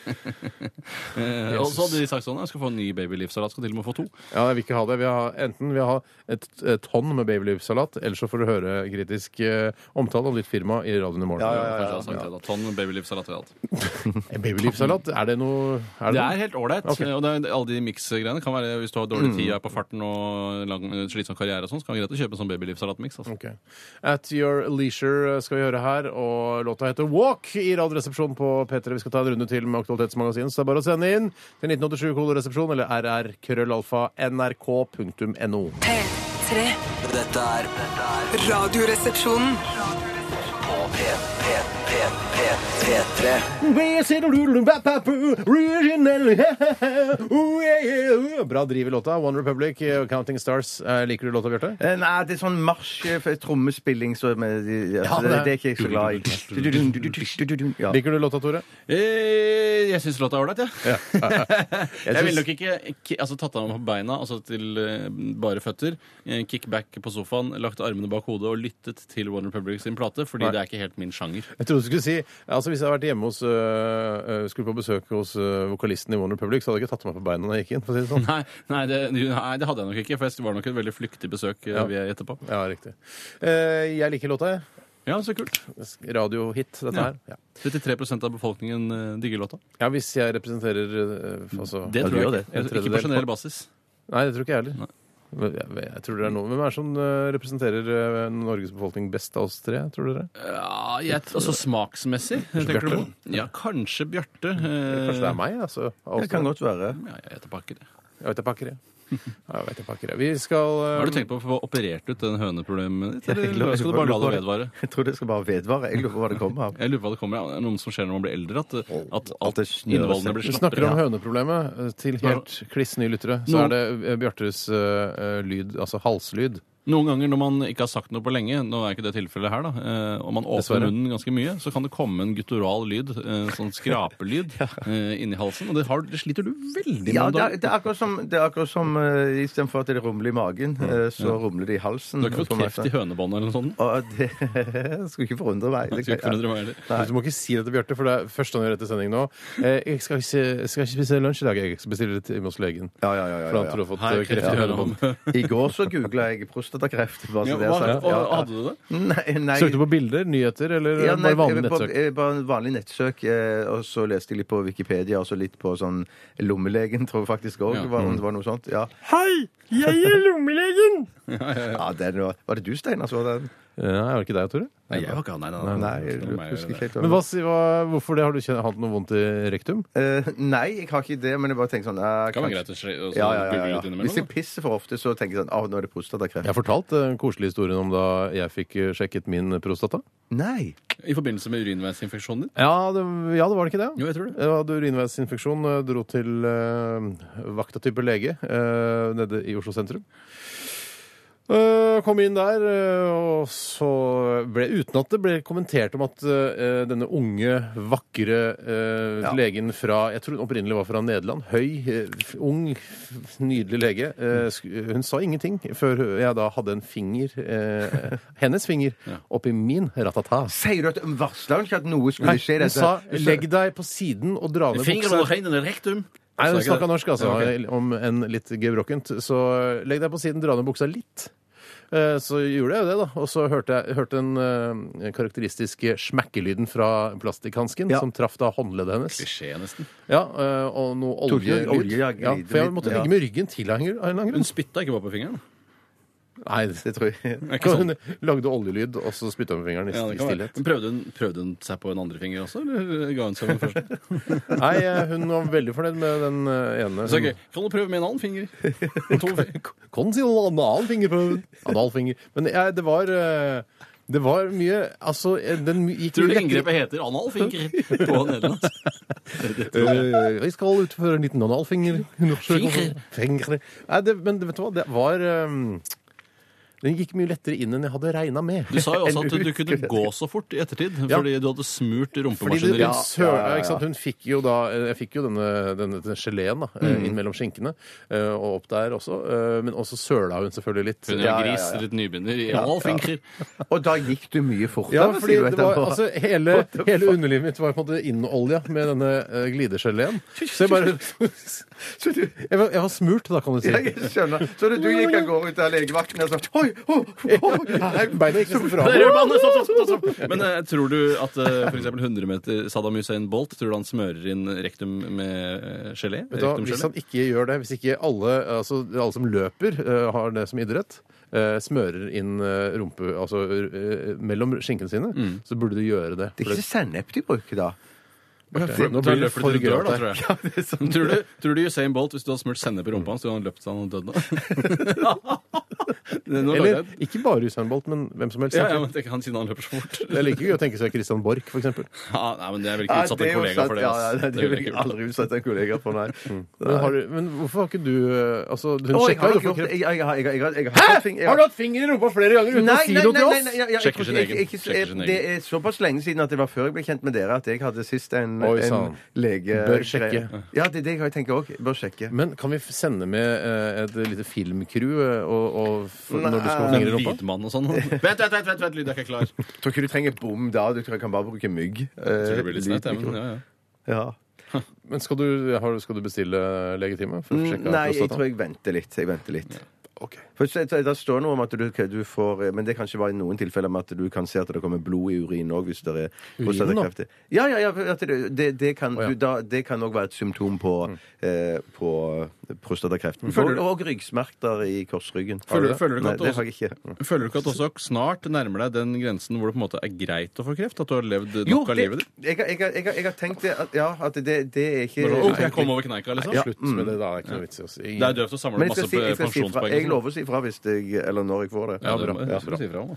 S5: her. Eh, og så hadde de sagt sånn Jeg skal få en ny babyleaf-salat. Skal til og med få to.
S3: Ja, jeg vil ikke ha det. Vi har, enten vil jeg ha et, et tonn med babyleaf-salat, eller så får du høre kritisk eh, omtale om ditt firma i radioen i morgen.
S5: Kanskje jeg hadde sagt det da. Tonn babyleaf-salat vil jeg ha.
S3: Eh, Babyleaf-salat, er det noe er
S5: Det
S3: det
S5: er helt ålreit.
S3: Ok.
S5: eh, Og det er, alle de miksgreiene kan være hvis du har dårlig tid, er på farten og lang, slitsom karriere og sånn, så kan det være greit å kjøpe en sånn babyleaf-salatmiks. Altså.
S3: Ok. At Your Leisure skal vi høre her, og låta heter Walk i Radioresepsjonen på P3. Vi skal ta en runde til med Aktualitetsmagasinet, så det er bare å sende inn til 1987-koderesepsjon eller rr.krøllalfa.nrk.no.
S6: P3.
S2: Dette er dette er
S6: Radioresepsjonen.
S2: på P, P, P, P, P3. P3
S3: Bra driv i låta. One Republic, eh, Counting Stars. Eh, Liker du låta, Bjarte?
S4: Eh, Nei, det er sånn marsj, eh, for trommespilling så med, ja,
S3: Ja, det er-
S4: det, det er ikke jeg så glad i. Ja.
S3: Liker du låta, Tore?
S5: Eh, Jeg syns låta er ålreit, jeg. Ja. jeg
S4: synes-
S5: ville nok ikke ki- altså, tatt av meg på beina, altså til eh, bare føtter, eh, kickback på sofaen, lagt armene bak hodet og lyttet til One Republic sin plate, fordi det er ikke helt min sjanger.
S3: Jeg trodde du skulle si altså Hvis jeg hadde vært hjemme hos øh, øh, skulle på besøk hos øh, vokalisten i One Republic, så hadde jeg ikke tatt meg på beina når jeg gikk inn. for å si det sånn.
S5: Nei, nei, det, nei, det hadde jeg nok ikke, for jeg var nok et veldig flyktig besøk eh, vil jeg gjette på.
S3: Ja, riktig. Eh, jeg liker låta, jeg.
S5: Ja, så kult.
S3: Radiohit, dette
S5: Ja.
S3: her. Ja.
S5: 33 av befolkningen eh, digger låta.
S3: ja, hvis jeg representerer øh, altså,
S5: Det
S4: Ja,
S5: tror
S4: du gjør
S5: jeg ikke.
S3: det. En
S5: Ikke på
S3: tredjedel.
S5: generell basis.
S3: Nei, det tror ikke jeg heller. Men Jeg, jeg tror det er noen. Hvem er det som øh, representerer øh, Norges befolkning best av oss tre, tror dere?
S5: Ja, jeg, altså smaksmessig. tenker du på? Ja, kanskje Bjarte. eh,
S3: Kanskje det er meg, altså. av oss
S4: Det kan
S3: tre.
S4: godt være.
S5: Ja, jeg gjetter på ikke det.
S3: Jeg vet jeg pakker det. Ja, Jeg vet jeg pakker det. Vi skal øh,
S5: Har du tenkt på å få operert ut den høneproblemet ditt,
S4: Jeg lurer
S5: eller skal du bare la det vedvare?
S4: Jeg tror det skal bare vedvare. Jeg lurer på hva det kommer av.
S5: Jeg lurer på hva det kommer av. Det er noe som skjer når man blir eldre, at, at
S4: At
S5: alt
S4: det snør
S5: innvollene
S4: og
S5: blir
S3: Vi snakker
S5: slappere.
S3: om høneproblemet eh, til helt kliss nye lyttere. Så
S5: Nå-
S3: er det eh, Bjartes eh, eh, lyd, altså halslyd.
S5: Noen ganger når man ikke har sagt noe på lenge, nå er ikke det tilfellet her, da, eh, og man åpner
S3: Dessverre.
S5: munnen ganske mye, så kan det komme en guttural lyd, eh, sånn skrapelyd, eh, inni halsen, og det, har, det sliter du veldig med
S4: Ja,
S5: om
S4: det er,
S5: dagen.
S4: det er akkurat som, det er akkurat som eh, istedenfor at det rumler i magen, eh, så rumler det i halsen.
S5: Du har ikke fått kreft i hønebåndet eller noe sånt?
S4: Og det skulle ikke forundre meg.
S5: Jeg skulle ikke forundre meg heller.
S3: Du må ikke si det til Bjarte, for det er første gang vi er rett i sending nå. Eh, Jeg skal ikke, jeg skal ikke spise lunsj i dag, jeg skal bestille det hjemme hos legen.
S4: Ja, ja, ja, ja,
S3: For han
S4: ja,
S3: tror du har fått
S5: Her,
S3: eh, kreft i hønebånd.
S4: I går så googla jeg prostatakreft. Bare så
S5: Ja,
S4: det
S5: hva,
S4: er sagt.
S5: og,
S4: Ja, ja.
S5: hadde du det?
S4: Nei, nei.
S3: Søkte du på bilder, nyheter eller
S4: Ja, nei,
S3: bare vanlig
S4: jeg- bare-
S3: nettsøk?
S4: eh, Bare vanlig nettsøk. eh, Og så leste jeg litt på Wikipedia, og så litt på sånn lommelegen, tror jeg faktisk òg.
S5: Ja.
S4: Var, om det var noe sånt. Ja,
S3: Hei! Jeg er lommelegen!
S4: ja den var, var det du, Steinar, så den?
S3: Nei, var det ikke deg, Tore?
S5: Nei, jeg har ikke nei, nei,
S4: Nei, jeg husker ikke helt.
S3: Men hva, si- hva, hvorfor det? Har du kjent, hatt noe vondt i rektum?
S4: Eh, nei, jeg har ikke det, men jeg bare tenker sånn eh,
S5: Det kan
S4: kanskje-
S5: være greit å skje- å
S4: Ja, ja, ja,
S5: google
S4: ja.
S5: litt
S4: Hvis jeg
S5: innimellom. da.
S4: pisser for ofte, så tenker jeg sånn Å, nå er det prostatakreft.
S3: Jeg har fortalt eh, den koselige historien om da jeg fikk eh, sjekket min prostata.
S4: Nei!
S5: I forbindelse med urinveisinfeksjonen din?
S3: Ja, det, ja, det var det ikke det?
S5: Jo, jeg tror det.
S3: Jeg hadde urinveisinfeksjon, eh, dro til eh, vakta type lege eh, nede i Oslo sentrum. Eh, kom inn der, eh, og så ble Uten at det ble kommentert om at eh, denne unge, vakre eh,
S4: Ja.
S3: legen fra Jeg tror hun opprinnelig var fra Nederland. Høy, eh, f- ung, f- nydelig lege. eh, sk- hun sa ingenting før jeg da hadde en finger, eh, hennes finger, oppi min ratata.
S4: Sier du at Varsla hun ikke at noe skulle
S3: Nei,
S4: skje?
S3: hun
S4: dette?
S3: sa
S4: Hun sa-
S3: 'legg deg på siden og dra ned
S5: Finger over
S3: buksa'.
S5: hendene rektum.
S3: Nei, hun
S5: Sa ikke
S3: snakka
S5: det.
S3: norsk, altså.
S5: Ja,
S3: Om enn litt gebrokkent. Så eh, legg deg på siden, dra ned buksa litt. Eh, Så gjorde jeg jo det, da. Og så hørte jeg hørte den eh, karakteristiske smekkelyden fra plastikkhansken
S4: Ja.
S3: som traff da håndleddet hennes.
S5: Klisjé, nesten.
S3: Ja, eh, Og noe
S4: Tok du
S3: oljelyd.
S4: oljejag-
S3: ja, for jeg måtte
S4: Ja.
S3: ligge med ryggen til av en grunn- av en eller annen grunn.
S5: Hun spytta ikke bare på fingeren.
S3: Nei,
S4: Det tror jeg.
S5: Det er ikke sånn.
S3: hun lagde oljelyd, og så spytta hun med fingeren i,
S5: Ja, det
S3: i
S5: kan være.
S3: stillhet.
S5: Men prøvde hun, prøvde hun seg på en andre finger også, eller ga hun seg med den første?
S3: Nei, eh, hun var veldig fornøyd med den eh, ene.
S5: Så, ok, Kan du prøve med en annen finger? Med to fingre.
S3: Kan si noe annet fingerprøve. Analfinger. Men jeg, det var eh, Det var mye Altså, eh, den gikk
S5: Tror du
S3: mye
S5: inngrepet heter analfinger på nederlandsk?
S3: Eh, jeg skal utføre en liten analfingerundersøkelse.
S5: Finger.
S3: Fingre. Nei, det, men vet du hva, det var eh, Den gikk mye lettere inn enn jeg hadde regna med.
S5: Du sa jo også at du kunne gå så fort i ettertid
S3: Ja.
S5: fordi du hadde smurt
S3: Fordi det,
S5: rumpemaskineriet.
S3: ja, sø, Ikke sant? Hun fikk jo da eh, Jeg fikk jo denne, denne, denne geleen da, eh,
S5: Mm.
S3: inn mellom skinkene, eh, og opp der også. eh, Men også søla hun selvfølgelig litt.
S5: Hun
S4: Ja,
S5: er jo
S4: ja,
S5: gris,
S4: ja.
S5: litt nybegynner i analfinger.
S4: Og da gikk du mye fortere.
S3: Ja, fordi
S4: sier du
S3: det var,
S4: etterpå.
S3: altså, hele, hele underlivet mitt var på en måte innolja med denne uh, glidegeleen. Så jeg bare
S4: Så du,
S3: jeg var, jeg var smurt, da, kan du si.
S4: jeg skjønner. Så du, du gikk av gårde ut av legevakten og sånn Oi! oi, oi.
S3: Beina gikk nesten fra meg.
S5: Det er rødbane, stopp, stopp, stopp, stopp. Men eh, tror du at eh, for eksempel 100 meter Saddam Hussein Bolt tror du han smører inn rektum med eh, gelé?
S3: Vet du hva,
S5: Rektumgelé?
S3: Hvis han ikke gjør det, hvis ikke alle, altså, alle som løper, eh, har det som idrett eh, smører inn eh, rumpe altså eh, mellom skinkene sine, så burde du gjøre det.
S4: Det
S3: For
S4: er ikke
S3: det-
S4: sennep de bruker da.
S3: for- Nå blir det for gøy, da.
S5: tror jeg. Tror du, tror du Usain Bolt, hvis du hadde smurt sennep i rumpa hans, så hadde han løpt så han hadde dødd nå? Nå lagde jeg
S3: Eller
S5: et-
S3: ikke bare Usain Bolt, men hvem som helst.
S5: ja, ja, men tenk, han siden han løper så fort.
S3: Det er like gøy å tenke seg Christian Borch, f.eks.
S5: Ja, nei, men det er vel
S4: Nei,
S5: ikke utsatt
S4: det er
S5: en
S4: jo
S5: kollega
S4: sant.
S5: for det.
S4: Ja,
S5: ass.
S4: ja, det,
S5: Det
S4: vil
S5: ville jeg
S4: jeg
S5: ikke gjort.
S4: aldri utsette en kollega for, nei.
S3: Men, har du- men hvorfor har ikke du eh, Altså, hun
S4: Å, jeg
S3: sjekka jo
S4: har ikke
S3: for
S4: gjort det.
S3: kreft.
S4: Jeg- jeg har- jeg har- jeg har- jeg har- jeg har-
S3: hatt finger i rumpa flere ganger
S4: Nei, nei, nei, nei, nei, ja, ja, jeg
S5: Sjekker
S4: tror
S5: sin
S4: ikke-
S5: egen.
S4: jeg- jeg-
S5: Sjekker
S4: jeg-
S5: sin egen.
S4: Det er såpass lenge siden at det var før jeg ble kjent med dere, at jeg hadde sist en,
S3: Oi,
S4: en
S3: sann.
S4: lege...
S3: Bør sjekke.
S4: Ja, det er det jeg tenker òg. Bør sjekke.
S3: Men kan vi f- sende med eh, et lite filmcrew eh, og, og for, når du skal ha
S4: Nei.
S3: finger i rumpa?
S5: Lydmann og sånn. Vent, vent, vent, vent, vent, lyd er ikke klar.
S4: Jeg tror ikke du trenger bom da. Du tror jeg kan bare bruke mygg.
S5: Så
S4: Eh,
S5: det blir litt snett, ja, men, ja, ja.
S4: ja.
S3: Men skal du, har, skal du bestille legetime? For å sjekke
S4: Mm, Nei, jeg
S3: prostataen?
S4: tror
S5: sånn.
S4: jeg venter litt. Jeg venter litt.
S3: Ok.
S4: For så- så- Det står noe om at du, du får Men det er kanskje bare i noen tilfeller med at du kan se at det kommer blod i urinen òg hvis det er
S3: Urinen,
S4: prostatakreft. Ja, ja, ja. for At det, det, det kan
S3: ja.
S4: du, da, det kan òg være et symptom på,
S5: Mm.
S4: eh, på prostatakreft. Og,
S5: Føler du-
S4: og ryggsmerter i korsryggen.
S5: Mm. Føler,
S4: Har
S5: føler,
S4: Nei,
S5: du ikke at
S4: det
S5: også, Mm.
S4: har jeg ikke.
S5: føler du ikke at også snart nærmer deg den grensen hvor det på en måte er greit å få kreft? At du har levd nok
S4: Jo,
S5: av livet
S4: det, jeg,
S5: ditt?
S4: har- jeg, har- jeg, har- jeg har tenkt det at, ja, at det, det er ikke
S5: Når du- Åh, jeg kom over kneika, liksom?
S3: Slutt
S4: mm.
S3: med det, da. Det er ikke noe vits i å si.
S5: Det er døvt å samle
S4: Men jeg,
S5: masse
S4: skal si, jeg, skal si fra,
S5: pensjonspoeng.
S4: jeg
S5: sånn.
S4: lover å si fra hvis jeg, eller når jeg får det.
S5: Ja, det må
S3: bra.
S5: jeg
S3: Ja,
S5: huske å si fra om, da.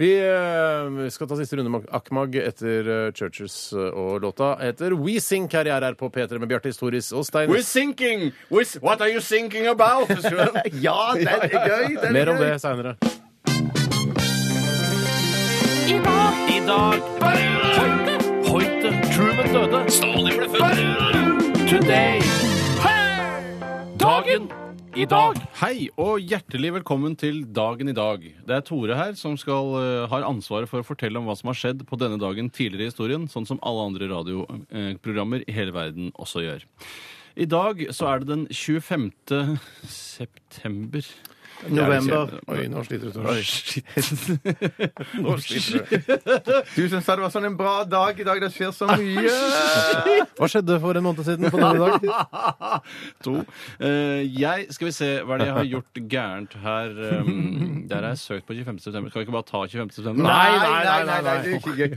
S3: Vi eh, skal ta siste runde med Akmag etter eh, Churches eh, og låta heter We Sink her i RR på P3 med Bjarte Historis og Stein.
S5: We're sinking! We're, what are you thinking about?
S4: Ja, den er gøy! Den er
S3: Mer om
S4: gøy.
S3: det seinere.
S1: I dag Hoite Hoite Truman døde Stalin ble født Today Dagen I dag
S5: Hei og hjertelig velkommen til Dagen i dag. Det er Tore her som skal, eh, har ansvaret for å fortelle om hva som har skjedd på denne dagen tidligere i historien, sånn som alle andre radioprogrammer i hele verden også gjør. I dag så er det den 25. september.
S4: November.
S3: Oi, nå sliter du. Tor.
S5: Shit.
S4: Du som sa det var sånn en bra dag i dag, det skjer så mye!
S3: Hva skjedde for en måned siden på denne dag?
S5: to. Eh, jeg Skal vi se hva er det jeg har gjort gærent her. eh, der har jeg søkt på 25. september. Skal vi ikke bare ta 25. september?
S3: nei, nei, nei, nei.
S4: det er ikke gøy.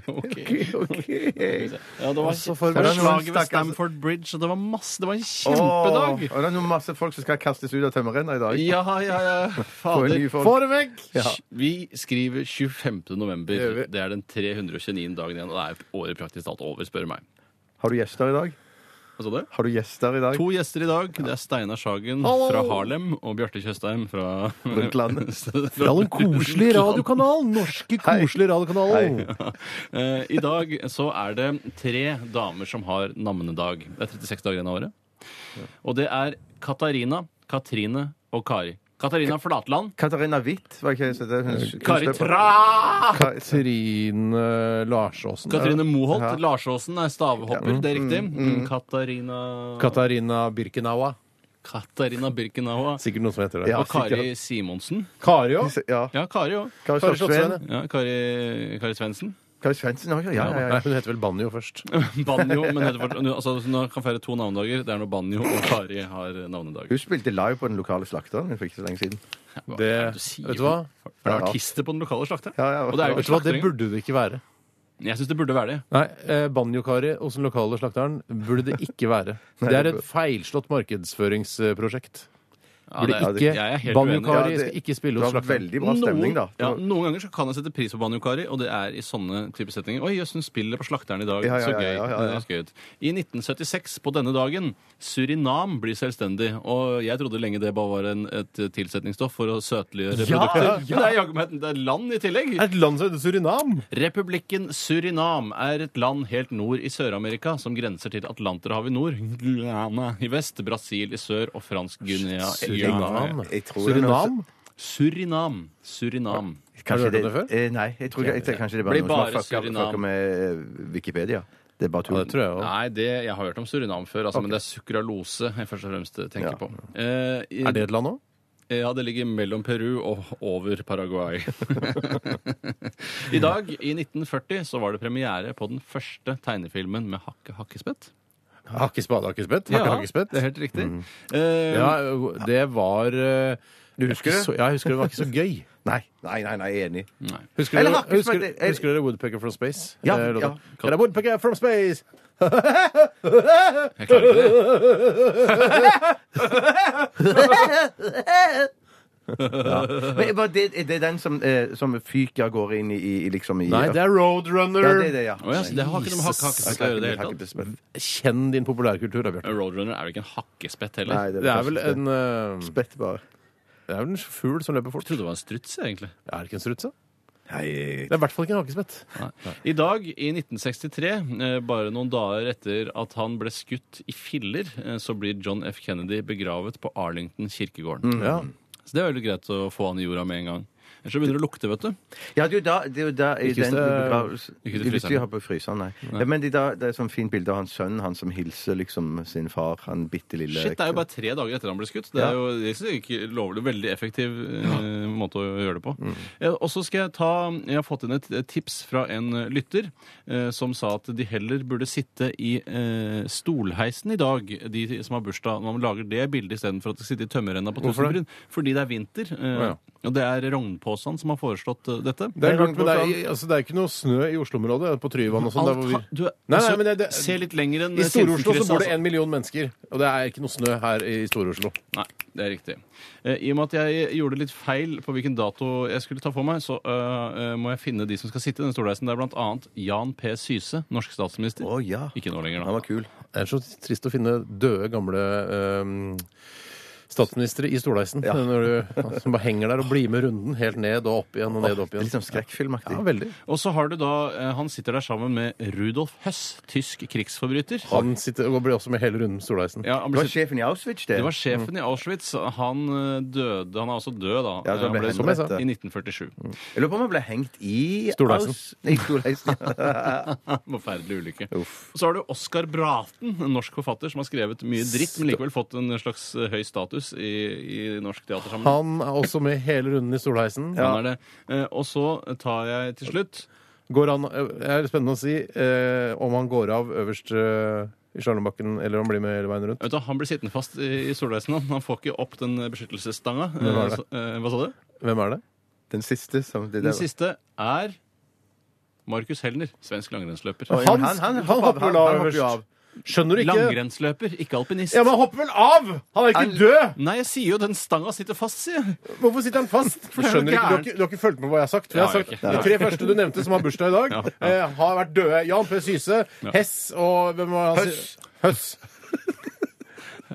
S4: Okay.
S5: Ja, det var,
S3: Altså, for
S5: det var
S4: meg-
S5: slaget ved
S4: Stakkars-
S5: Stamford Bridge, og det var masse Det var en
S4: Åh,
S5: kjempedag!
S4: og det er noe masse folk som skal kastes ut av tømmerrenna i dag.
S5: Ja, ja, ja.
S4: Få en
S5: Fader.
S4: ny folk.
S3: Få det vekk!
S4: Ja.
S5: Vi skriver 25. november.
S3: gjør vi.
S5: Det er den 329. dagen igjen, og det er året praktisk talt over, spør du meg.
S4: Har du gjester i dag?
S5: Hva sa du?
S4: Har du gjester i dag?
S5: To gjester i dag. Det er Steinar Sagen
S3: Hallo!
S5: fra Harlem og Bjarte Tjøstheim fra
S4: Brundtland.
S5: fra
S3: Fra den koselige radiokanalen! Norske koselige radiokanalen!
S5: Eh, I dag så er det tre damer som har navnedag. Det er 36 dager igjen av året. Og det er Katarina, Katrine og Kari. Katarina Flatland.
S4: Katarina Witt, var ikke det som het? Hun-
S5: Kari
S4: kunstner-
S5: Tra!
S4: Ka-
S3: Trine Larsåsen.
S5: Katrine Moholt.
S4: Ja. Mm,
S5: Larsåsen er stavehopper, det er riktig. Mm, Katarina
S3: Katarina Birkenaua.
S5: Katarina Birkenaua.
S3: Sikkert noen som heter det.
S4: Ja.
S5: Og Kari Simonsen.
S3: Kari òg.
S4: Ja.
S5: Ja, Kari òg.
S4: Kari
S3: Kari
S4: Slottsveen.
S3: Slottsveen.
S5: Ja, Kari, Kari Svendsen.
S4: Kari Svendsen òg, ja. ja,
S3: Nei,
S4: ja.
S3: hun heter vel Banjo først.
S5: Banjo. Men heter fort- altså, nå kan feire to navnedager. Det er når Banjo og Kari har navnedag.
S4: Hun spilte live på den lokale slakteren for ikke så lenge siden.
S5: Hva
S3: Det,
S5: er det du sier?
S3: vet du hva?
S5: Er det
S4: Ja.
S5: artister på den lokale slakteren?
S4: Ja, ja.
S5: Og det er jo
S3: Vet
S5: ikke
S3: du hva? Det
S5: slaktering.
S3: burde det ikke være.
S5: Jeg syns det burde være det.
S3: Nei, eh, Banjo-Kari hos den lokale slakteren burde det ikke være. Det er et feilslått markedsføringsprosjekt. Burde
S5: Ja, det-
S3: ikke
S5: jeg er helt uenig.
S4: Ja,
S3: Banjo-Kari
S4: det-
S3: skal ikke spille
S4: Det
S3: hos
S4: var
S3: slakteren.
S4: veldig bra stemning, da.
S5: Noen, ja, noen ganger så kan jeg sette pris på Banjo Kari, og det er i sånne type settinger. Oi, jøss, hun spiller på Slakteren i dag.
S4: Ja, ja,
S5: så
S4: ja,
S5: gøy.
S4: ja, ja, ja.
S5: Det høres gøy ut. I 1976, på denne dagen, Surinam blir selvstendig. Og jeg trodde lenge det bare var en, et tilsetningsstoff for å søtliggjøre
S3: Ja,
S5: produkter.
S3: ja.
S5: Men Det er jaggu meg et- det er land i tillegg.
S3: Et land som heter Surinam!
S5: Republikken Surinam er et land helt nord i Sør-Amerika som grenser til Atlanterhavet i nord, Guyana i vest, Brasil i sør og Fransk Guinea
S3: Surinam?
S4: Jeg tror det er noe-
S3: Surinam?
S5: Surinam. Surinam.
S3: Har du hørt om det før?
S4: Eh, Nei, jeg tror, jeg, jeg, kanskje det er
S5: Blir
S4: bare noen som
S5: bare
S4: har fucka-
S5: Surinam.
S4: fucka med eh, Wikipedia. Det er bare
S3: Ja,
S4: tull.
S3: det tror jeg òg.
S5: Nei, det, jeg har hørt om Surinam før, altså, men det er sukralose jeg først og fremst tenker
S4: Ja.
S5: på. Eh, i-
S3: Er det et land òg?
S5: Ja, det ligger mellom Peru og over Paraguay. I dag, i 1940, så var det premiere på den første tegnefilmen med hakke hakkespett.
S3: Hakke spade, hakke spett? Hakke, hakke spett?
S5: det er helt riktig. Eh,
S3: Ja, det var eh,
S4: Du husker det?
S3: Så, ja, jeg husker det var ikke så gøy.
S4: Nei, nei, nei, nei, jeg er enig.
S5: nei.
S3: Husker
S4: Eller
S3: dere,
S4: hakke
S3: husker,
S4: spett, eller-
S3: husker dere Woodpecker from Space?
S4: Ja,
S3: Eh, låta?
S4: ja.
S3: Get a Woodpecker from Space!
S5: Jeg klarer ikke det.
S4: Men var det, er det den som, eh, som fyker av gårde inn i, i liksom i
S3: Nei, det er Roadrunner!
S4: ja, det, er det, ja.
S5: Å ja, så det har ikke noe med hak- hakkespett å gjøre. i det hele tatt.
S4: Hakkespett.
S3: Kjenn din populærkultur, da, Bjørn.
S5: Roadrunner er vel ikke en hakkespett
S4: Nei,
S5: heller?
S4: det
S3: Det er vel en, eh,
S4: Spett bare.
S3: det er vel en fugl som løper fort.
S5: Jeg trodde det var en struts, jeg, egentlig.
S3: Er det ikke en struts, da?
S4: Nei,
S3: Det er i hvert fall ikke en hakespett.
S5: I dag, i 1963, eh, bare noen dager etter at han ble skutt i filler, eh, så blir John F. Kennedy begravet på Arlington kirkegården.
S3: Ja.
S5: Så det er veldig greit å få han i jorda med en gang. Ellers så begynner det å lukte, vet du.
S4: Ja, det er jo da, det er jo da i
S3: Ikke hvis
S4: den
S3: det er-
S4: begravelsen
S5: Ikke til
S4: Hvis
S5: fryseren.
S4: de har på fryseren, nei. Ja, men de da, det er et sånt fint bilde av hans sønn, han som hilser liksom sin far, han bitte lille
S5: Shit, det er jo bare tre dager etter han ble skutt. Det
S4: Ja.
S5: er jo jeg synes ikke lover det veldig effektiv eh, måte å gjøre det på.
S3: Mm.
S5: Eh, og så skal jeg ta Jeg har fått inn et et tips fra en eh, lytter eh, som sa at de heller burde sitte i eh, stolheisen i dag, de som har bursdag. Man lager det bildet istedenfor at de sitter i tømmerrenna på
S3: Hvorfor
S5: Tusenbryn. Fordi det er vinter.
S3: Å,
S5: eh,
S3: ja.
S5: Og det er Rognpåsan som har foreslått eh, dette.
S3: Det er rart, men det er, altså, det er ikke noe snø i Oslo-området, på Tryvann og sånn. der
S5: Alt
S3: hvor
S5: ha,
S3: vi-
S5: du,
S3: Nei, nei,
S5: altså,
S3: men det- det-
S5: se litt lenger enn
S3: I Stor-Oslo så
S5: Sinsenkrysset,
S3: bor det
S5: altså.
S3: en million mennesker, og det er ikke noe snø her i Stor-Oslo.
S5: Nei, det er riktig. Eh, I og med at jeg gjorde litt feil på hvilken dato jeg skulle ta for meg, så eh, eh, må jeg finne de som skal sitte i den stolreisen. Det er blant annet Jan P. Syse, norsk statsminister.
S4: Å ja.
S5: Ikke nå lenger,
S4: Han
S5: da.
S4: var kul.
S3: Det er så trist å finne døde, gamle ehm, statsministre i stolheisen. Når du, som bare henger der og blir med runden helt ned og opp igjen og ned og opp
S4: Det er litt
S3: igjen.
S4: sånn skrekkfilmaktig.
S3: Ja, veldig.
S5: Og så har du da eh, Han sitter der sammen med Rudolf Høss, tysk krigsforbryter.
S3: Han sitter og blir også med hele runden med stolheisen.
S5: Ja, han
S4: Det
S5: ble
S4: var
S5: sitt-
S4: sjefen i Auschwitz, det.
S5: det var sjefen i Auschwitz. Han eh, døde Han er også død, da.
S4: Ja, så han ble
S5: som
S4: henrettet.
S5: i 1947.
S4: Jeg lurer på om han ble hengt i
S3: Storleisen.
S4: Aus- I Storleisen.
S5: Forferdelig ulykke. Og Så har du Oskar Braten, en norsk forfatter som har skrevet mye dritt, men likevel fått en slags eh, høy status i, i norsk teatersammenheng.
S3: Han er også med hele runden i stolheisen.
S5: Han er det. Eh, Og så tar jeg til slutt
S3: Går han, det er spennende å si eh, om han går av øverst eh, i Sjarlombakken, eller om han blir med hele veien rundt.
S5: Vet du, Han blir sittende fast i i solreisen. Han Han får ikke opp den beskyttelsesstanga. Eh,
S3: var det?
S5: så- eh, Hva sa du?
S3: Hvem er det?
S4: Den siste som det der
S5: Den
S4: var.
S5: siste er Markus Helner, svensk langrennsløper.
S4: Å, ja, men han- han-
S3: han hopper vel av
S4: han hopper jo
S3: øverst.
S4: av.
S3: Skjønner du ikke?
S5: Langrennsløper, ikke alpinist.
S3: Ja, Men han hopper vel av! Han er ikke
S4: Han-
S3: død!
S5: Nei, jeg sier jo den stanga sitter fast, sier jeg.
S3: Hvorfor sitter han fast?
S5: det
S3: Skjønner
S5: er jo
S3: ikke, du, har
S5: gærent.
S3: ikke, du har ikke fulgt med på hva jeg har sagt. For jeg har
S5: Nei,
S3: sagt
S5: jeg har
S3: De tre første du nevnte som har bursdag i dag, eh, har vært døde. Jan P. Syse, Hess og hvem var han?
S4: Høss.
S3: Høss.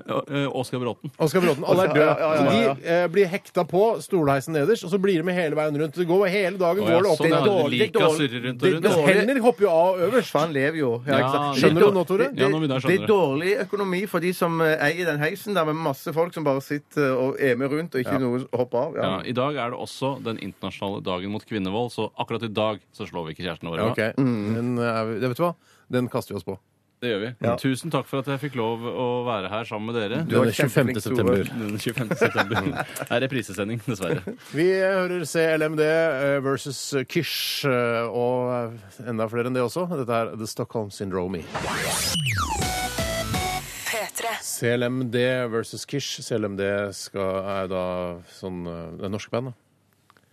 S5: Eh, Oskar Bråten.
S3: Oskar Bråten. Alle er døde.
S4: Ja, ja, ja, ja, ja.
S3: Så de eh, blir hekta på stolheisen nederst, og så blir de med hele veien rundt. Det går hele dagen
S5: Å, ja,
S3: går det opp
S5: sånn,
S3: i
S5: ja.
S3: dårlig-
S5: Lika surrer rundt og
S4: det-
S5: rundt.
S4: det-
S3: Men Hender hopper jo av øverst.
S4: Øverst, for han lever jo. Ja, ikke sant?
S5: Ja,
S3: Skjønner
S4: Det-
S3: du nå, Tore?
S4: det-
S5: Ja, nå begynner jeg å skjønne
S4: Det er dårlig økonomi for de som eh, eier den heisen der med masse folk som bare sitter eh, og er med rundt og ikke noe hopper av.
S5: Ja, I dag er det også den internasjonale dagen mot kvinnevold, så akkurat i dag så slår vi ikke kjærestene våre.
S3: Ok, men eh, vi- vet du hva? Den kaster vi oss på.
S5: Det gjør vi. Tusen takk for at jeg fikk lov å være her sammen med dere.
S4: var kjempeflink, Tore.
S5: Den 25. september. Det er reprisesending, dessverre.
S3: Vi hører CLMD eh, versus Kish, eh, og enda flere enn det også. Dette er The Stockholm Syndrome.
S6: P3.
S3: CLMD versus Kish. CLMD skal, er da sånn eh, Det er norsk band, da.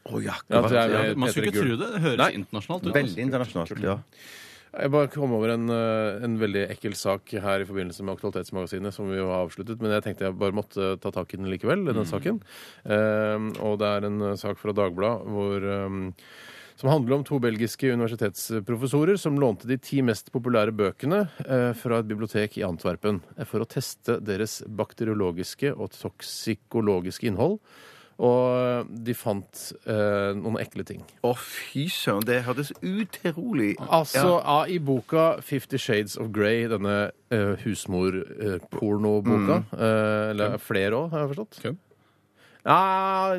S4: Å, ja,
S3: Ja, det er-
S5: Ja, Man skulle ikke
S3: Peter Gull.
S5: tro det. Det høres
S3: Nei.
S5: internasjonalt ut.
S4: Veldig internasjonalt. ja.
S3: Jeg bare kom over en, eh, en veldig ekkel sak her i forbindelse med Aktualitetsmagasinet, som vi jo har avsluttet, men jeg tenkte jeg bare måtte eh, ta tak i den likevel, den saken. Eh, og det er en eh, sak fra Dagbladet hvor eh, som handler om to belgiske universitetsprofessorer som lånte de ti mest populære bøkene eh, fra et bibliotek i Antwerpen eh, for å teste deres bakteriologiske og toksikologiske innhold. Og eh, de fant eh, noen ekle ting.
S4: Å, fy søren. Det hørtes utrolig
S3: Altså, ja. i boka 'Fifty Shades of Grey', denne uh, husmorpornoboka eh, Eller flere òg, har jeg forstått.
S5: Hvem?
S3: Ja,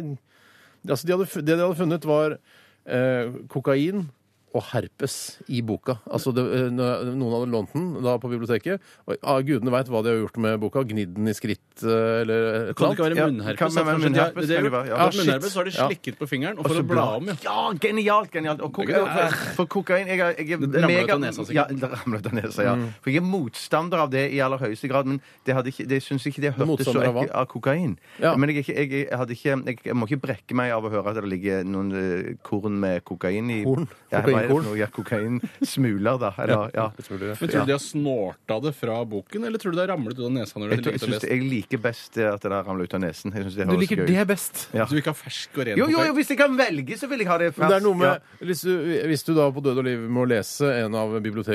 S3: altså, de hadde, fu- det de hadde funnet, var eh, kokain og herpes i boka. Altså, det, eh, når noen hadde lånt den da på biblioteket. Og ah, gudene veit hva de har gjort med boka. Gnidd den i skritt eh, eller et
S5: Kan det
S3: eller
S5: ikke
S3: annet.
S5: være
S4: Ja, kan
S5: munnherpes?
S4: det være
S5: Det er-
S4: munnherpes,
S5: det er
S4: kan
S5: jo-
S4: det være, ja.
S5: Ja,
S3: shit.
S5: munnherpes så har de
S3: Ja.
S5: slikket på fingeren, og for å bla om, ja.
S4: Ja, genialt! genialt. Og koka, for, for kokain jeg, er- jeg, er
S5: Det ramler
S4: mega-
S5: ut av nesa,
S4: Ja,
S5: sikkert.
S4: det ramler ut av nesa, ja.
S3: Mm.
S4: For jeg er motstander av det i aller høyeste grad, men det, hadde ikke, det syns ikke det hørtes så
S3: Motstander av hva?
S4: ekkelt av kokain.
S3: Ja.
S4: Men jeg, er ikke- jeg, jeg, hadde ikke, jeg, jeg må ikke brekke meg av å høre at det ligger noen eh, korn med kokain i
S3: Korn?
S4: Ja,
S3: Kokain-
S4: hva er det for noe? Ja, kokain. Smuler, da. Eller, ja.
S5: Men Tror du de har snorta det fra boken, eller tror du det har ramlet ut av nesa? når
S4: Jeg,
S5: de
S4: tror, jeg,
S5: liker det
S4: synes,
S5: best?
S4: jeg liker best at det der ramler ut av nesen. Jeg synes det
S3: Du
S4: høres
S3: liker
S4: gøy
S3: det
S4: ut.
S3: best.
S4: Ja.
S5: Du vil ikke ha fersk og ren
S4: Jo, jo, jo,
S5: potet?
S4: hvis jeg kan velge, så vil jeg ha det
S3: Men
S4: først.
S3: det er noe med, hvis du, hvis du da på død og liv må lese en av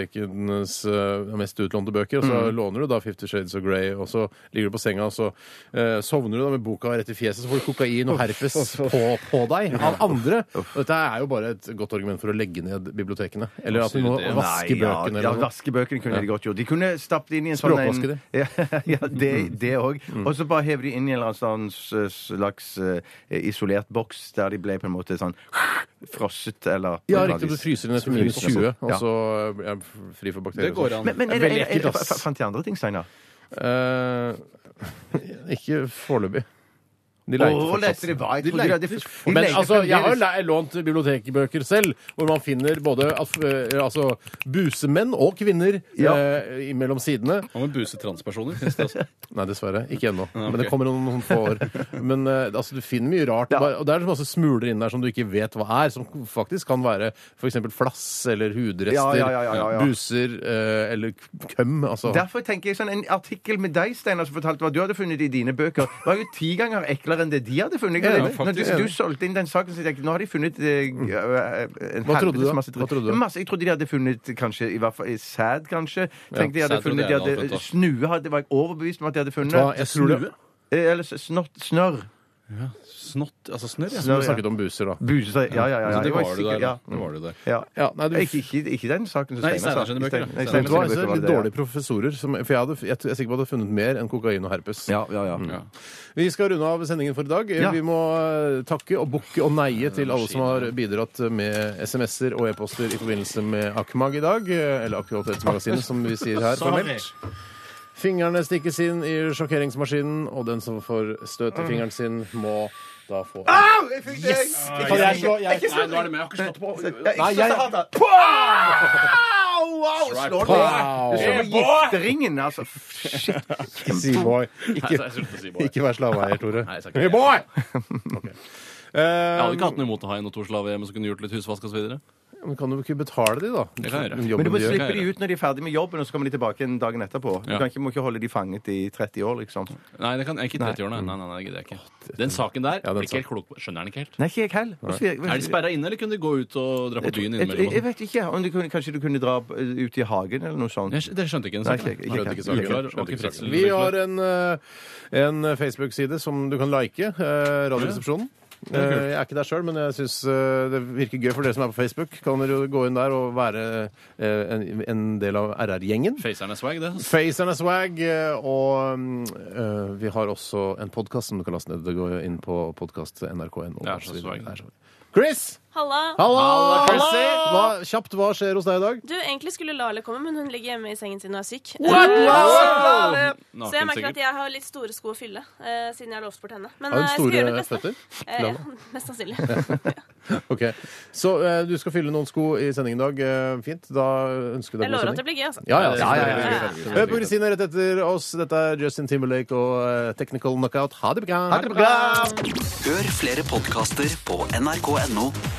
S3: bibliotekenes eh, mest utlånte bøker, og så låner du da Fifty Shades of Grey, og så ligger du på senga, og så eh, sovner du da med boka rett i fjeset, så får du kokain og herpes på, på deg av andre. Og dette er jo bare et godt argument for å legge ned bibliotekene. Eller at du må
S5: Absolutt, ja.
S3: vaske bøkene
S4: Ja,
S3: eller
S4: ja
S3: noe.
S4: vaske bøkene kunne de godt gjort. De kunne stappet inn i en sånn
S3: Språkvaske de. Mm.
S4: en- Ja, ja, det- det òg. Og så bare hever de inn i en eller annen sånn s- slags eh, isolert boks der de ble på en måte sånn frosset eller
S3: Ja,
S4: på en
S3: riktig. Du
S4: vis.
S3: fryser den ned til
S4: Så
S3: minus
S4: fryser
S3: 20,
S4: den opp.
S3: og
S4: Ja.
S3: så eh, er jeg fri for bakterier. sånn.
S5: Det går an.
S4: Men, men
S3: Det
S4: er
S3: er
S4: det,
S3: veldig
S4: er,
S3: ekkelt,
S4: er,
S3: ass.
S4: fant de andre ting, Steinar?
S3: Eh, ikke foreløpig. De
S4: Å,
S3: leiter fortsatt.
S4: leste de bare? Jeg
S5: De
S4: trodde
S5: leter
S4: de- de
S3: Men
S4: leter
S3: altså, jeg har jo
S4: fremdeles.
S3: læ- lånt bibliotekbøker selv, hvor man finner både at, eh, altså, busemenn og kvinner
S4: Ja.
S3: eh, i- mellom sidene.
S5: Hva med buse transpersoner? Finnes det også?
S3: Nei, dessverre. Ikke ennå. Men
S5: ok.
S3: det kommer om noen få år. Men eh, altså, du finner mye rart.
S4: Ja.
S3: Bare- Og det er så masse smuler inni der som du ikke vet hva er, som faktisk kan være f.eks. flass eller hudrester,
S4: Ja, ja, ja, ja, ja.
S3: buser eh, eller køm. Altså.
S4: Derfor tenker jeg sånn, En artikkel med deg, Steinar, som fortalte hva du hadde funnet i dine bøker, var jo ti ganger eklere enn det de hadde funnet.
S3: Ja,
S4: Når
S5: faktisk.
S4: du, du solgte inn den saken, så tenkte jeg nå har de funnet eh, en
S3: Hva trodde du
S4: helvetes
S3: da?
S4: masse dritt.
S3: Hva trodde du?
S4: Masse, jeg trodde de hadde funnet kanskje, i hvert fall i sæd, kanskje. Tenkte de hadde
S5: sæd trodde
S4: funnet,
S5: jeg
S4: de
S5: hadde funnet, da.
S4: hadde, Snue hadde, var jeg overbevist om at de hadde funnet.
S3: Hva, jeg tror det-
S5: Snue?
S4: Eh, Eller s- snott, snørr.
S5: Snott? Altså snørr? Ja.
S3: Når
S4: Snørr,
S3: vi
S4: ja.
S3: snakket om buser, da.
S4: Buse seg. Ja, ja, ja. ja.
S5: Så det
S4: Jeg var
S5: var du
S4: sikker-
S5: der. da.
S4: ja.
S5: Det var du der.
S4: Ja.
S3: Ja, nei, du,
S4: Ikke, ikke, ikke den saken som Steinar
S5: Nei, Steinar
S4: sa.
S5: sine bøker,
S4: Stein- nei,
S5: ja.
S3: Vet
S4: Steinar
S3: du hva,
S4: sine
S3: jeg
S4: bøker
S3: ser
S4: var
S3: litt
S4: det, ja.
S3: dårlige professorer. Som, for jeg, hadde, jeg, er sikker på at jeg hadde funnet mer enn kokain og herpes.
S4: Ja, ja, ja.
S5: Ja.
S3: Vi skal runde av sendingen for i dag.
S4: Ja.
S3: Vi må eh, takke og bukke og neie til alle som har bidratt med SMS-er og e-poster i forbindelse med Akmag i dag. eh, Eller Aktualitetsmagasinet, som vi sier her formelt. Fingrene stikkes inn i sjokkeringsmaskinen, og den som får støt i fingeren sin, må da få
S4: Au! Jeg fikk det!
S3: Kan jeg slå? Jeg-
S5: Nei, nå er det med. Jeg har ikke slått på.
S4: Nei, jeg Pow! Wow! Slår du
S3: Pow!
S4: Du slår på gifteringen, altså. Shit.
S3: Seaboy.
S5: Nei, så
S3: Ikke,
S5: jeg slutter å si boy.
S3: ikke vær slaveeier, Tore.
S5: Nei, jeg sa ikke det.
S3: Hey, boy! Ok. Eh,
S5: Jeg hadde ikke hatt noe imot å ha en og to slaver hjemme som kunne gjort litt husvask osv.
S3: Men kan du ikke betale de, da?
S5: Det kan jeg gjøre.
S3: Den jobben
S4: Men du må
S3: de gjør.
S4: slippe de ut når de er ferdig med jobben, og så kommer de tilbake en dagen etterpå. Du
S5: Ja.
S4: kan ikke, må ikke holde de fanget i 30 år, liksom.
S5: Nei, det kan jeg ikke i 30 årene. Nei, nei, nei, det gidder jeg ikke. Den saken der
S3: Ja, den
S5: blir ikke helt klok på. Skjønner den ikke helt.
S4: Nei, ikke jeg heller. Hvorfor-
S5: Er de sperra inne, eller kunne de gå ut og dra på
S4: Jeg,
S5: byen
S4: jeg, jeg
S5: innimellom?
S4: vet ikke. Om du kunne, kanskje du kunne dra eh, ut i hagen eller noe sånt?
S5: Jeg skj- Dere skjønte ikke den
S4: Nei, ikke-
S5: saken?
S4: ikke- ikke-
S3: Skjønte ikke saken.
S5: Uklar, var
S3: Skjønte
S5: ikke
S3: ikke saken.
S5: pretzel-
S3: Vi har en, eh, en Facebook-side som du kan like. eh, Radioresepsjonen. Eh, Jeg er ikke der sjøl, men jeg syns eh, det virker gøy for dere som er på Facebook. Kan dere jo gå inn der og være eh, en, en del av RR-gjengen.
S5: Faceren er swag, det. ass.
S3: Facerne swag, eh, og mm, eh, vi har også en podkast som du kan laste ned. Det går inn på podkast nrk.no.
S5: Det er så swag.
S3: Chris!
S6: Halla.
S3: Hallo!
S5: Halla, Chrissy!
S3: Hva, kjapt, hva skjer hos deg i dag?
S6: Du, egentlig skulle Lale komme, men hun ligger hjemme i sengen sin og er syk. Eh, Så jeg
S5: Naken,
S6: merker at
S5: sikkert.
S6: jeg har litt store sko å fylle, eh, siden jeg har lovt bort henne. Men
S3: Har
S6: eh,
S3: hun
S6: jeg skal gjøre
S3: store
S6: mitt beste.
S3: føtter?
S6: Eh, ja, mest sannsynlig.
S3: Ok, Så eh, du skal fylle noen sko i sending i dag. Eh, fint. Da ønsker vi deg god
S6: Jeg lover
S3: sending.
S6: at det blir gøy, altså.
S3: Ja, ja,
S5: Ja, ja,
S3: selvfølgelig.
S5: ja, ja.
S3: Hør på Kristine rett etter oss. Dette er Justin Timberlake og eh, Technical Knockout. Ha det bra!
S4: Ha det bra!
S2: Hør flere podkaster på nrk.no